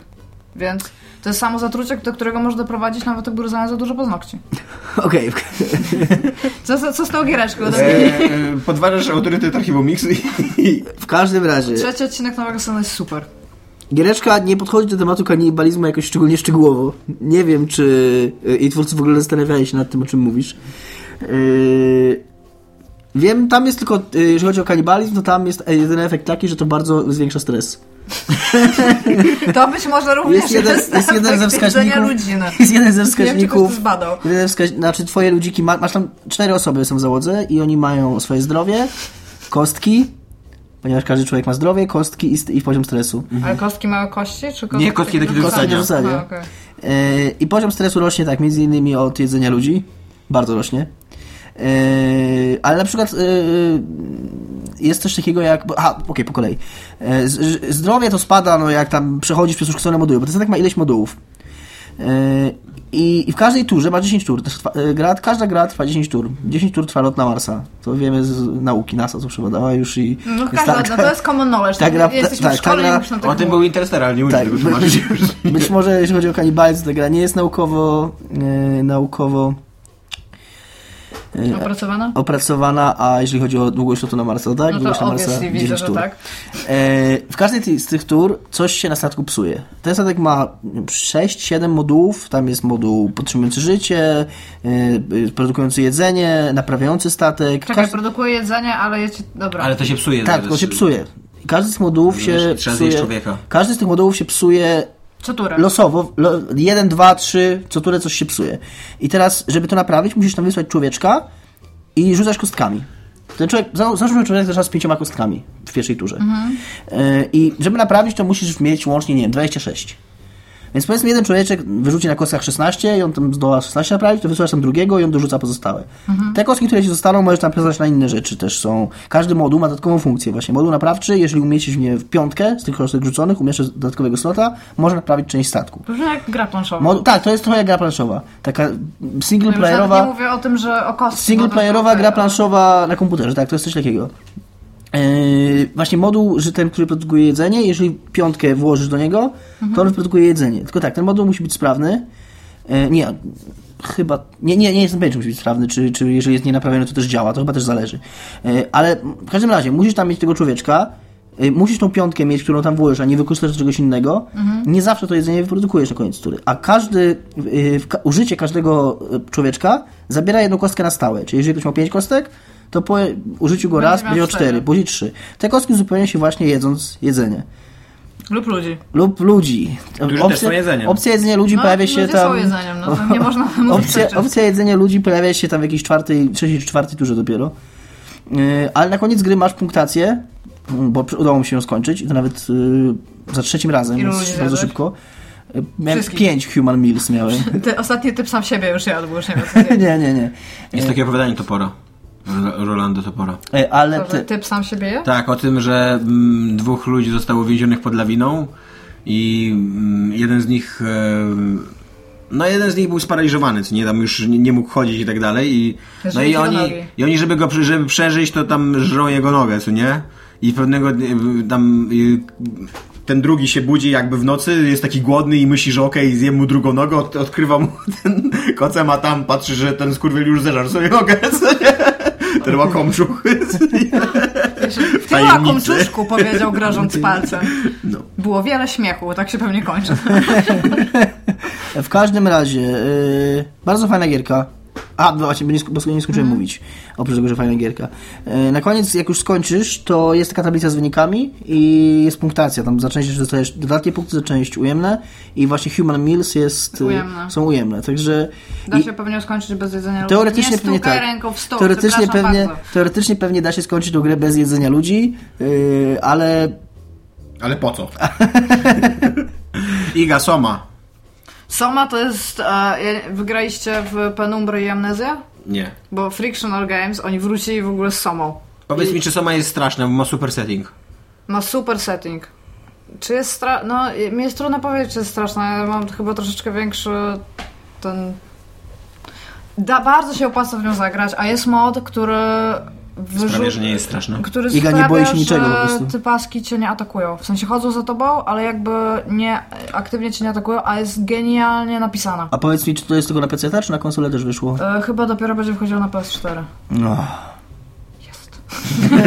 Speaker 2: Więc to jest samo zatrucie, do którego może doprowadzić nawet obgryzanie za dużo paznokci.
Speaker 3: Okej,
Speaker 2: Co, co, co z tą giereczką?
Speaker 4: E, e, podważasz autorytet archiwum Mix i, i
Speaker 3: w każdym razie.
Speaker 2: Trzeci odcinek Nowego Sezonu jest super.
Speaker 3: Giereczka nie podchodzi do tematu kanibalizmu jakoś szczególnie szczegółowo. Nie wiem, czy y, jej twórcy w ogóle zastanawiali się nad tym, o czym mówisz. Yy, Wiem, tam jest tylko, y, jeżeli chodzi o kanibalizm, to tam jest y, jedyny efekt taki, że to bardzo zwiększa stres.
Speaker 2: To być może również
Speaker 3: Jest
Speaker 2: jest, tak, jest,
Speaker 3: jeden- jest jeden ze
Speaker 2: jedzenia
Speaker 3: wskaźników-
Speaker 2: rodziny.
Speaker 3: Jest jeden ze
Speaker 2: no. Nie wiem, czy ktoś to
Speaker 3: wskaźników
Speaker 2: zbadał.
Speaker 3: Jeden wskaź... Znaczy twoje ludziki, ma... masz tam cztery osoby są w załodze i oni mają swoje zdrowie, kostki, ponieważ każdy człowiek ma zdrowie, kostki i, st- i poziom stresu.
Speaker 2: Ale kostki mają kości? Czy kostki
Speaker 4: Nie, kostki takie do
Speaker 3: wsadzenia.
Speaker 2: wsadzenia?
Speaker 3: Kostki do wsadzenia.
Speaker 2: A, okej.
Speaker 3: Yy, I poziom stresu rośnie tak, między innymi od jedzenia ludzi, bardzo rośnie. Yy, ale na przykład yy, jest coś takiego jak. bo- Aha, okej, po kolei. Yy, z- z- zdrowie to spada, no jak tam przechodzisz przez uszkodzone moduły, bo ten statek ma ileś modułów. Yy, I, I w każdej turze ma 10 tur. Trwa, yy, gra, każda gra trwa 10 tur. 10 tur trwa lot na Marsa. To wiemy z nauki NASA, co przebadała już i.
Speaker 2: No
Speaker 3: jest
Speaker 2: każda,
Speaker 3: ta- [LAUGHS]
Speaker 2: no to jest common knowledge.
Speaker 3: Tak,
Speaker 2: Tak,
Speaker 3: gra-
Speaker 2: Jesteśmy
Speaker 3: tak,
Speaker 2: w szkole,
Speaker 3: tak,
Speaker 2: nie
Speaker 3: gra-
Speaker 2: muszę na tego
Speaker 4: o tym był Interstellar, ale nie umiesz
Speaker 3: Tak,
Speaker 4: tego
Speaker 3: by-
Speaker 4: [LAUGHS] tłumaczyć.
Speaker 3: Być może jeśli chodzi o kanibalizm, to gra nie jest naukowo, e, naukowo
Speaker 2: opracowana.
Speaker 3: opracowana, a jeżeli chodzi o długość lotu na Marsa, to tak?
Speaker 2: No
Speaker 3: długość
Speaker 2: to
Speaker 3: na Marsa
Speaker 2: obviously widzę,
Speaker 3: 10
Speaker 2: że
Speaker 3: tur.
Speaker 2: tak.
Speaker 3: E, w każdej ty- z tych tur coś się na statku psuje. Ten statek ma 6-7 modułów. Tam jest moduł podtrzymujący życie, e, e, produkujący jedzenie, naprawiający statek.
Speaker 2: Czekaj,
Speaker 3: Każdy-
Speaker 2: produkuje jedzenie, ale je ci... Dobra.
Speaker 4: Ale to się psuje.
Speaker 3: tak, tylko się psuje. Każdy z tych modułów się
Speaker 4: Trzeba
Speaker 3: psuje.
Speaker 4: zjeść człowieka.
Speaker 3: Każdy z tych modułów się psuje
Speaker 2: Co turę.
Speaker 3: Losowo, lo, 1, 2, 3, co turę coś się psuje. I teraz, żeby to naprawić, musisz tam wysłać człowieczka i rzucać kostkami. Ten człowiek, za- załóżmy, że człowiek zaczyna z pięcioma kostkami w pierwszej turze. E, I żeby naprawić, to musisz mieć łącznie, nie wiem, 26. Więc powiedzmy, jeden człowieczek wyrzuci na kostkach 16 i on tam zdoła 16 naprawić, to wysyłasz tam drugiego i on dorzuca pozostałe. Te kostki, które ci zostaną, możesz tam przeznaczyć na inne rzeczy też są. Każdy moduł ma dodatkową funkcję właśnie. Moduł naprawczy, jeżeli umieścisz w nie w piątkę z tych kostek rzuconych, umieszczesz dodatkowego slota, może naprawić część statku.
Speaker 2: Brzmi jak gra planszowa.
Speaker 3: Modu- tak, to jest trochę jak gra planszowa. Taka single
Speaker 2: Ja No już nawet nie no
Speaker 3: playerowa.
Speaker 2: mówię o tym, że o kostce.
Speaker 3: Singleplayerowa gra planszowa na komputerze, tak, to jest coś takiego. Yy, właśnie moduł, że ten, który produkuje jedzenie, jeżeli piątkę włożysz do niego, to on produkuje jedzenie. Tylko tak, ten moduł musi być sprawny. Yy, nie, chyba. Nie, nie, nie jestem pewien, czy musi być sprawny, czy, czy jeżeli jest nienaprawiony, to też działa, to chyba też zależy. Yy, ale w każdym razie musisz tam mieć tego człowieczka. yy, Musisz tą piątkę mieć, którą tam włożysz, a nie wykorzystasz do czegoś innego.
Speaker 2: Mhm.
Speaker 3: Nie zawsze to jedzenie wyprodukujesz na koniec tury. A każdy, yy, w ka- użycie każdego yy, człowieczka zabiera jedną kostkę na stałe. Czyli jeżeli ktoś ma pięć kostek, to po użyciu go
Speaker 2: Będzie
Speaker 3: raz
Speaker 2: miał
Speaker 3: będzie miał
Speaker 2: cztery.
Speaker 3: cztery, później trzy. Te kostki uzupełnia się właśnie jedząc jedzenie.
Speaker 2: Lub ludzi.
Speaker 3: Lub ludzi.
Speaker 4: Którzy też są jedzeniem.
Speaker 3: Opcja jedzenia ludzi
Speaker 2: No,
Speaker 3: pojawia się
Speaker 2: ludzie
Speaker 3: tam...
Speaker 2: są jedzeniem, no
Speaker 3: [LAUGHS]
Speaker 2: to nie można mówić Znaczy,
Speaker 3: opcja,
Speaker 2: o czym.
Speaker 3: opcja jedzenia ludzi pojawia się tam w jakiejś czwartej, trzeciej czy czwartej turze dopiero. Yy, ale na koniec gry masz punktację, bo przy- udało mi się ją skończyć i to nawet yy, za trzecim razem,
Speaker 2: Ilu
Speaker 3: więc
Speaker 2: ludzi
Speaker 3: bardzo
Speaker 2: zjadłeś?
Speaker 3: szybko. Yy, Miałem
Speaker 2: Wszystkich.
Speaker 3: pięć human meals miałem. [LAUGHS]
Speaker 2: Ty ostatni typ sam siebie już jadł, bo już nie wiem co zjeść.
Speaker 3: nie, nie, nie.
Speaker 4: Jest takie opowiadanie Topora. Ro- Rolando Topora.
Speaker 3: Yy, ale...
Speaker 2: To, że
Speaker 3: Ty...
Speaker 2: Typ sam siebie je?
Speaker 4: Tak, o tym, że mm, dwóch ludzi zostało więzionych pod lawiną i mm, jeden z nich. E, no jeden z nich był sparaliżowany, co nie tam już nie, nie mógł chodzić i tak dalej. I, no
Speaker 2: Żyli
Speaker 4: i
Speaker 2: jego
Speaker 4: oni,
Speaker 2: nogi.
Speaker 4: i oni, żeby go przy- żeby przeżyć, to tam żrą jego nogę, co nie? I pewnego dnia, y, tam y, ten drugi się budzi jakby w nocy, jest taki głodny i myśli, że okej, zjem mu drugą nogę, od, odkrywa mu [LAUGHS] ten kocem, a tam patrzy, że ten skurwiel już zeżarł sobie nogę, co nie? Ten
Speaker 2: [LAUGHS]
Speaker 4: łakomczuch. co nie?
Speaker 3: Tak.
Speaker 2: Ty
Speaker 4: tajemnicy.
Speaker 2: łakomczuszku,
Speaker 3: [LAUGHS]
Speaker 2: powiedział grożąc palcem.
Speaker 4: No.
Speaker 2: Było wiele śmiechu, tak się pewnie kończy.
Speaker 3: [LAUGHS] W każdym razie, yy, bardzo fajna gierka. A, no właśnie, bo nie, sk- bo nie
Speaker 2: Mhm.
Speaker 3: skończyłem mówić. Oprócz tego, że fajna gierka. Yy, na koniec, jak już skończysz, to jest taka tablica z wynikami i jest punktacja. Tam za część dostajesz dodatnie punkty, za część ujemne. I właśnie Human Meals jest, yy,
Speaker 2: Ujemne.
Speaker 3: są ujemne. Także.
Speaker 2: Da
Speaker 3: i-
Speaker 2: się pewnie skończyć bez jedzenia ludzi.
Speaker 3: Teoretycznie
Speaker 2: nie
Speaker 3: pewnie
Speaker 2: stukaj
Speaker 3: tak.
Speaker 2: ręką w stół,
Speaker 3: teoretycznie,
Speaker 2: przepraszam
Speaker 3: pewnie,
Speaker 2: bardzo.
Speaker 3: teoretycznie pewnie da się skończyć tą grę bez jedzenia ludzi, yy, ale
Speaker 4: Ale po co? [LAUGHS] Iga Soma.
Speaker 2: Soma to jest... A, ja- wygraliście w Penumbry i Amnezję?
Speaker 4: Nie.
Speaker 2: Bo Frictional Games, oni wrócili w ogóle z Somą.
Speaker 4: Powiedz mi, czy Soma jest straszna, bo ma super setting.
Speaker 2: Ma super setting. Czy jest stra... No, y, mi jest trudno powiedzieć, czy jest straszna. Ja mam chyba troszeczkę większy ten... Da, bardzo się opłaca w nią zagrać, a jest mod, który...
Speaker 4: Prawie,
Speaker 2: Wyrzu-
Speaker 4: że nie jest straszna.
Speaker 2: który
Speaker 3: Iga, nie
Speaker 2: sprawia,
Speaker 3: boi się niczego po
Speaker 2: że
Speaker 3: prostu.
Speaker 2: te paski cię nie atakują. W sensie chodzą za tobą, ale jakby nie aktywnie cię nie atakują, a jest genialnie napisana.
Speaker 3: a powiedz mi, czy to jest tylko na PC, czy na konsolę też wyszło?
Speaker 2: E, chyba dopiero będzie wchodziła na PS4.
Speaker 3: No.
Speaker 2: Jest. [LAUGHS]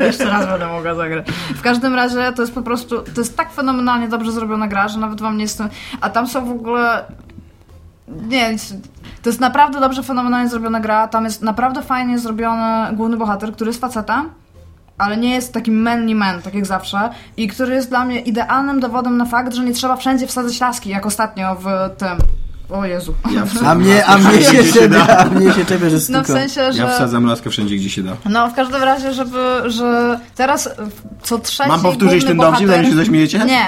Speaker 2: Jeszcze raz będę mogła zagrać. W każdym razie to jest po prostu, to jest tak fenomenalnie dobrze zrobiona gra, że nawet wam nie jestem... A tam są w ogóle... Nie wiem, to jest naprawdę dobrze, fenomenalnie zrobiona gra. Tam jest naprawdę fajnie zrobiony główny bohater, który jest facetem, ale nie jest takim manly man, tak jak zawsze, i który jest dla mnie idealnym dowodem na fakt, że nie trzeba wszędzie wsadzać laski, jak ostatnio w tym... O Jezu.
Speaker 4: Ja
Speaker 3: A mnie, a mnie się czepia, a mnie się czepia, że stuka.
Speaker 2: No w sensie, że...
Speaker 4: Ja wsadzam laskę wszędzie, gdzie się da.
Speaker 2: No, w każdym razie, żeby, że teraz y, co trzeci
Speaker 4: Mam powtórzyć
Speaker 2: główny
Speaker 4: ten
Speaker 2: bohater...
Speaker 4: dowcip, zanim się zaśmiejecie? [LAUGHS]
Speaker 2: Nie.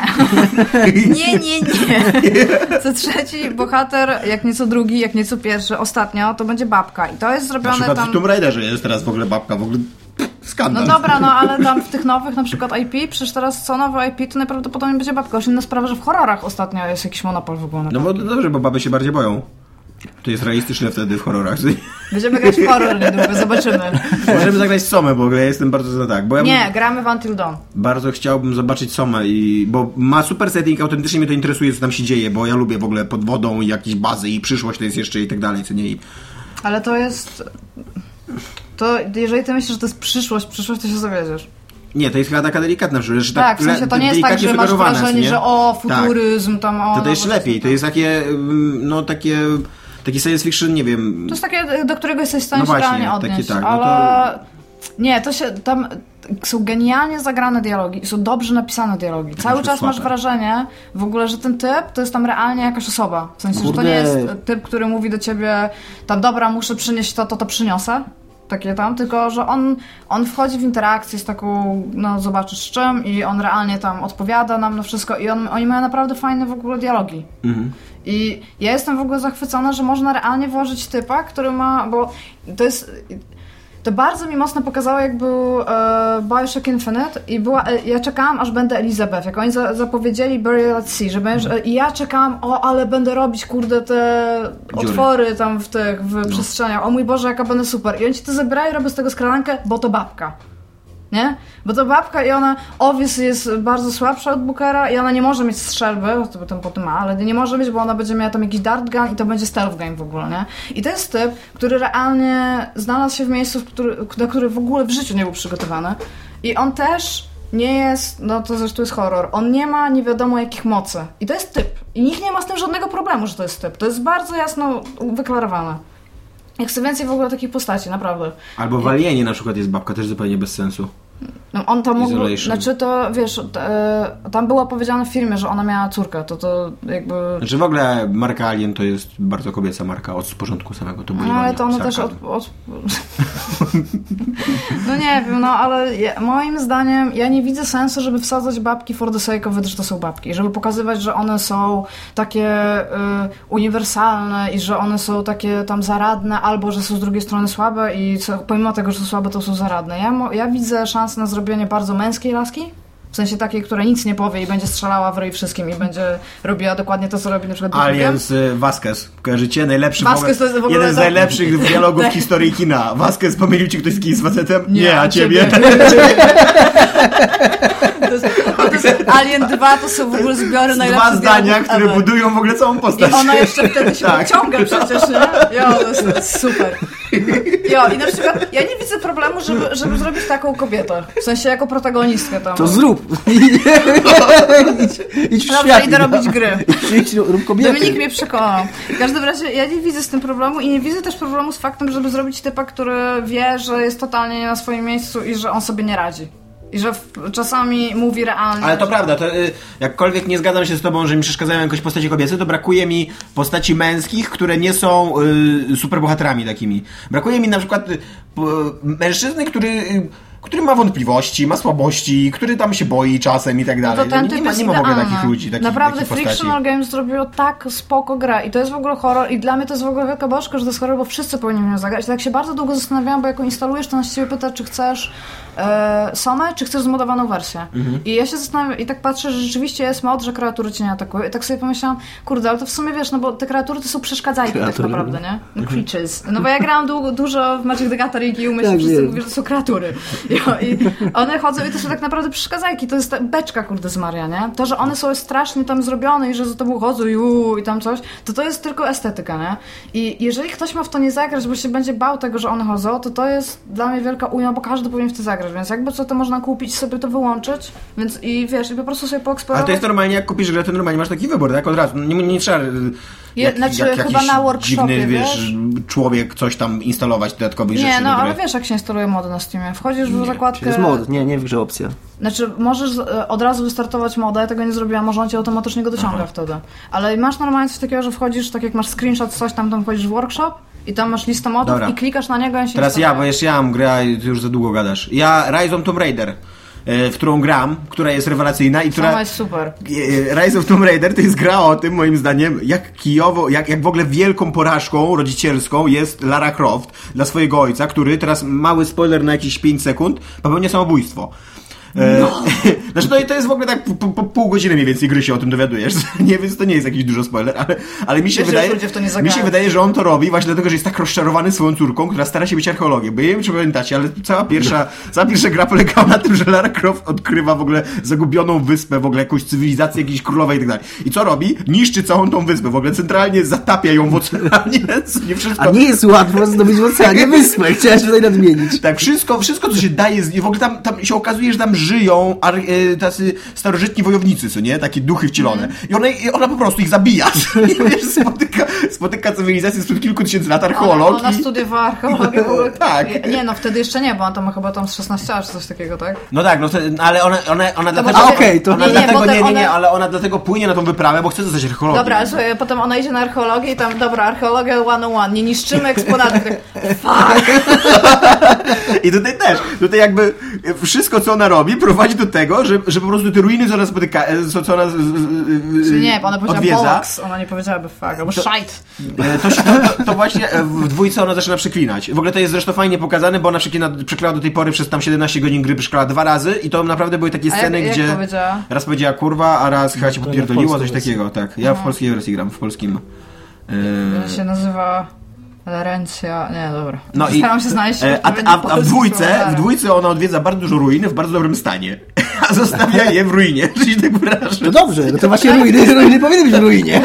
Speaker 2: nie, nie, nie. Co trzeci bohater, jak nieco drugi, jak nieco pierwszy, ostatnio, to będzie babka. I to jest
Speaker 4: Na
Speaker 2: zrobione
Speaker 4: przykład
Speaker 2: tam...
Speaker 4: w Tomb Raiderze jest teraz w ogóle babka, w ogóle pff,
Speaker 2: No
Speaker 4: skandal.
Speaker 2: dobra, no ale tam w tych nowych, na przykład IP, przecież teraz co nowe IP, to najprawdopodobniej będzie babka. Już inna sprawa, że w horrorach ostatnio jest jakiś monopol w ogóle. na
Speaker 4: No bo dobrze, bo baby się bardziej boją. To jest realistyczne wtedy w horrorach.
Speaker 2: Będziemy grać w horror niedługo,
Speaker 4: [LAUGHS]
Speaker 2: zobaczymy.
Speaker 4: Możemy zagrać Somę, bo ja jestem bardzo za tak. Bo ja bym-
Speaker 2: Nie, gramy w Until Dawn.
Speaker 4: Bardzo chciałbym zobaczyć Somę i bo ma super setting, autentycznie mnie to interesuje, co tam się dzieje, bo ja lubię w ogóle pod wodą i jakieś bazy i przyszłość to jest jeszcze i tak dalej, co nie. I
Speaker 2: Ale to jest... To jeżeli ty myślisz, że to jest przyszłość, przyszłość, to się zawiedziesz.
Speaker 4: Nie, to jest chyba taka delikatna rzecz. że
Speaker 2: Tak, w sensie
Speaker 4: Tak, le-
Speaker 2: to nie jest tak,
Speaker 4: delikatnie
Speaker 2: że masz
Speaker 4: sugerowane, co
Speaker 2: wrażenie,
Speaker 4: nie?
Speaker 2: że o,
Speaker 4: Tak.
Speaker 2: futuryzm, tam o... no
Speaker 4: To, to jeszcze
Speaker 2: nowoczesne.
Speaker 4: lepiej, to jest takie, mm, no takie, taki science fiction, nie wiem.
Speaker 2: To jest takie, do którego jesteś w stanie
Speaker 4: No
Speaker 2: się
Speaker 4: właśnie,
Speaker 2: realnie
Speaker 4: takie
Speaker 2: odnieść,
Speaker 4: tak, no to-
Speaker 2: ale Nie, to się tam są genialnie zagrane dialogi, są dobrze napisane dialogi. Cały
Speaker 4: to
Speaker 2: czas masz
Speaker 4: słabe.
Speaker 2: wrażenie w ogóle, że ten typ to jest tam realnie jakaś osoba. W sensie, że to
Speaker 3: Kurde.
Speaker 2: nie jest e, typ, który mówi do ciebie tam dobra, muszę przynieść to, to, to przyniosę. Takie tam, tylko że on, on wchodzi w interakcję z taką, no zobaczysz z czym i on realnie tam odpowiada nam na wszystko i on, oni mają naprawdę fajne w ogóle dialogi. I ja jestem w ogóle zachwycona, że można realnie włożyć typa, który ma, bo to jest... To bardzo mi mocno pokazało, jak był e, Bioshock Infinite i była, e, ja czekałam, aż będę Elizabeth, jak oni za, zapowiedzieli Burial at Sea, że będziesz, e, i ja czekałam, o, ale będę robić, kurde, te
Speaker 4: Dziury.
Speaker 2: otwory tam w tych, w przestrzeniach, o mój Boże, jaka będę super. I oni ci to zebrali, robię z tego skradankę, bo to babka. Nie? Bo to babka i ona, Owies jest bardzo słabsza od Bookera i ona nie może mieć strzelby, to potem potem ma, ale nie może mieć, bo ona będzie miała tam jakiś dart gun i to będzie stealth game w ogóle, nie? I to jest typ, który realnie znalazł się w miejscu, w który, na który w ogóle w życiu nie był przygotowany. I on też nie jest, no to zresztą jest horror, on nie ma nie wiadomo jakich mocy. I to jest typ. I nikt nie ma z tym żadnego problemu, że to jest typ. To jest bardzo jasno wyklarowane. Jak chcę więcej w ogóle takich postaci, naprawdę.
Speaker 4: Albo w Alienie na przykład jest babka, też zupełnie bez sensu.
Speaker 2: No on tam mógł,
Speaker 4: Isolation.
Speaker 2: znaczy to wiesz, t, e, tam było powiedziane w filmie, że ona miała córkę, to to jakby...
Speaker 4: Znaczy w ogóle marka Alien to jest bardzo kobieca marka od początku samego to
Speaker 2: No ale to ona też od... od... [LAUGHS] no nie wiem, no ale ja, moim zdaniem ja nie widzę sensu, żeby wsadzać babki for the sake of it, że to są babki. Żeby pokazywać, że one są takie y, uniwersalne i że one są takie tam zaradne albo, że są z drugiej strony słabe i co, pomimo tego, że są słabe, to są zaradne. Ja, mo- ja widzę szansę na zrobienie bardzo męskiej laski. W sensie takiej, która nic nie powie i będzie strzelała w ryj wszystkim i będzie robiła dokładnie to, co robi na przykład Deadpool.
Speaker 4: Alien z y, Vasquez. Kojarzycie? Najlepszy
Speaker 2: Vasquez to jest w ogóle
Speaker 4: jeden z
Speaker 2: tak- [LAUGHS]
Speaker 4: najlepszych dialogów w historii kina. Vasquez pomylił ci ktoś z kimś z facetem? Nie, a
Speaker 2: [LAUGHS]
Speaker 4: ciebie?
Speaker 2: To jest, to jest Alien 2 to są w ogóle zbiory
Speaker 4: Dwa
Speaker 2: najlepszych
Speaker 4: zdania,
Speaker 2: dialogów
Speaker 4: które
Speaker 2: ever.
Speaker 4: budują w ogóle całą postać.
Speaker 2: I ona jeszcze wtedy się
Speaker 4: Tak.
Speaker 2: pociąga przecież, nie? Jo, to jest super. Jo, i na przykład ja nie widzę problemu, żeby, żeby zrobić taką kobietę. W sensie jako protagonistkę tam.
Speaker 3: To zrób. [LAUGHS] Idź w
Speaker 2: Dobrze,
Speaker 3: świat.
Speaker 2: idę robić
Speaker 4: [LAUGHS]
Speaker 2: gry.
Speaker 3: Idź- Idź rób
Speaker 2: Dominik
Speaker 3: kobiety.
Speaker 2: mnie przekonał. W każdym razie ja nie widzę z tym problemu i nie widzę też problemu z faktem, żeby zrobić typa, który wie, że jest totalnie nie na swoim miejscu i że on sobie nie radzi. I że w, czasami mówi realnie.
Speaker 4: Ale to
Speaker 2: że-
Speaker 4: prawda, to, y, jakkolwiek nie zgadzam się z tobą, że mi przeszkadzają jakoś postacie kobiece, to brakuje mi postaci męskich, które nie są y, superbohaterami takimi. Brakuje mi na przykład y, p- mężczyzny, który... y, który ma wątpliwości, ma słabości, który tam się boi czasem i tak
Speaker 2: No
Speaker 4: dalej.
Speaker 2: to ten
Speaker 4: nie,
Speaker 2: typ
Speaker 4: nie, ma,
Speaker 2: jest
Speaker 4: nie ma w ogóle
Speaker 2: idealny.
Speaker 4: takich ludzi, takich,
Speaker 2: Naprawdę
Speaker 4: takich postaci.
Speaker 2: Frictional Games zrobiło tak spoko grę i to jest w ogóle horror i dla mnie to jest w ogóle wielka bożka, że to jest horror, bo wszyscy powinni w nią zagrać. Tak się bardzo długo zastanawiałam, bo jak ją instalujesz, to on się ciebie pyta, czy chcesz e, samę, czy chcesz zmodowaną wersję.
Speaker 4: Mhm.
Speaker 2: I ja się zastanawiam i tak patrzę, że rzeczywiście jest mod, że kreatury cię nie atakują i tak sobie pomyślałam, kurde, ale to w sumie wiesz, no bo te kreatury to są przeszkadzajki tak
Speaker 3: Kreatury.
Speaker 2: naprawdę, nie? No,
Speaker 4: Mhm.
Speaker 2: creatures. No bo ja grałam dłu- dużo w Magic the Gathering i umyśl
Speaker 3: Tak,
Speaker 2: wszyscy
Speaker 3: wiem.
Speaker 2: mówią, że to są [LAUGHS] kreatury. I, I one chodzą i to są tak naprawdę przeszkadzajki. To jest ta beczka, kurde, z Maria, nie? To, że one są strasznie tam zrobione i że za tobą chodzą i, uu, i tam coś, to to jest tylko estetyka, nie? I jeżeli ktoś ma w to nie zagrać, bo się będzie bał tego, że one chodzą, to to jest dla mnie wielka ujma, bo każdy powinien w to zagrać, więc jakby co, to można kupić, sobie to wyłączyć, więc i wiesz, i po prostu sobie
Speaker 4: Ale
Speaker 2: poeksperymentować.
Speaker 4: to jest normalnie, jak kupisz grę, to normalnie masz taki wybór, tak? Od razu. Nie, nie trzeba. y,
Speaker 2: Je- znaczy, chyba
Speaker 4: jakiś
Speaker 2: na workshopie,
Speaker 4: dziwny,
Speaker 2: wiesz?
Speaker 4: wiesz, człowiek coś tam instalować dodatkowych
Speaker 2: Nie,
Speaker 4: rzeczy
Speaker 2: no
Speaker 4: do gry.
Speaker 2: ale wiesz, jak się instaluje mody na Steamie. Wchodzisz w
Speaker 3: To
Speaker 2: zakładkę...
Speaker 3: jest mod, nie, nie w grze opcja.
Speaker 2: Znaczy, możesz e, od razu wystartować moda, ja tego nie zrobiłam, może on cię automatycznie go dociąga wtedy. Ale masz normalnie coś takiego, że wchodzisz, tak jak masz screenshot, coś tam, tam wchodzisz w workshop i tam masz listę modów
Speaker 4: Dobra.
Speaker 2: i klikasz na niego i on się
Speaker 4: Teraz ja,
Speaker 2: instaluje.
Speaker 4: bo jeszcze ja mam grę, a ty już za długo gadasz. Ja Rise of Tomb Raider, e, w którą gram, która jest rewelacyjna i która...
Speaker 2: Sama jest super.
Speaker 4: E, Rise of Tomb Raider to jest gra o tym, moim zdaniem, jak kijowo, jak, jak w ogóle wielką porażką rodzicielską jest Lara Croft dla swojego ojca, który, teraz mały spoiler na jakieś 5 sekund, popełnia samobójstwo. E, [LAUGHS] Znaczy no i to jest w ogóle tak po, po pół godziny mniej więcej gry się o tym dowiadujesz, [LAUGHS] nie, więc to nie jest jakiś dużo spoiler, ale, ale mi się
Speaker 2: Wiesz, że
Speaker 4: wydaje,
Speaker 2: ludzie w to nie
Speaker 4: mi się
Speaker 2: zagrają.
Speaker 4: wydaje, że on to robi właśnie dlatego, że jest tak rozczarowany swoją córką, która stara się być archeologiem, bo ja nie wiem czy pamiętacie, ale cała pierwsza,
Speaker 3: No.
Speaker 4: cała pierwsza gra polegała na tym, że Lara Croft odkrywa w ogóle zagubioną wyspę, w ogóle jakąś cywilizację jakiejś królowej i tak dalej. I co robi? Niszczy całą tą wyspę, w ogóle centralnie zatapia ją w oceanie, [LAUGHS] nie wszystko...
Speaker 3: A nie jest łatwo zdobyć w oceanie wyspę. Chciałeś tutaj nadmienić.
Speaker 4: Tak, wszystko, wszystko co się daje, z- w ogóle tam, tam się okazuje, że tam żyją ar- e, tacy starożytni wojownicy, co nie? Takie duchy wcielone.
Speaker 3: Mhm.
Speaker 4: I ona, i ona po prostu ich zabija. [LAUGHS] I wiesz, spotyka, spotyka cywilizację sprzed kilku tysięcy lat archeolog.
Speaker 2: Ona, ona
Speaker 4: i...
Speaker 2: studiowała archeologię. w ogóle.
Speaker 4: [LAUGHS] Tak.
Speaker 2: Nie, no wtedy jeszcze nie, bo on to ma chyba tam z 16 aż coś takiego, tak?
Speaker 4: No tak, no to, ale ona, ona, ona dlatego...
Speaker 3: może- A, okej, to-
Speaker 4: Ona
Speaker 2: No nie, nie,
Speaker 4: dlatego,
Speaker 2: potem
Speaker 4: nie, nie,
Speaker 2: ona-
Speaker 4: nie, ale ona dlatego płynie na tą wyprawę, bo chce zostać archeologiem.
Speaker 2: Dobra, że potem ona idzie na archeologię i tam, dobra, archeologia one on one, nie niszczymy eksponatów.
Speaker 4: [LAUGHS]
Speaker 2: Tak, fuck!
Speaker 4: I tutaj też, tutaj jakby wszystko, co ona robi, prowadzi do tego, że, że po prostu te ruiny, co ona spotyka, e, co, co ona z- z- z-
Speaker 2: Czyli nie, bo ona powiedziała
Speaker 4: odwiedza,
Speaker 2: bollocks, ona nie powiedziałaby fuck, albo shite.
Speaker 4: e, to, się- to, to, to właśnie e, w dwójce ona zaczyna przeklinać. W ogóle to jest zresztą fajnie pokazane, bo ona przeklina, przeklała do tej pory przez tam 17 godzin gry, przeklała dwa razy i to naprawdę były takie
Speaker 2: A jak-
Speaker 4: sceny,
Speaker 2: jak
Speaker 4: gdzie
Speaker 2: powiedziała?
Speaker 4: raz powiedziała kurwa, a raz chyba się
Speaker 3: To na
Speaker 4: podpierdoliło,
Speaker 3: polskiej
Speaker 4: coś
Speaker 3: wersji.
Speaker 4: takiego, tak. Ja w polskiej wersji gram, w polskim... e,
Speaker 2: To się nazywa Lerencja, nie, dobra.
Speaker 4: No i-
Speaker 2: Staram się znaleźć
Speaker 4: E, A,
Speaker 2: odpowiedni
Speaker 4: a, a w
Speaker 2: polski
Speaker 4: dwójce,
Speaker 2: słowo.
Speaker 4: w dwójce ona odwiedza bardzo dużo ruiny w bardzo dobrym stanie. [LAUGHS] A zostawia je w ruinie, [LAUGHS] że się tak wyrażę.
Speaker 3: No dobrze, no to
Speaker 2: Tak.
Speaker 3: właśnie ruiny, ruiny powinny być w ruinie.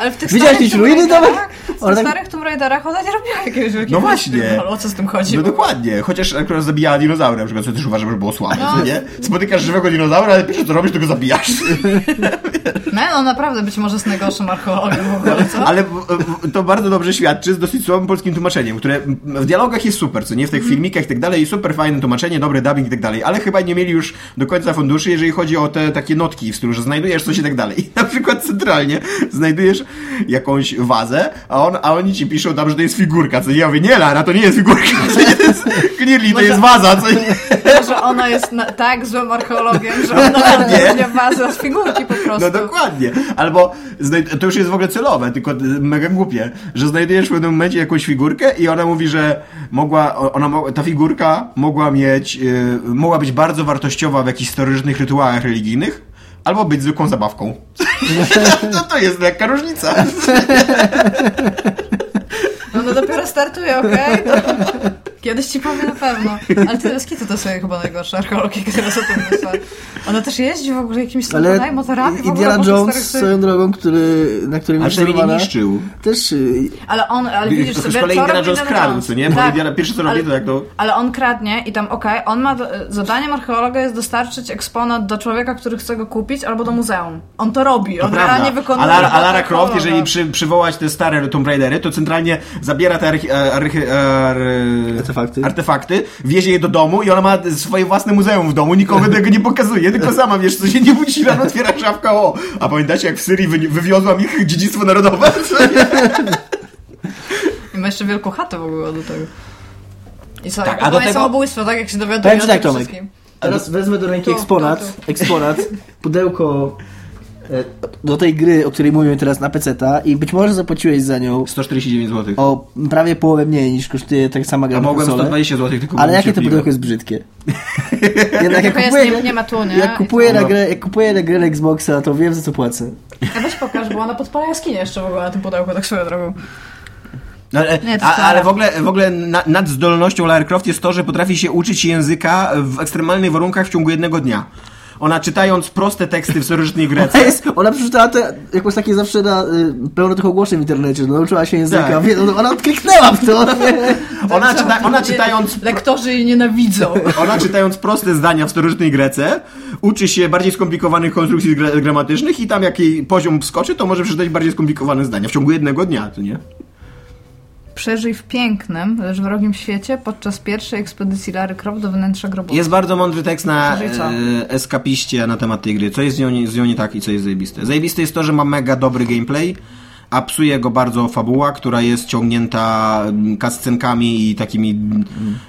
Speaker 2: Ale w tych
Speaker 3: Widziałeś
Speaker 2: starych
Speaker 3: jakieś
Speaker 2: Tomb
Speaker 3: ruiny
Speaker 2: Raiderach-
Speaker 3: domek?
Speaker 2: W tych
Speaker 3: One tak-
Speaker 2: starych Tomb Raiderach ona nie robiła jakiegoś wielkiego...
Speaker 4: No właśnie.
Speaker 2: [LAUGHS] O co z tym chodzi?
Speaker 4: No dokładnie, chociaż akurat zabijała dinozaury, na przykład, co też uważam, że było słabe,
Speaker 2: No.
Speaker 4: co nie? Spotykasz żywego dinozaura, ale pierwsze co robisz, to go zabijasz.
Speaker 2: Nie, no naprawdę być może z najgorszym archeologiem w ogóle, co?
Speaker 4: [LAUGHS] Ale w- w- to bardzo dobrze świadczy z dosyć słabym polskim tłumaczeniem, które w dialogach jest super, co nie? W tych filmikach i tak dalej, super fajne tłumaczenie, dobry dubbing i tak dalej, ale chyba nie mieli już do końca funduszy, jeżeli chodzi o te takie notki w stylu, że znajdujesz coś i tak dalej. [LAUGHS] Na przykład centralnie znajdujesz jakąś wazę, a, on, a oni ci piszą tam, że to jest figurka, co nie? Ja mówię, nie Lara, to nie jest figurka, [LAUGHS] co nie? To jest, clearly, to
Speaker 2: Może-
Speaker 4: jest waza, co nie?
Speaker 2: że ona jest na, tak złym archeologiem, że ona
Speaker 4: [LAUGHS]
Speaker 2: odróżnia bazę z figurki po prostu.
Speaker 4: No dokładnie. Albo znajd- to już jest w ogóle celowe, tylko y, mega głupie, że znajdujesz w pewnym momencie jakąś figurkę i ona mówi, że mogła, o- ona, mo- ta figurka mogła mieć, y, mogła być bardzo wartościowa w jakichś starożytnych rytuałach religijnych, albo być zwykłą zabawką. [LAUGHS] no to jest lekka różnica.
Speaker 2: No, no dopiero startuje, okej? To... Kiedyś ci powiem na pewno. Ale te Skity to są chyba najgorsze archeologii, które są tym myślę. Ona też jeździ w ogóle jakimiś samochodami, motorami. w ogóle po
Speaker 3: Indiana
Speaker 2: tych
Speaker 3: Jones e,
Speaker 2: starych-
Speaker 3: swoją drogą, który, na którym
Speaker 4: A
Speaker 3: jest
Speaker 4: przynajmniej nie
Speaker 3: wzorowana,
Speaker 4: niszczył.
Speaker 3: też y,
Speaker 2: Ale on, ale
Speaker 4: Gdy-
Speaker 2: widzisz
Speaker 4: to
Speaker 2: sobie,
Speaker 4: z kolei
Speaker 2: co
Speaker 4: Indiana
Speaker 2: robi Tak.
Speaker 4: Jones
Speaker 2: Indiana
Speaker 4: kradł,
Speaker 2: Jones.
Speaker 4: co nie? Bo Indiana- pierwsze, co robi,
Speaker 2: ale-
Speaker 4: to jak to-
Speaker 2: Ale on kradnie i tam, okej, on ma, do, zadanie archeologa jest dostarczyć eksponat do człowieka, który chce go kupić, albo do muzeum. On to robi,
Speaker 4: To
Speaker 2: on
Speaker 4: prawda.
Speaker 2: realnie wykonuje
Speaker 4: A Lara, a
Speaker 2: robotę
Speaker 4: Lara Croft,
Speaker 2: archeologa.
Speaker 4: jeżeli przy, przywołać te stare Tomb Raidery, to centralnie zabiera te archi, archi, ar,
Speaker 3: Artefakty.
Speaker 4: artefakty, wiezie je do domu i ona ma swoje własne muzeum w domu, nikomu tego nie pokazuje,
Speaker 3: [LAUGHS]
Speaker 4: tylko sama wiesz, co się nie budzi, rano otwiera szafka, o, a pamiętacie jak w Syrii wy, wywiozłam ich dziedzictwo
Speaker 3: [LAUGHS]
Speaker 4: narodowe?
Speaker 2: I ma jeszcze wielką chatę w ogóle do tego. I co,
Speaker 4: Tak,
Speaker 2: tak,
Speaker 4: a do tego-
Speaker 2: samobójstwo, tak jak się dowiaduje
Speaker 3: Powiem ci
Speaker 2: o
Speaker 3: tak,
Speaker 2: tym
Speaker 3: Tomek.
Speaker 2: wszystkim.
Speaker 3: Teraz wezmę do ręki
Speaker 2: Tu,
Speaker 3: eksponat,
Speaker 2: tu, [LAUGHS]
Speaker 3: eksponat, pudełko e, do tej gry, o której mówimy teraz na PC-ta i być może zapłaciłeś za nią
Speaker 4: 149 zł.
Speaker 3: o prawie połowę mniej niż kosztuje tak sama gra
Speaker 4: A
Speaker 3: na
Speaker 4: mogłem
Speaker 3: konsolę.
Speaker 4: 120 zł, tylko
Speaker 3: Ale
Speaker 4: byłem
Speaker 3: jakie to
Speaker 4: cierpliwy.
Speaker 3: pudełko jest
Speaker 4: [LAUGHS]
Speaker 3: brzydkie. Jednak
Speaker 2: Tylko jest, nie- nie ma tu, nie? No.
Speaker 3: Jak kupuję,
Speaker 4: I to-
Speaker 3: na grę, jak kupuję na grę na Xboxa, to wiem za co płacę. [LAUGHS]
Speaker 2: A weź pokaż, bo ona podpala jaskinię jeszcze w ogóle na tym pudełku, tak swoją drogą.
Speaker 4: No, ale,
Speaker 2: Nie, to
Speaker 4: a,
Speaker 2: wcale.
Speaker 4: ale w ogóle, w ogóle na, nad zdolnością Lara Croft jest to, że potrafi się uczyć języka w ekstremalnych warunkach w ciągu jednego dnia. Ona czytając proste teksty w starożytnej Grecji.
Speaker 3: A
Speaker 2: [LAUGHS]
Speaker 3: jest, ona przeczytała te, jakoś takie zawsze na, y, pełno tych ogłoszeń w internecie, no, nauczyła się języka, [LAUGHS]
Speaker 4: Tak.
Speaker 3: wie, ona odkliknęła w to.
Speaker 4: [LAUGHS]
Speaker 2: Tak,
Speaker 4: Ona, czyta, ona czytając
Speaker 2: Lektorzy jej nienawidzą.
Speaker 4: Ona czytając proste zdania w starożytnej Grece, uczy się bardziej skomplikowanych konstrukcji gra- gramatycznych i tam jak jej poziom skoczy, to może przeczytać bardziej skomplikowane zdania w ciągu jednego dnia, to nie?
Speaker 2: Przeżyj w pięknym, lecz wrogim świecie podczas pierwszej ekspedycji Lary Croft do wnętrza grobu.
Speaker 4: Jest bardzo mądry tekst na
Speaker 2: Przeżyj co?
Speaker 4: e, eskapiście na temat tej gry. Co jest z nią, z nią nie tak i co jest zajebiste. Zajebiste jest to, że ma mega dobry gameplay, a psuje go bardzo fabuła, która jest ciągnięta mm, cutscenkami i takimi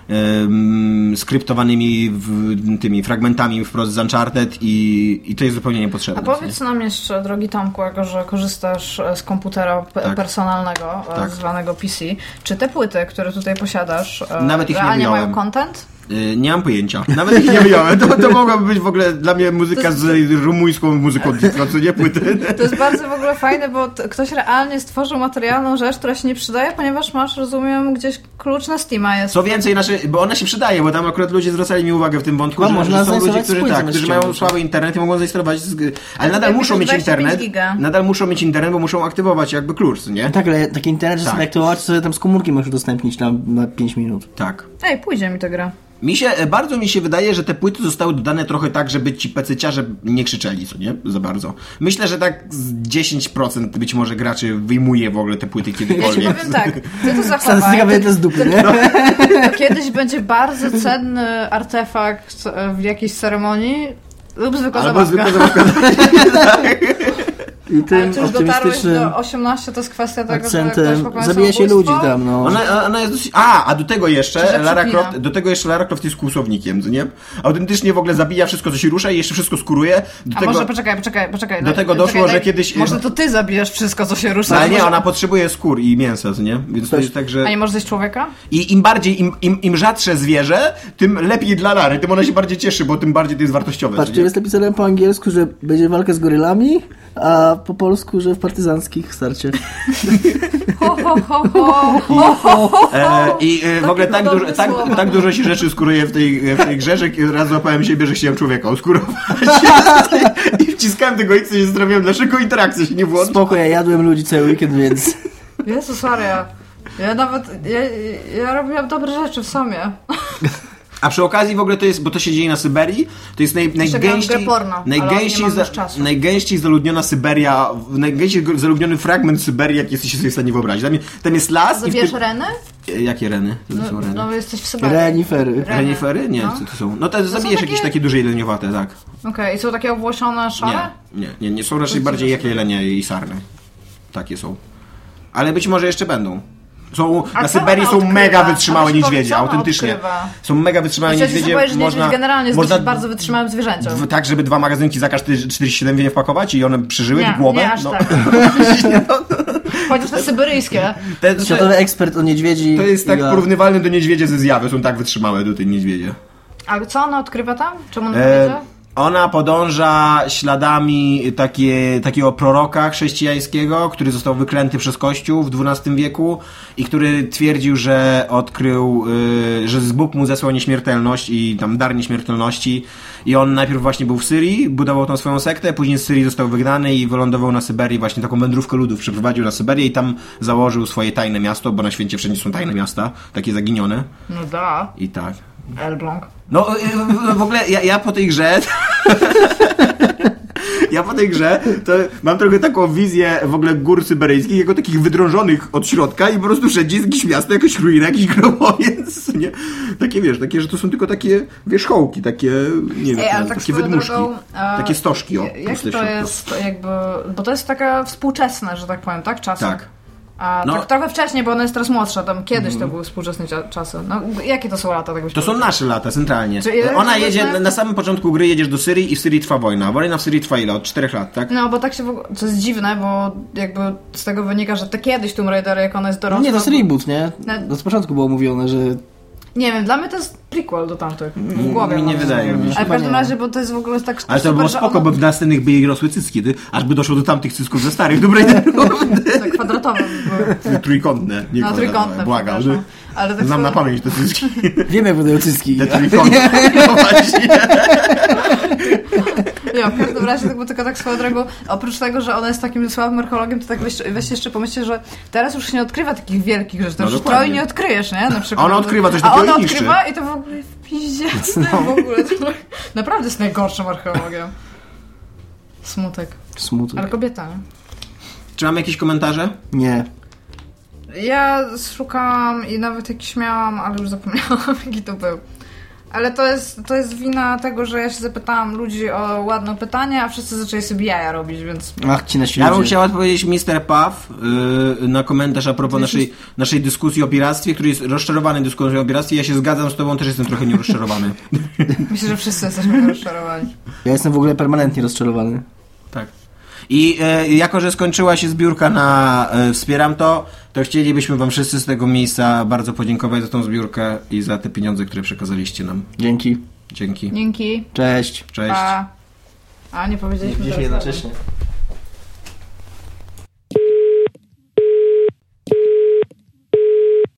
Speaker 4: em, skryptowanymi w, tymi fragmentami wprost z Uncharted i, i to jest zupełnie
Speaker 2: A
Speaker 4: niepotrzebne. co nie?
Speaker 2: powiedz nam jeszcze, drogi Tomku, jako że korzystasz e, z komputera p-
Speaker 4: Tak.
Speaker 2: personalnego, e,
Speaker 4: Tak.
Speaker 2: zwanego PC, czy te płyty, które tutaj posiadasz, e,
Speaker 4: Nawet ich nie
Speaker 2: realnie mają
Speaker 4: wyjąłem.
Speaker 2: content?
Speaker 4: Y, Nie mam pojęcia. Nawet ich nie wyjąłem. To, to mogłaby być w ogóle dla mnie muzyka z rumuńską muzyką disco, co nie płyty.
Speaker 2: To jest bardzo w ogóle fajne, bo t- ktoś realnie stworzył materialną rzecz, która się nie przydaje, ponieważ masz, rozumiem, gdzieś klucz na Steama jest.
Speaker 4: Co więcej, nasze, bo ona się przydaje, bo tam akurat ludzie zwracali mi uwagę w tym wątku,
Speaker 3: A
Speaker 2: No,
Speaker 4: że,
Speaker 3: można
Speaker 4: że są ludzie,
Speaker 3: zainstalować
Speaker 4: którzy,
Speaker 3: płyty
Speaker 4: tak, którzy
Speaker 3: zamiast
Speaker 4: mają
Speaker 3: ściągnąć.
Speaker 4: słaby internet i mogą zainstalować, z, ale nadal
Speaker 2: Tak, jakby
Speaker 4: muszą
Speaker 2: to
Speaker 4: mieć
Speaker 2: 25
Speaker 4: internet,
Speaker 2: giga.
Speaker 4: nadal muszą mieć internet, bo muszą aktywować jakby klucz, nie?
Speaker 3: Tak, ale taki internet, że
Speaker 4: Tak.
Speaker 3: sobie aktywować, to sobie tam z komórki możesz udostępnić na, na 5 minut.
Speaker 4: Tak.
Speaker 2: Ej, pójdzie mi ta gra.
Speaker 4: Mi się, e, bardzo mi się wydaje, że te płyty zostały dodane trochę tak, żeby ci pececiarze nie krzyczeli, co nie? Za bardzo. Myślę, że tak z 10% być może graczy wyjmuje w ogóle te
Speaker 2: [LAUGHS]
Speaker 4: płyty
Speaker 2: Ja ci
Speaker 4: kiedykolwiek.
Speaker 2: powiem tak, ty
Speaker 4: [LAUGHS]
Speaker 2: to zachowaj.
Speaker 3: Statystyka będzie z dupy, nie?
Speaker 2: To [LAUGHS] kiedyś będzie bardzo cenny artefakt e, w jakiejś ceremonii lub zwykła
Speaker 4: Albo
Speaker 2: zabawka.
Speaker 4: zwykle zabawka.
Speaker 3: I
Speaker 2: Ale
Speaker 3: tym
Speaker 2: ty już dotarłeś
Speaker 3: optymistycznym
Speaker 2: do 18, to jest kwestia tego, że ktoś
Speaker 3: akcentem
Speaker 2: popełnia
Speaker 3: zabija się ludzi
Speaker 2: samobójstwo.
Speaker 3: tam, no.
Speaker 4: Ona, ona jest dosyć... A, a do tego
Speaker 2: Czy
Speaker 4: jeszcze
Speaker 2: że
Speaker 4: Lara
Speaker 2: przypina?
Speaker 4: Croft, do tego jeszcze Lara Croft jest kłusownikiem, co nie? Autentycznie w ogóle zabija wszystko, co się rusza i jeszcze wszystko skuruje. Do
Speaker 2: A
Speaker 4: tego...
Speaker 2: może poczekaj, poczekaj, poczekaj.
Speaker 4: Do
Speaker 2: daj-
Speaker 4: tego doszło,
Speaker 2: poczekaj,
Speaker 4: że
Speaker 2: daj-
Speaker 4: kiedyś-
Speaker 2: Może to ty zabijasz wszystko, co się rusza.
Speaker 4: No, Ale nie,
Speaker 2: Może-
Speaker 4: ona potrzebuje skór i mięsa, co nie? Więc to jest tak, że...
Speaker 2: A nie możesz zjeść człowieka?
Speaker 4: I im bardziej, im, im, im rzadsze zwierzę, tym lepiej dla Lary, tym ona się bardziej cieszy, bo tym bardziej to jest wartościowe.
Speaker 3: Patrzcie,
Speaker 4: co nie?
Speaker 3: jest napisane po angielsku, że będzie walka z gorylami, a po polsku, że w partyzanckich starcie.
Speaker 2: Ho, ho, ho, ho.
Speaker 4: E, I e, w ogóle tak
Speaker 2: dobre
Speaker 4: dużo, tak,
Speaker 2: słowa.
Speaker 4: tak dużo się rzeczy skóruje w tej, w tej grze, że raz złapałem siebie, że chciałem
Speaker 3: [LAUGHS]
Speaker 4: człowieka oskurować. I wciskałem tego X i nie zrobiłem, dlaczego interakcja się nie włączy.
Speaker 3: Spoko, ja jadłem ludzi cały weekend,
Speaker 2: [LAUGHS]
Speaker 3: więc...
Speaker 2: Jezus Maria. Ja nawet, ja, ja robiłam dobre rzeczy w sumie.
Speaker 4: A przy okazji w ogóle to jest, bo to się dzieje na Syberii, to jest naj,
Speaker 2: grałem w
Speaker 4: najgęściej,
Speaker 2: grę porno, ale nie
Speaker 4: najgęściej,
Speaker 2: mam już
Speaker 4: za-
Speaker 2: czasu.
Speaker 4: najgęściej zaludniona Syberia, w- najgęściej zaludniony fragment Syberii, jaki jesteście sobie w stanie wyobrazić. Tam, jest- tam jest las i w
Speaker 2: Zabierz
Speaker 4: tym-
Speaker 2: Renę?
Speaker 4: E, Jakie reny? To
Speaker 2: No,
Speaker 4: są reny.
Speaker 2: no jesteś w Syberii. Okej,
Speaker 3: Renifery.
Speaker 2: Reny.
Speaker 4: Renifery? Nie,
Speaker 2: No.
Speaker 4: co to są? No to zabijesz
Speaker 2: takie-
Speaker 4: jakieś takie duże jeleniowate, tak.
Speaker 2: i są takie obłosione, szare?
Speaker 4: Nie, nie, nie, nie są raczej bardziej jak jelenie i sarny. Takie są. Ale być może jeszcze będą. Są,
Speaker 2: A
Speaker 4: na
Speaker 2: co
Speaker 4: Syberii
Speaker 2: ona
Speaker 4: są
Speaker 2: odkrywa?
Speaker 4: mega wytrzymałe
Speaker 2: Ona się
Speaker 4: niedźwiedzie,
Speaker 2: powie- co ona
Speaker 4: autentycznie.
Speaker 2: odkrywa?
Speaker 4: Są mega wytrzymałe
Speaker 2: Chciałeś
Speaker 4: niedźwiedzie.
Speaker 2: powiedzieć, że
Speaker 4: można,
Speaker 2: niedźwiedź generalnie jest
Speaker 4: można
Speaker 2: dosyć bardzo wytrzymałym zwierzęciem.
Speaker 4: w, tak, żeby dwa magazynki za każde 47 nie wpakować i one przeżyły
Speaker 2: Nie,
Speaker 4: w głowę.
Speaker 2: nie aż
Speaker 4: no. [LAUGHS]
Speaker 2: tak. Chociaż te syberyjskie.
Speaker 4: Te, to,
Speaker 3: Światowy ekspert o niedźwiedzi.
Speaker 4: to jest tak
Speaker 3: Iga.
Speaker 4: porównywalne do niedźwiedzie ze zjawy, są tak wytrzymałe do tej niedźwiedzie.
Speaker 2: Ale co ona odkrywa tam? Czemu ona
Speaker 4: E,
Speaker 2: wiedziała?
Speaker 4: ona podąża śladami takie, takiego proroka chrześcijańskiego, który został wyklęty przez Kościół w XII wieku i który twierdził, że odkrył, y, że z Bóg mu zesłał nieśmiertelność i tam dar nieśmiertelności. I on najpierw właśnie był w Syrii, budował tą swoją sektę, później z Syrii został wygnany i wylądował na Syberii, właśnie taką wędrówkę ludów przeprowadził na Syberię i tam założył swoje tajne miasto, bo na świecie wszędzie są tajne miasta, takie zaginione.
Speaker 2: No da,
Speaker 4: I tak.
Speaker 2: Elbląg.
Speaker 4: No y, w- w ogóle ja, ja po tej grze. [LAUGHS] Ja po tej grze to mam trochę taką wizję w ogóle gór syberyjskich, jako takich wydrążonych od środka i po prostu wszędzie jest jakieś miasto, jakaś ruina, jakiś [LAUGHS] grobowiec, nie? Takie wiesz, takie, że to są tylko takie wierzchołki, takie, nie wiem, no,
Speaker 2: Ej, ale tak
Speaker 4: takie
Speaker 2: swoją
Speaker 4: wydmuszki,
Speaker 2: drogą, e,
Speaker 4: takie stożki, o,
Speaker 2: Jak
Speaker 4: puste
Speaker 2: to
Speaker 4: w środku.
Speaker 2: jest jakby... Bo to jest taka współczesne, że tak powiem, tak? Czasy.
Speaker 4: Tak.
Speaker 2: A
Speaker 4: No. Mhm.
Speaker 2: tak trochę wcześniej, bo ona jest teraz młodsza. Tam kiedyś to były współczesne cia- czasy. No, jakie to są lata? Tak byś
Speaker 4: To są
Speaker 2: powiedział?
Speaker 4: nasze lata, centralnie.
Speaker 2: Czy ja-
Speaker 4: Ona
Speaker 2: czy
Speaker 4: jedzie,
Speaker 2: ja-
Speaker 4: na samym początku gry jedziesz do Syrii i w Syrii trwa wojna. Wojna w Syrii trwa ile? Od czterech lat, tak?
Speaker 2: No, bo tak się w ogóle... To jest dziwne, bo jakby z tego wynika, że te kiedyś Tomb Raider, jak ona jest
Speaker 3: No
Speaker 2: dorosła...
Speaker 3: nie, to jest reboot, nie?
Speaker 2: Na-
Speaker 3: No z początku było mówione, że...
Speaker 2: Nie wiem, dla mnie to jest prequel do tamtych. W głowie
Speaker 4: mi nie
Speaker 2: mam.
Speaker 4: wydaje mi się.
Speaker 2: Ale w
Speaker 3: Chyba
Speaker 2: każdym
Speaker 3: nie.
Speaker 2: razie, bo to jest w ogóle tak
Speaker 4: Ale to
Speaker 2: super,
Speaker 4: było
Speaker 2: że
Speaker 4: spoko,
Speaker 2: ona-
Speaker 4: bo w następnych by jej rosły cycki, ty, aż by doszło do tamtych cysków ze starych tak
Speaker 2: [LAUGHS]
Speaker 4: Dobrejderów.
Speaker 2: To tak kwadratowe
Speaker 4: [LAUGHS]
Speaker 2: były.
Speaker 4: Trójkątne, nie
Speaker 2: No, trójkątne.
Speaker 4: Błagam, że
Speaker 2: przepraszam. Ale tak
Speaker 4: znam na
Speaker 2: sobie- [LAUGHS]
Speaker 4: pamięć te [LAUGHS] cycki.
Speaker 3: Wiem jak wydają
Speaker 4: [LAUGHS]
Speaker 3: cycki.
Speaker 4: Te trójkątne. [LAUGHS] No właśnie.
Speaker 2: Nie, w każdym razie tak, bo tylko tak swoją drogą, oprócz tego, że ona jest takim słabym archeologiem, to tak weź, weź jeszcze pomyślcie, że teraz już się nie odkrywa takich wielkich rzeczy, to
Speaker 4: No,
Speaker 2: już
Speaker 4: dokładnie.
Speaker 2: troj nie odkryjesz, nie? Na przykład.
Speaker 4: Ona odkrywa coś
Speaker 2: A
Speaker 4: takiego
Speaker 2: ona
Speaker 4: i niszczy.
Speaker 2: odkrywa i to w ogóle w [LAUGHS] piździecne w
Speaker 4: [LAUGHS]
Speaker 2: ogóle. To Naprawdę jest najgorszym archeologiem. Smutek. Ale
Speaker 3: Smutek.
Speaker 2: kobieta, nie?
Speaker 4: Czy mamy jakieś komentarze?
Speaker 3: Nie.
Speaker 2: Ja szukałam i nawet jakiś miałam, ale już zapomniałam, [LAUGHS] jaki to był. Ale to jest, to jest wina tego, że ja się zapytałam ludzi o ładne pytanie, a wszyscy zaczęli sobie jaja robić, więc... [LAUGHS]
Speaker 3: Ach, ci na
Speaker 4: Ja bym
Speaker 3: świecie.
Speaker 4: chciał odpowiedzieć Mr. Puff yy, na komentarz a propos naszej, naszej dyskusji o piractwie, który jest rozczarowany dyskusją o piractwie. Ja się zgadzam z tobą, też jestem trochę nią [LAUGHS] rozczarowany.
Speaker 2: Myślę, że wszyscy jesteśmy rozczarowani.
Speaker 3: Ja jestem w ogóle permanentnie rozczarowany.
Speaker 4: Tak. I e, jako, że skończyła się zbiórka na e, Wspieram to, to chcielibyśmy Wam wszyscy z tego miejsca bardzo podziękować za tą zbiórkę i za te pieniądze, które przekazaliście nam.
Speaker 3: Dzięki.
Speaker 4: Dzięki.
Speaker 2: Dzięki.
Speaker 3: Cześć.
Speaker 4: Cześć.
Speaker 2: A, a nie powiedzieliśmy teraz-
Speaker 3: jednocześnie.